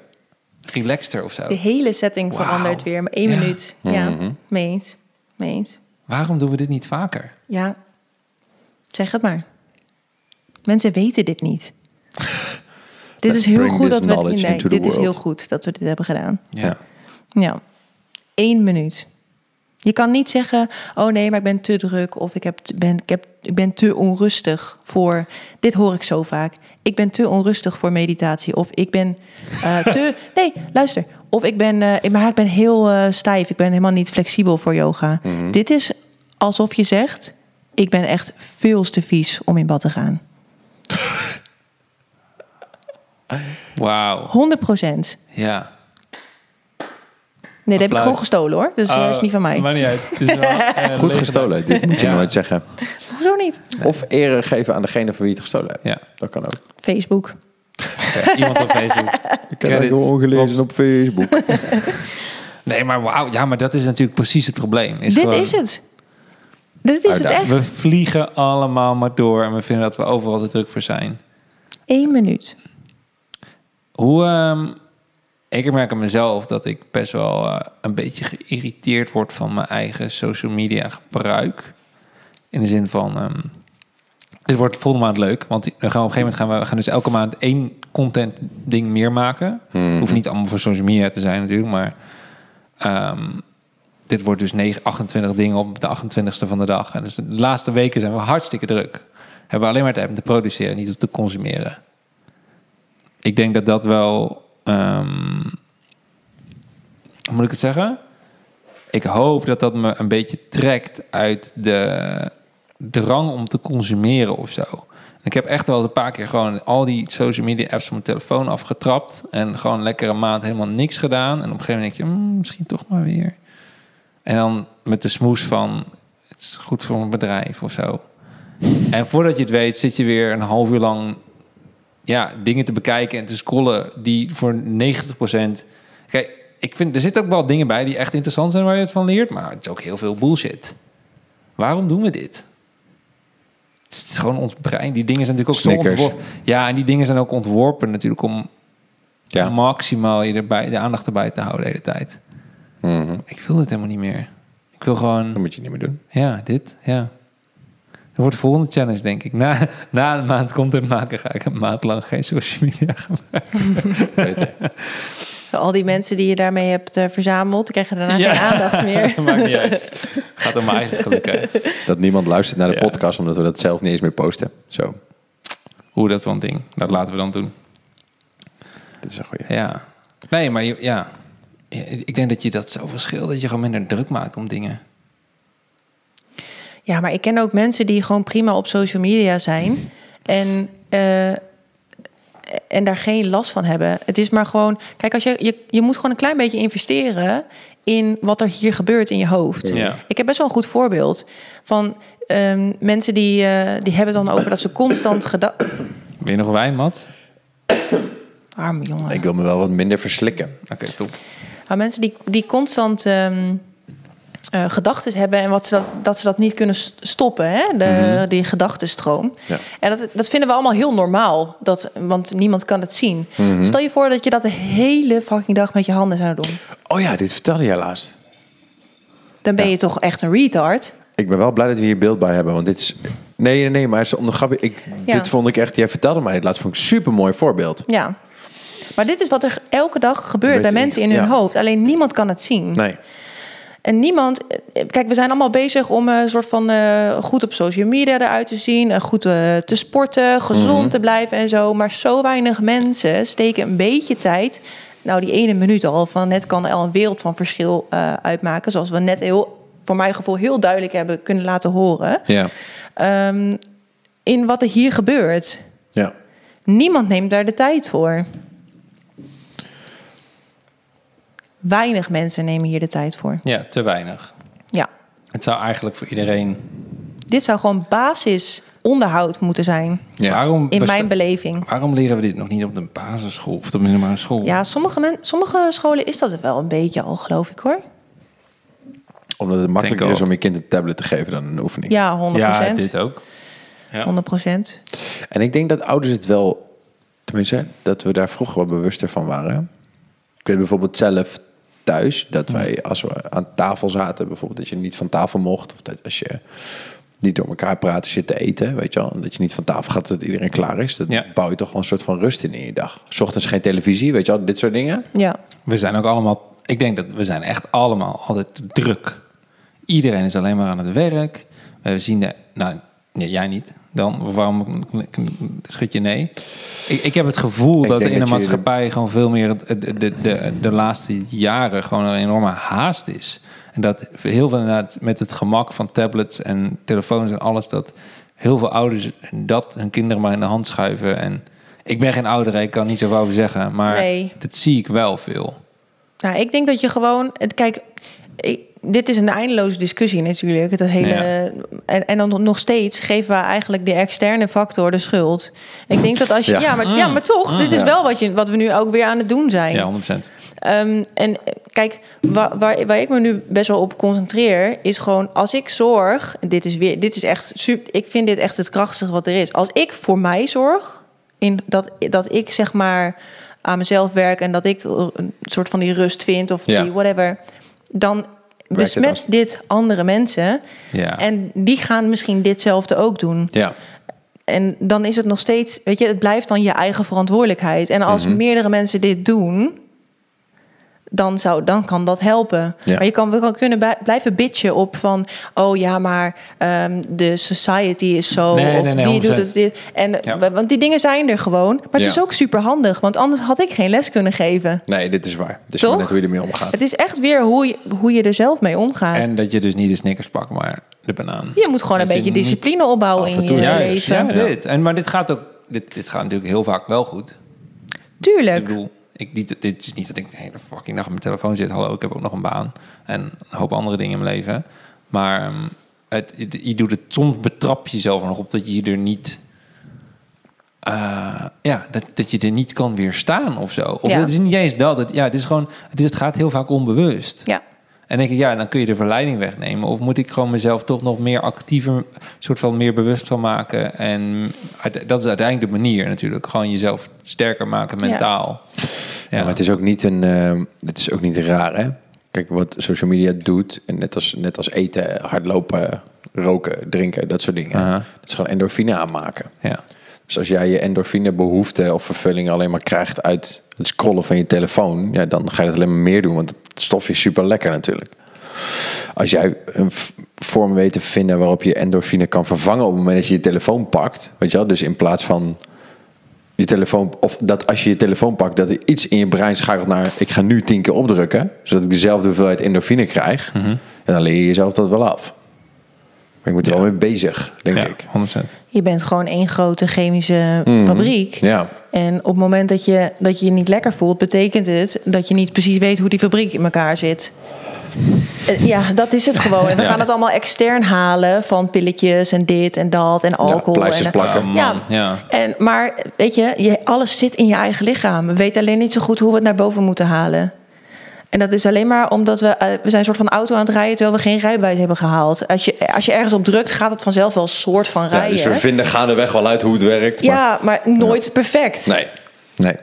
S3: relaxter of zo.
S1: Oh.
S2: De hele setting
S3: Wauw.
S2: verandert weer, maar één
S3: Ja.
S2: minuut. Ja,
S1: Mhm.
S2: mee eens. Mee eens.
S3: Waarom doen we dit niet vaker?
S2: Ja, zeg het maar. Mensen weten dit niet. dit is heel
S1: bring
S2: goed
S1: this
S2: dat we
S1: knowledge
S2: nee,
S1: into the
S2: dit is
S1: world.
S2: heel goed dat we dit hebben gedaan.
S1: Ja.
S2: Ja, één minuut. Je kan niet zeggen, oh nee, maar ik ben te druk of ik, heb, te- ben, ik, heb, ik ben te onrustig voor. Dit hoor ik zo vaak. Ik ben te onrustig voor meditatie of ik ben eh, te. Nee, luister. Of ik ben, eh, maar ik ben heel eh, stijf. Ik ben helemaal niet flexibel voor yoga.
S3: Mhm.
S2: Dit is alsof je zegt, ik ben echt veel te vies om in bad te gaan.
S3: Wauw.
S2: 100 procent.
S3: Ja.
S2: Nee, dat heb ik
S3: Applaus. Oh.
S2: gewoon gestolen hoor. Dus dat is niet van mij.
S3: Maar Eh, niet uit. Het is wel, eh,
S1: Goed
S3: legendarisch.
S1: gestolen, dit moet je
S3: Ja.
S1: nooit zeggen.
S2: Hoezo niet?
S1: Of ere geven aan degene van wie je het gestolen hebt.
S3: Ja.
S1: Dat kan ook.
S2: Facebook.
S3: Oké, Iemand op Facebook.
S1: Ik
S3: heb het wel ongelezen
S1: op Facebook.
S3: Nee, maar wauw. Ja, maar dat is natuurlijk precies het probleem. Is
S2: Dit
S3: gewoon-
S2: is het. Dit is het
S1: Uitdaging.
S2: echt.
S3: We vliegen allemaal maar door en we vinden dat we overal te druk voor zijn.
S2: Eén minuut.
S3: Hoe, ehm, ik merk aan mezelf dat ik best wel eh, een beetje geïrriteerd word van mijn eigen social media gebruik. In de zin van, ehm, dit wordt volgende maand leuk, want we gaan op een gegeven moment gaan we, we gaan dus elke maand één content ding meer maken. Hoeft niet allemaal voor social media te zijn natuurlijk, maar ehm, dit wordt dus 9, 28 dingen op de 28ste van de dag. En dus de laatste weken zijn we hartstikke druk. Hebben we alleen maar tijd om te produceren, niet om te consumeren ik denk dat dat wel. ehm, hoe moet ik het zeggen? Ik hoop dat dat me een beetje trekt uit de drang om te consumeren of zo. Ik heb echt wel eens een paar keer gewoon al die social media apps van mijn telefoon afgetrapt. En gewoon lekker een maand helemaal niks gedaan. En op een gegeven moment denk je, "Hmm, misschien toch maar weer. En dan met de smoes van, het is goed voor mijn bedrijf of zo. En voordat je het weet, zit je weer een half uur lang ja, dingen te bekijken en te scrollen die voor 90%. Kijk, ik vind er zitten ook wel dingen bij die echt interessant zijn waar je het van leert, maar het is ook heel veel bullshit. Waarom doen we dit? Het is gewoon ons brein. Die dingen zijn natuurlijk ook zo
S1: Snickers.
S3: ontworpen. Ja, en die dingen zijn ook ontworpen natuurlijk om
S1: Ja.
S3: maximaal je erbij, de aandacht erbij te houden de hele tijd.
S1: Mhm.
S3: Ik wil dit helemaal niet meer. Ik wil
S1: Dat
S3: gewoon,
S1: moet je niet meer doen.
S3: ja, dit, ja. Dat wordt de volgende challenge, denk ik. Na, na een maand content maken ga ik een maand lang geen social media gebruiken.
S1: Beter.
S2: Al die mensen die je daarmee hebt eh, verzameld, krijgen daarna
S3: Ja.
S2: geen aandacht meer.
S3: Maakt niet uit. Gaat om mijn eigen geluk hè.
S1: Dat niemand luistert naar de
S3: Ja.
S1: podcast omdat we dat zelf niet eens meer posten. Zo,
S3: Hoe dat van ding. Dat laten we dan doen.
S1: dit is een goeie.
S3: Ja. Nee, maar je- ja. Ik denk dat je dat zo verschilt. Dat je gewoon minder druk maakt om dingen.
S2: Ja, maar ik ken ook mensen die gewoon prima op social media zijn. En, eh, en daar geen last van hebben. Het is maar gewoon, kijk, als je, je, je moet gewoon een klein beetje investeren in wat er hier gebeurt in je hoofd.
S3: Ja.
S2: Ik heb best wel een goed voorbeeld van ehm, mensen die, eh, die hebben het dan over dat ze constant gedacht.
S3: Wil je nog wijn, Mat?
S2: Arme jongen.
S1: Ik wil me wel wat minder verslikken.
S3: Oké, top.
S2: Nou, mensen die, die constant ehm, eh, gedachten hebben en wat ze dat, dat ze dat niet kunnen s- stoppen, hè? De, die gedachtenstroom.
S1: Mhm. Ja.
S2: En dat, dat vinden we allemaal heel normaal, dat, want niemand kan het zien.
S1: Mhm.
S2: Stel je voor dat je dat de hele fucking dag met je handen zou doen.
S1: Oh ja, dit vertelde jij laatst.
S2: Dan ben je toch echt een retard.
S1: Ik ben wel blij dat we hier beeld bij hebben, want dit is... Nee, nee, nee, maar het is om de grap... Ik,
S2: Ja.
S1: Dit vond ik echt... Jij vertelde mij dit laatst, vond ik een supermooi voorbeeld.
S2: Ja. Maar dit is wat er elke dag gebeurt
S1: Weet
S2: bij
S1: ik,
S2: mensen in hun
S1: ja.
S2: hoofd. Alleen niemand kan het zien.
S1: Nee.
S2: En niemand, eh, kijk, we zijn allemaal bezig om eh, een soort van eh, goed op social media eruit te zien, eh, goed eh, te sporten, gezond te blijven en zo. Maar zo weinig mensen steken een beetje tijd. Nou, die ene minuut al van net kan al een wereld van verschil eh, uitmaken. Zoals we net heel, voor mijn gevoel, heel duidelijk hebben kunnen laten horen.
S1: Ja.
S2: Ehm, in wat er hier gebeurt.
S1: Ja.
S2: Niemand neemt daar de tijd voor. Weinig mensen nemen hier de tijd voor.
S3: Ja, te weinig.
S2: Ja.
S3: Het zou eigenlijk voor iedereen...
S2: Dit zou gewoon basisonderhoud moeten zijn,
S3: Waarom
S2: in
S3: besta-
S2: mijn beleving.
S3: Waarom leren we dit nog niet op de basisschool of de middelbare school?
S2: Ja, sommige, men, sommige scholen is dat wel een beetje al, geloof ik hoor.
S1: Omdat het makkelijker
S3: Denk
S1: is
S3: al.
S1: om je kind een tablet te geven dan een oefening.
S2: Ja, 100
S3: Ja, dit eh, ook.
S2: 100 procent.
S1: En ik denk dat ouders het wel, tenminste, dat we daar vroeger wel bewuster van waren. Ik weet bijvoorbeeld zelf thuis dat wij, als we aan tafel zaten, bijvoorbeeld dat je niet van tafel mocht. Of dat als je niet door elkaar praat als je te eten, weet je wel. En dat je niet van tafel gaat, dat iedereen klaar is. Dat
S3: Ja.
S1: bouw je toch wel een soort van rust in in je dag. 's ochtends geen televisie, weet je wel, dit soort dingen.
S2: Ja,
S3: We zijn ook allemaal... Ik denk dat we zijn echt allemaal altijd druk. Iedereen is alleen maar aan het werk. We zien de... Nou, nee, jij niet. Dan, waarom schud je nee? Ik, ik heb het gevoel
S1: Ik
S3: dat
S1: denk
S3: in de
S1: dat je-
S3: maatschappij gewoon veel meer... het- het- De, de, de, de laatste jaren gewoon een enorme haast is. En dat heel veel inderdaad met het gemak van tablets en telefoons en alles... dat heel veel ouders dat hun kinderen maar in de hand schuiven. En ik ben geen ouder, hè, ik kan niet zoveel over zeggen. Maar
S2: Nee.
S3: dat zie ik wel veel.
S2: Nou, ik denk dat je gewoon. het- Kijk, ik- dit is een eindeloze discussie natuurlijk. Dat hele,
S3: Ja.
S2: en, en dan nog steeds geven we eigenlijk de externe factor de schuld. Ik denk dat als je.
S1: Ja.
S2: Ja, maar, ja maar toch, dit is
S1: ja.
S2: wel wat, je, wat we nu ook weer aan het doen zijn.
S3: Ja, 100%.
S2: Ehm, en eh, kijk, waar, waar, waar ik me nu best wel op concentreer, is gewoon als ik zorg. en Dit is weer, dit is echt super. Ik vind dit echt het krachtigste wat er is. Als ik voor mij zorg, in dat, dat ik zeg maar aan mezelf werk en dat ik eh, een soort van die rust vind of
S1: Ja.
S2: die whatever, dan
S1: als-
S2: besmet dit andere mensen.
S3: Ja.
S2: En die gaan misschien ditzelfde ook doen.
S1: Ja.
S2: En dan is het nog steeds, weet je, het blijft dan je eigen verantwoordelijkheid. En als meerdere mensen dit doen, dan, zou, dan kan dat helpen.
S1: Ja.
S2: Maar je kan wel kunnen bij- blijven bitchen op van, oh ja, maar ehm, de society is zo.
S3: Nee,
S2: of
S3: nee, nee,
S2: die
S3: 100%.
S2: doet het dit. En,
S3: Ja.
S2: wa- Want die dingen zijn er gewoon. Maar het
S1: Ja.
S2: is ook super handig, want anders had ik geen les kunnen geven.
S1: Nee, dit is waar. Dus
S2: Toch?
S1: net hoe je ermee omgaat.
S2: Het is echt weer hoe je, hoe je er zelf mee omgaat.
S3: En dat je dus niet de Snickers pakt, maar de banaan.
S2: je moet gewoon een
S3: dat je
S2: beetje
S3: niet-
S2: discipline opbouwen
S1: Af en
S2: in je
S1: toe
S3: Juist,
S2: leven.
S3: ja, dit. En, maar dit gaat ook... Dit, dit gaat natuurlijk heel vaak wel goed. Ik
S2: Tuurlijk.
S3: bedoel, ik, niet, dit is niet dat ik de hele fucking dag op mijn telefoon zit. Hallo, ik heb ook nog een baan. En een hoop andere dingen in mijn leven. Maar ehm, het, het- je doet het, soms betrap je jezelf er nog op dat je er niet... eh, ja, dat, dat je er niet kan weerstaan of zo. Of
S2: Ja.
S3: het is niet eens dat. Het, ja, het is gewoon... Het, is, het gaat heel vaak onbewust.
S2: Ja.
S3: En denk ik, ja, dan kun je de verleiding wegnemen. Of moet ik gewoon mezelf toch nog meer actiever, soort van meer bewust van maken. En uite- dat is uiteindelijk de manier natuurlijk. Gewoon jezelf sterker maken
S2: Ja.
S3: mentaal. Ja,
S1: Ja, maar het is ook niet een. ehm, het is ook niet raar, hè? Kijk, wat social media doet, en net als, net als eten, hardlopen, roken, drinken, dat soort dingen.
S3: Aha.
S1: Dat is gewoon endorfine aanmaken.
S3: ja.
S1: Dus als jij je endorfine behoefte of vervulling alleen maar krijgt uit het scrollen van je telefoon, ja, dan ga je dat alleen maar meer doen, want het stofje is super lekker natuurlijk. Als jij een v- vorm weet te vinden waarop je endorfine kan vervangen op het moment dat je je telefoon pakt, weet je wel, dus in plaats van je telefoon, of dat als je je telefoon pakt, dat er iets in je brein schakelt naar ik ga nu tien keer opdrukken, zodat ik dezelfde hoeveelheid endorfine krijg, en dan leer je jezelf dat wel af. Maar je moet er wel mee bezig, denk
S3: ja,
S1: ik.
S3: 100%.
S2: Je bent gewoon één grote chemische fabriek.
S1: Ja.
S2: En op het moment dat je, dat je je niet lekker voelt, betekent het dat je niet precies weet hoe die fabriek in elkaar zit. Eh, Ja, dat is het gewoon. En we
S1: Ja.
S2: gaan het allemaal extern halen van pilletjes en dit en dat en
S1: Ja,
S2: alcohol.
S1: pleisters
S2: en,
S1: plakken.
S3: Ah, man,
S2: Ja.
S3: ja.
S2: en, maar weet je, je, alles zit in je eigen lichaam. We weten alleen niet zo goed hoe we het naar boven moeten halen. En dat is alleen maar omdat we, eh, we zijn een soort van auto aan het rijden terwijl we geen rijbewijs hebben gehaald. Als je, als je ergens op drukt, gaat het vanzelf wel een soort van
S4: Ja,
S2: rijden.
S4: dus we vinden gaandeweg wel uit hoe het werkt. Maar
S2: Ja, maar nooit perfect.
S4: nee.
S1: Nee.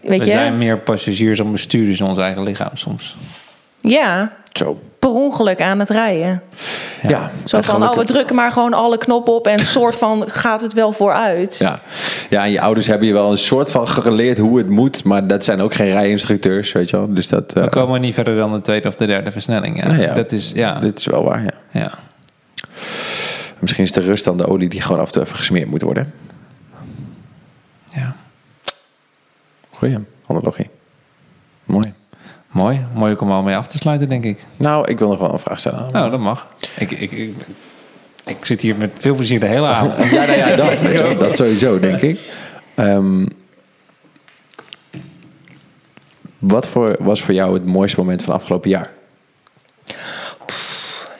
S2: Weet
S3: We
S2: je?
S3: zijn meer passagiers dan bestuurders in ons eigen lichaam soms.
S2: Ja,
S1: Zo.
S2: per ongeluk aan het rijden.
S1: Ja.
S2: Zo
S1: En
S2: van, oh,
S1: gelukkig-
S2: we drukken maar gewoon alle knoppen op en soort van gaat het wel vooruit.
S1: Ja. ja, en je ouders hebben je wel een soort van geleerd hoe het moet, maar dat zijn ook geen rijinstructeurs, weet je wel. Dus dat, eh,
S3: We komen niet verder dan de tweede of de derde versnelling. Ja.
S1: Nou ja.
S3: Dat is, ja.
S1: dit is wel waar, ja.
S3: ja.
S1: Misschien is de rust dan de olie die gewoon af en toe even gesmeerd moet worden.
S3: ja.
S1: Goeie analogie. Mooi.
S3: Mooi. Mooi ook om al mee af te sluiten, denk ik.
S1: Nou, ik wil nog wel een vraag stellen. aan
S3: Nou, dat mag. Ik, ik, ik, ik zit hier met veel plezier de hele avond.
S1: Ja, nou ja, dat, weet je wel. dat sowieso, denk ik. Ehm, wat voor, was voor jou het mooiste moment van afgelopen jaar?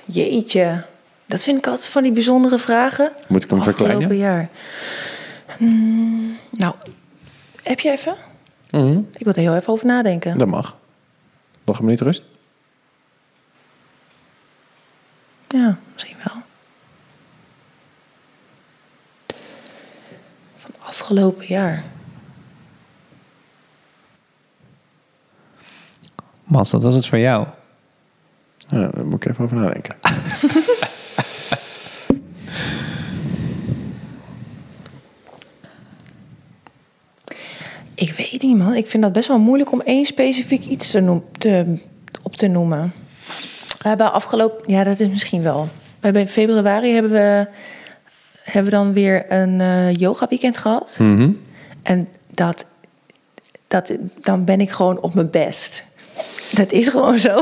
S2: Jeetje, dat vind ik altijd van die bijzondere vragen.
S1: Moet ik hem verkleinen?
S2: Afgelopen jaar. Hmm, nou, heb je even?
S1: Mhm,
S2: Ik wil er heel even over nadenken.
S1: dat mag. Nog een minuut rust?
S2: Ja, misschien wel. Van afgelopen jaar.
S3: Mats, dat was het voor jou.
S1: Ja, daar moet ik even over nadenken.
S2: Ik weet niet, man. Ik vind dat best wel moeilijk om één specifiek iets te noem- te, op te noemen. We hebben afgelopen... Ja, dat is misschien wel. We hebben in februari hebben we, hebben we dan weer een eh yoga weekend gehad. En dat, dat... Dan ben ik gewoon op mijn best. Dat is gewoon zo.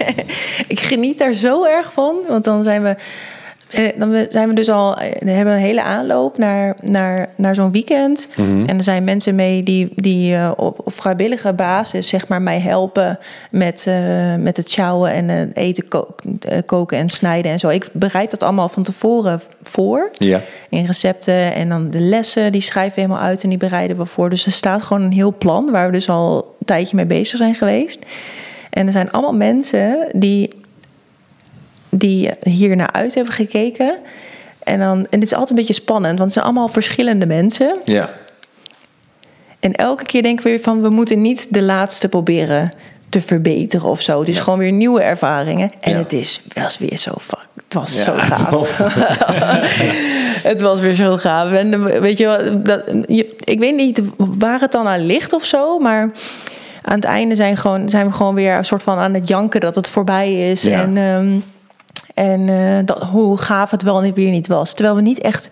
S2: ik geniet daar zo erg van. Want dan zijn we... eh, Dan we- zijn we dus al, eh, we hebben een hele aanloop naar, naar, naar zo'n weekend. En er zijn mensen mee die, die eh, op, op vrijwillige basis zeg maar, mij helpen met, eh, met het sjouwen en eh, eten ko- eh, koken en snijden en zo. Ik bereid dat allemaal van tevoren voor
S1: Ja.
S2: in recepten. En dan de lessen, die schrijven we helemaal uit en die bereiden we voor. Dus er staat gewoon een heel plan waar we dus al een tijdje mee bezig zijn geweest. En er zijn allemaal mensen die, die hier naar uit hebben gekeken. En, dan, en dit is altijd een beetje spannend, want het zijn allemaal verschillende mensen.
S1: Ja.
S2: En elke keer denken we weer van we moeten niet de laatste proberen te verbeteren of zo. Het is gewoon weer nieuwe ervaringen. En
S1: Ja.
S2: het is was weer zo fuck. Het was
S1: Ja,
S2: zo
S1: het
S2: gaaf. het was weer zo gaaf. En eh, weet je, wel, dat, je- ik weet niet waar het dan aan ligt of zo, maar aan het einde zijn, gewoon, zijn we gewoon weer een soort van aan het janken dat het voorbij is.
S1: Ja.
S2: En, ehm, en eh, dat, hoe gaaf het wel en weer niet was. Terwijl we niet echt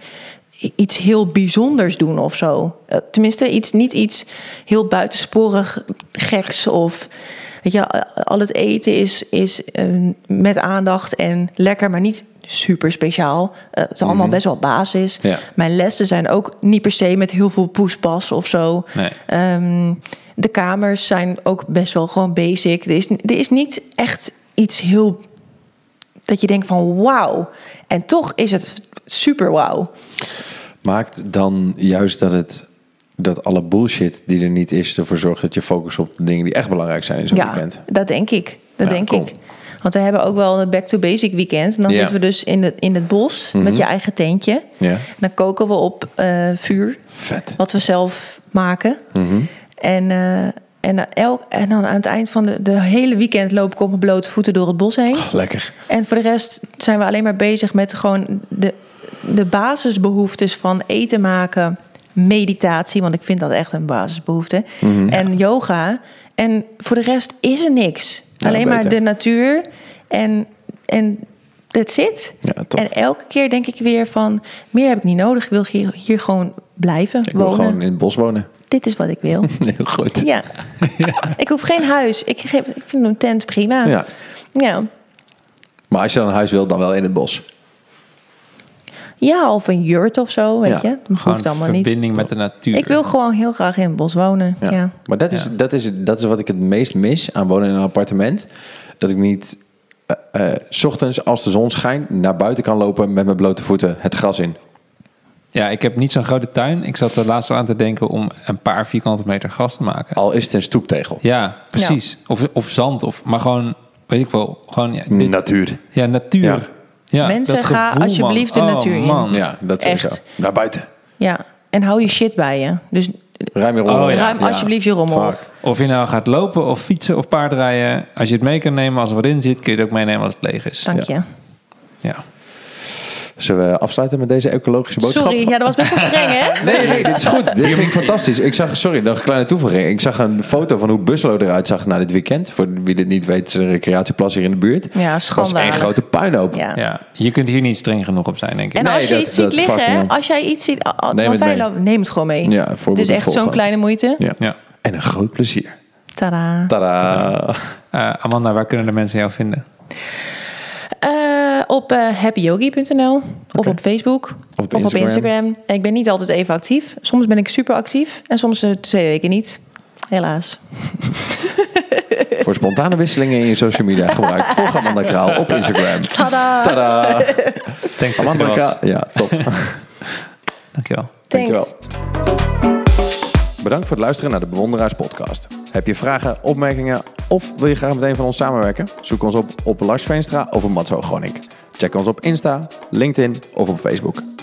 S2: i- iets heel bijzonders doen of zo. Eh, Tenminste, iets, niet iets heel buitensporig geks of... Weet je, a- al het eten is, is eh, met aandacht en lekker, maar niet super speciaal. Eh, het is allemaal best wel basis.
S1: Ja.
S2: Mijn lessen zijn ook niet per se met heel veel poespas of zo.
S3: Nee.
S2: Ehm, de kamers zijn ook best wel gewoon basic. Er is, er is niet echt iets heel dat je denkt van wauw. En toch is het super wauw.
S1: Maakt dan juist dat het dat alle bullshit die er niet is ervoor zorgt dat je focus op de dingen die echt belangrijk zijn in zo'n weekend.
S2: dat denk ik. Dat
S1: Ja,
S2: denk
S1: cool.
S2: ik. Want we hebben ook wel een back to basic weekend. En dan
S1: Ja. Mhm.
S2: zitten we dus in het, in het bos met je eigen tentje.
S1: Ja.
S2: En dan koken we op eh, vuur.
S1: Vet.
S2: Wat we zelf maken.
S1: Mhm.
S2: En, eh, en, dan elk, en dan aan het eind van de, de hele weekend loop ik op mijn blote voeten door het bos heen.
S1: Lekker.
S2: En voor de rest zijn we alleen maar bezig met gewoon de, de basisbehoeftes van eten maken, meditatie, want ik vind dat echt een basisbehoefte,
S1: Mhm.
S2: en yoga. En voor de rest is er niks.
S1: Ja,
S2: alleen maar
S1: beter.
S2: de natuur en, en that's it.
S1: Ja, tof.
S2: en elke keer denk ik weer van, meer heb ik niet nodig, ik wil hier, hier gewoon blijven
S1: Ik wil
S2: wonen.
S1: gewoon in het bos wonen.
S2: Dit is wat ik wil.
S1: Heel goed.
S2: ja. Ik hoef geen huis. Ik, geef, ik vind een tent prima.
S1: Ja.
S2: ja.
S1: Maar als je dan een huis wilt, dan wel in het bos.
S2: Ja, of een jurt of zo, weet
S1: Ja,
S2: je. Dat
S3: Gewoon
S2: hoeft allemaal niet.
S3: verbinding met de natuur.
S2: Ik wil gewoon heel graag in het bos wonen. Ja. Ja.
S1: Maar dat is, dat, is, dat is wat ik het meest mis aan wonen in een appartement. Dat ik niet eh, eh, 's ochtends als de zon schijnt naar buiten kan lopen met mijn blote voeten het gras in.
S3: Ja, ik heb niet zo'n grote tuin. Ik zat er laatst al aan te denken om een paar vierkante meter gras te
S2: Oh.
S3: maken.
S1: Al is het een stoeptegel.
S3: Ja, precies. Of, of zand. Of, maar gewoon, weet ik wel, gewoon ja, dit-
S1: Natuur.
S3: ja natuur.
S1: Ja.
S3: Ja.
S2: Mensen,
S3: dat
S2: ga
S3: gevoel, man.
S2: alsjeblieft de
S3: Oh,
S2: natuur in.
S3: man.
S1: Ja, dat zeg ik
S2: Echt.
S1: zo. Naar buiten.
S2: En hou je shit bij je. Dus
S1: Ruim je rond.
S3: Oh, ja.
S2: ruim alsjeblieft je rommel op.
S3: Of je nou gaat lopen of fietsen of paardrijden. Als je het mee kan nemen, als er wat in zit, kun je het ook meenemen als het leeg is.
S2: Dank je.
S3: Ja.
S1: Zullen we afsluiten met deze ecologische boodschap?
S2: Sorry, ja, dat was best wel streng, hè?
S1: Nee, nee, dit is goed. Dit vind ik fantastisch. Ik zag, sorry, nog een kleine toevoeging. Ik zag een foto van hoe Busselo eruit zag na dit weekend. Voor wie dit niet weet, is er een recreatieplas hier in de buurt.
S2: Ja,
S1: Dat is één
S2: schandalig.
S1: grote puinhoop.
S2: Ja.
S3: ja, je kunt hier niet streng genoeg op zijn, denk ik.
S2: En
S1: Nee,
S2: als je
S1: dat-
S2: iets ziet
S1: dat
S2: liggen,
S1: fucking-
S2: hè, als jij iets ziet, a- a-
S1: Neem
S2: want
S1: het
S2: wij
S1: mee.
S2: lopen- neem het gewoon mee.
S1: Ja, voorbeeld
S2: het is
S1: en
S2: echt zo'n
S1: volgen.
S2: kleine moeite.
S1: Ja.
S3: Ja.
S1: En een groot plezier.
S2: Tadaa.
S1: Tada.
S3: Eh, Amanda, waar kunnen de mensen jou vinden?
S2: Eh, op eh, happyyogi.nl of op Facebook
S1: op
S2: of op
S1: Instagram.
S2: Instagram. En ik ben niet altijd even actief. Soms ben ik super actief en soms eh, twee weken niet. Helaas.
S1: Voor spontane wisselingen in je social media gebruik. Volg Amanda Kraal op Instagram.
S2: Tadaa.
S1: Tada.
S3: Thanks dat je
S1: Amanda
S3: er was.
S1: Kraal. Ja, top.
S3: Dankjewel.
S2: Thanks.
S1: Bedankt voor het luisteren naar de Bewonderaars Podcast. Heb je vragen, opmerkingen of wil je graag met een van ons samenwerken? Zoek ons op op Lars Veenstra of op Matzo Groning. Check ons op Insta, LinkedIn of op Facebook.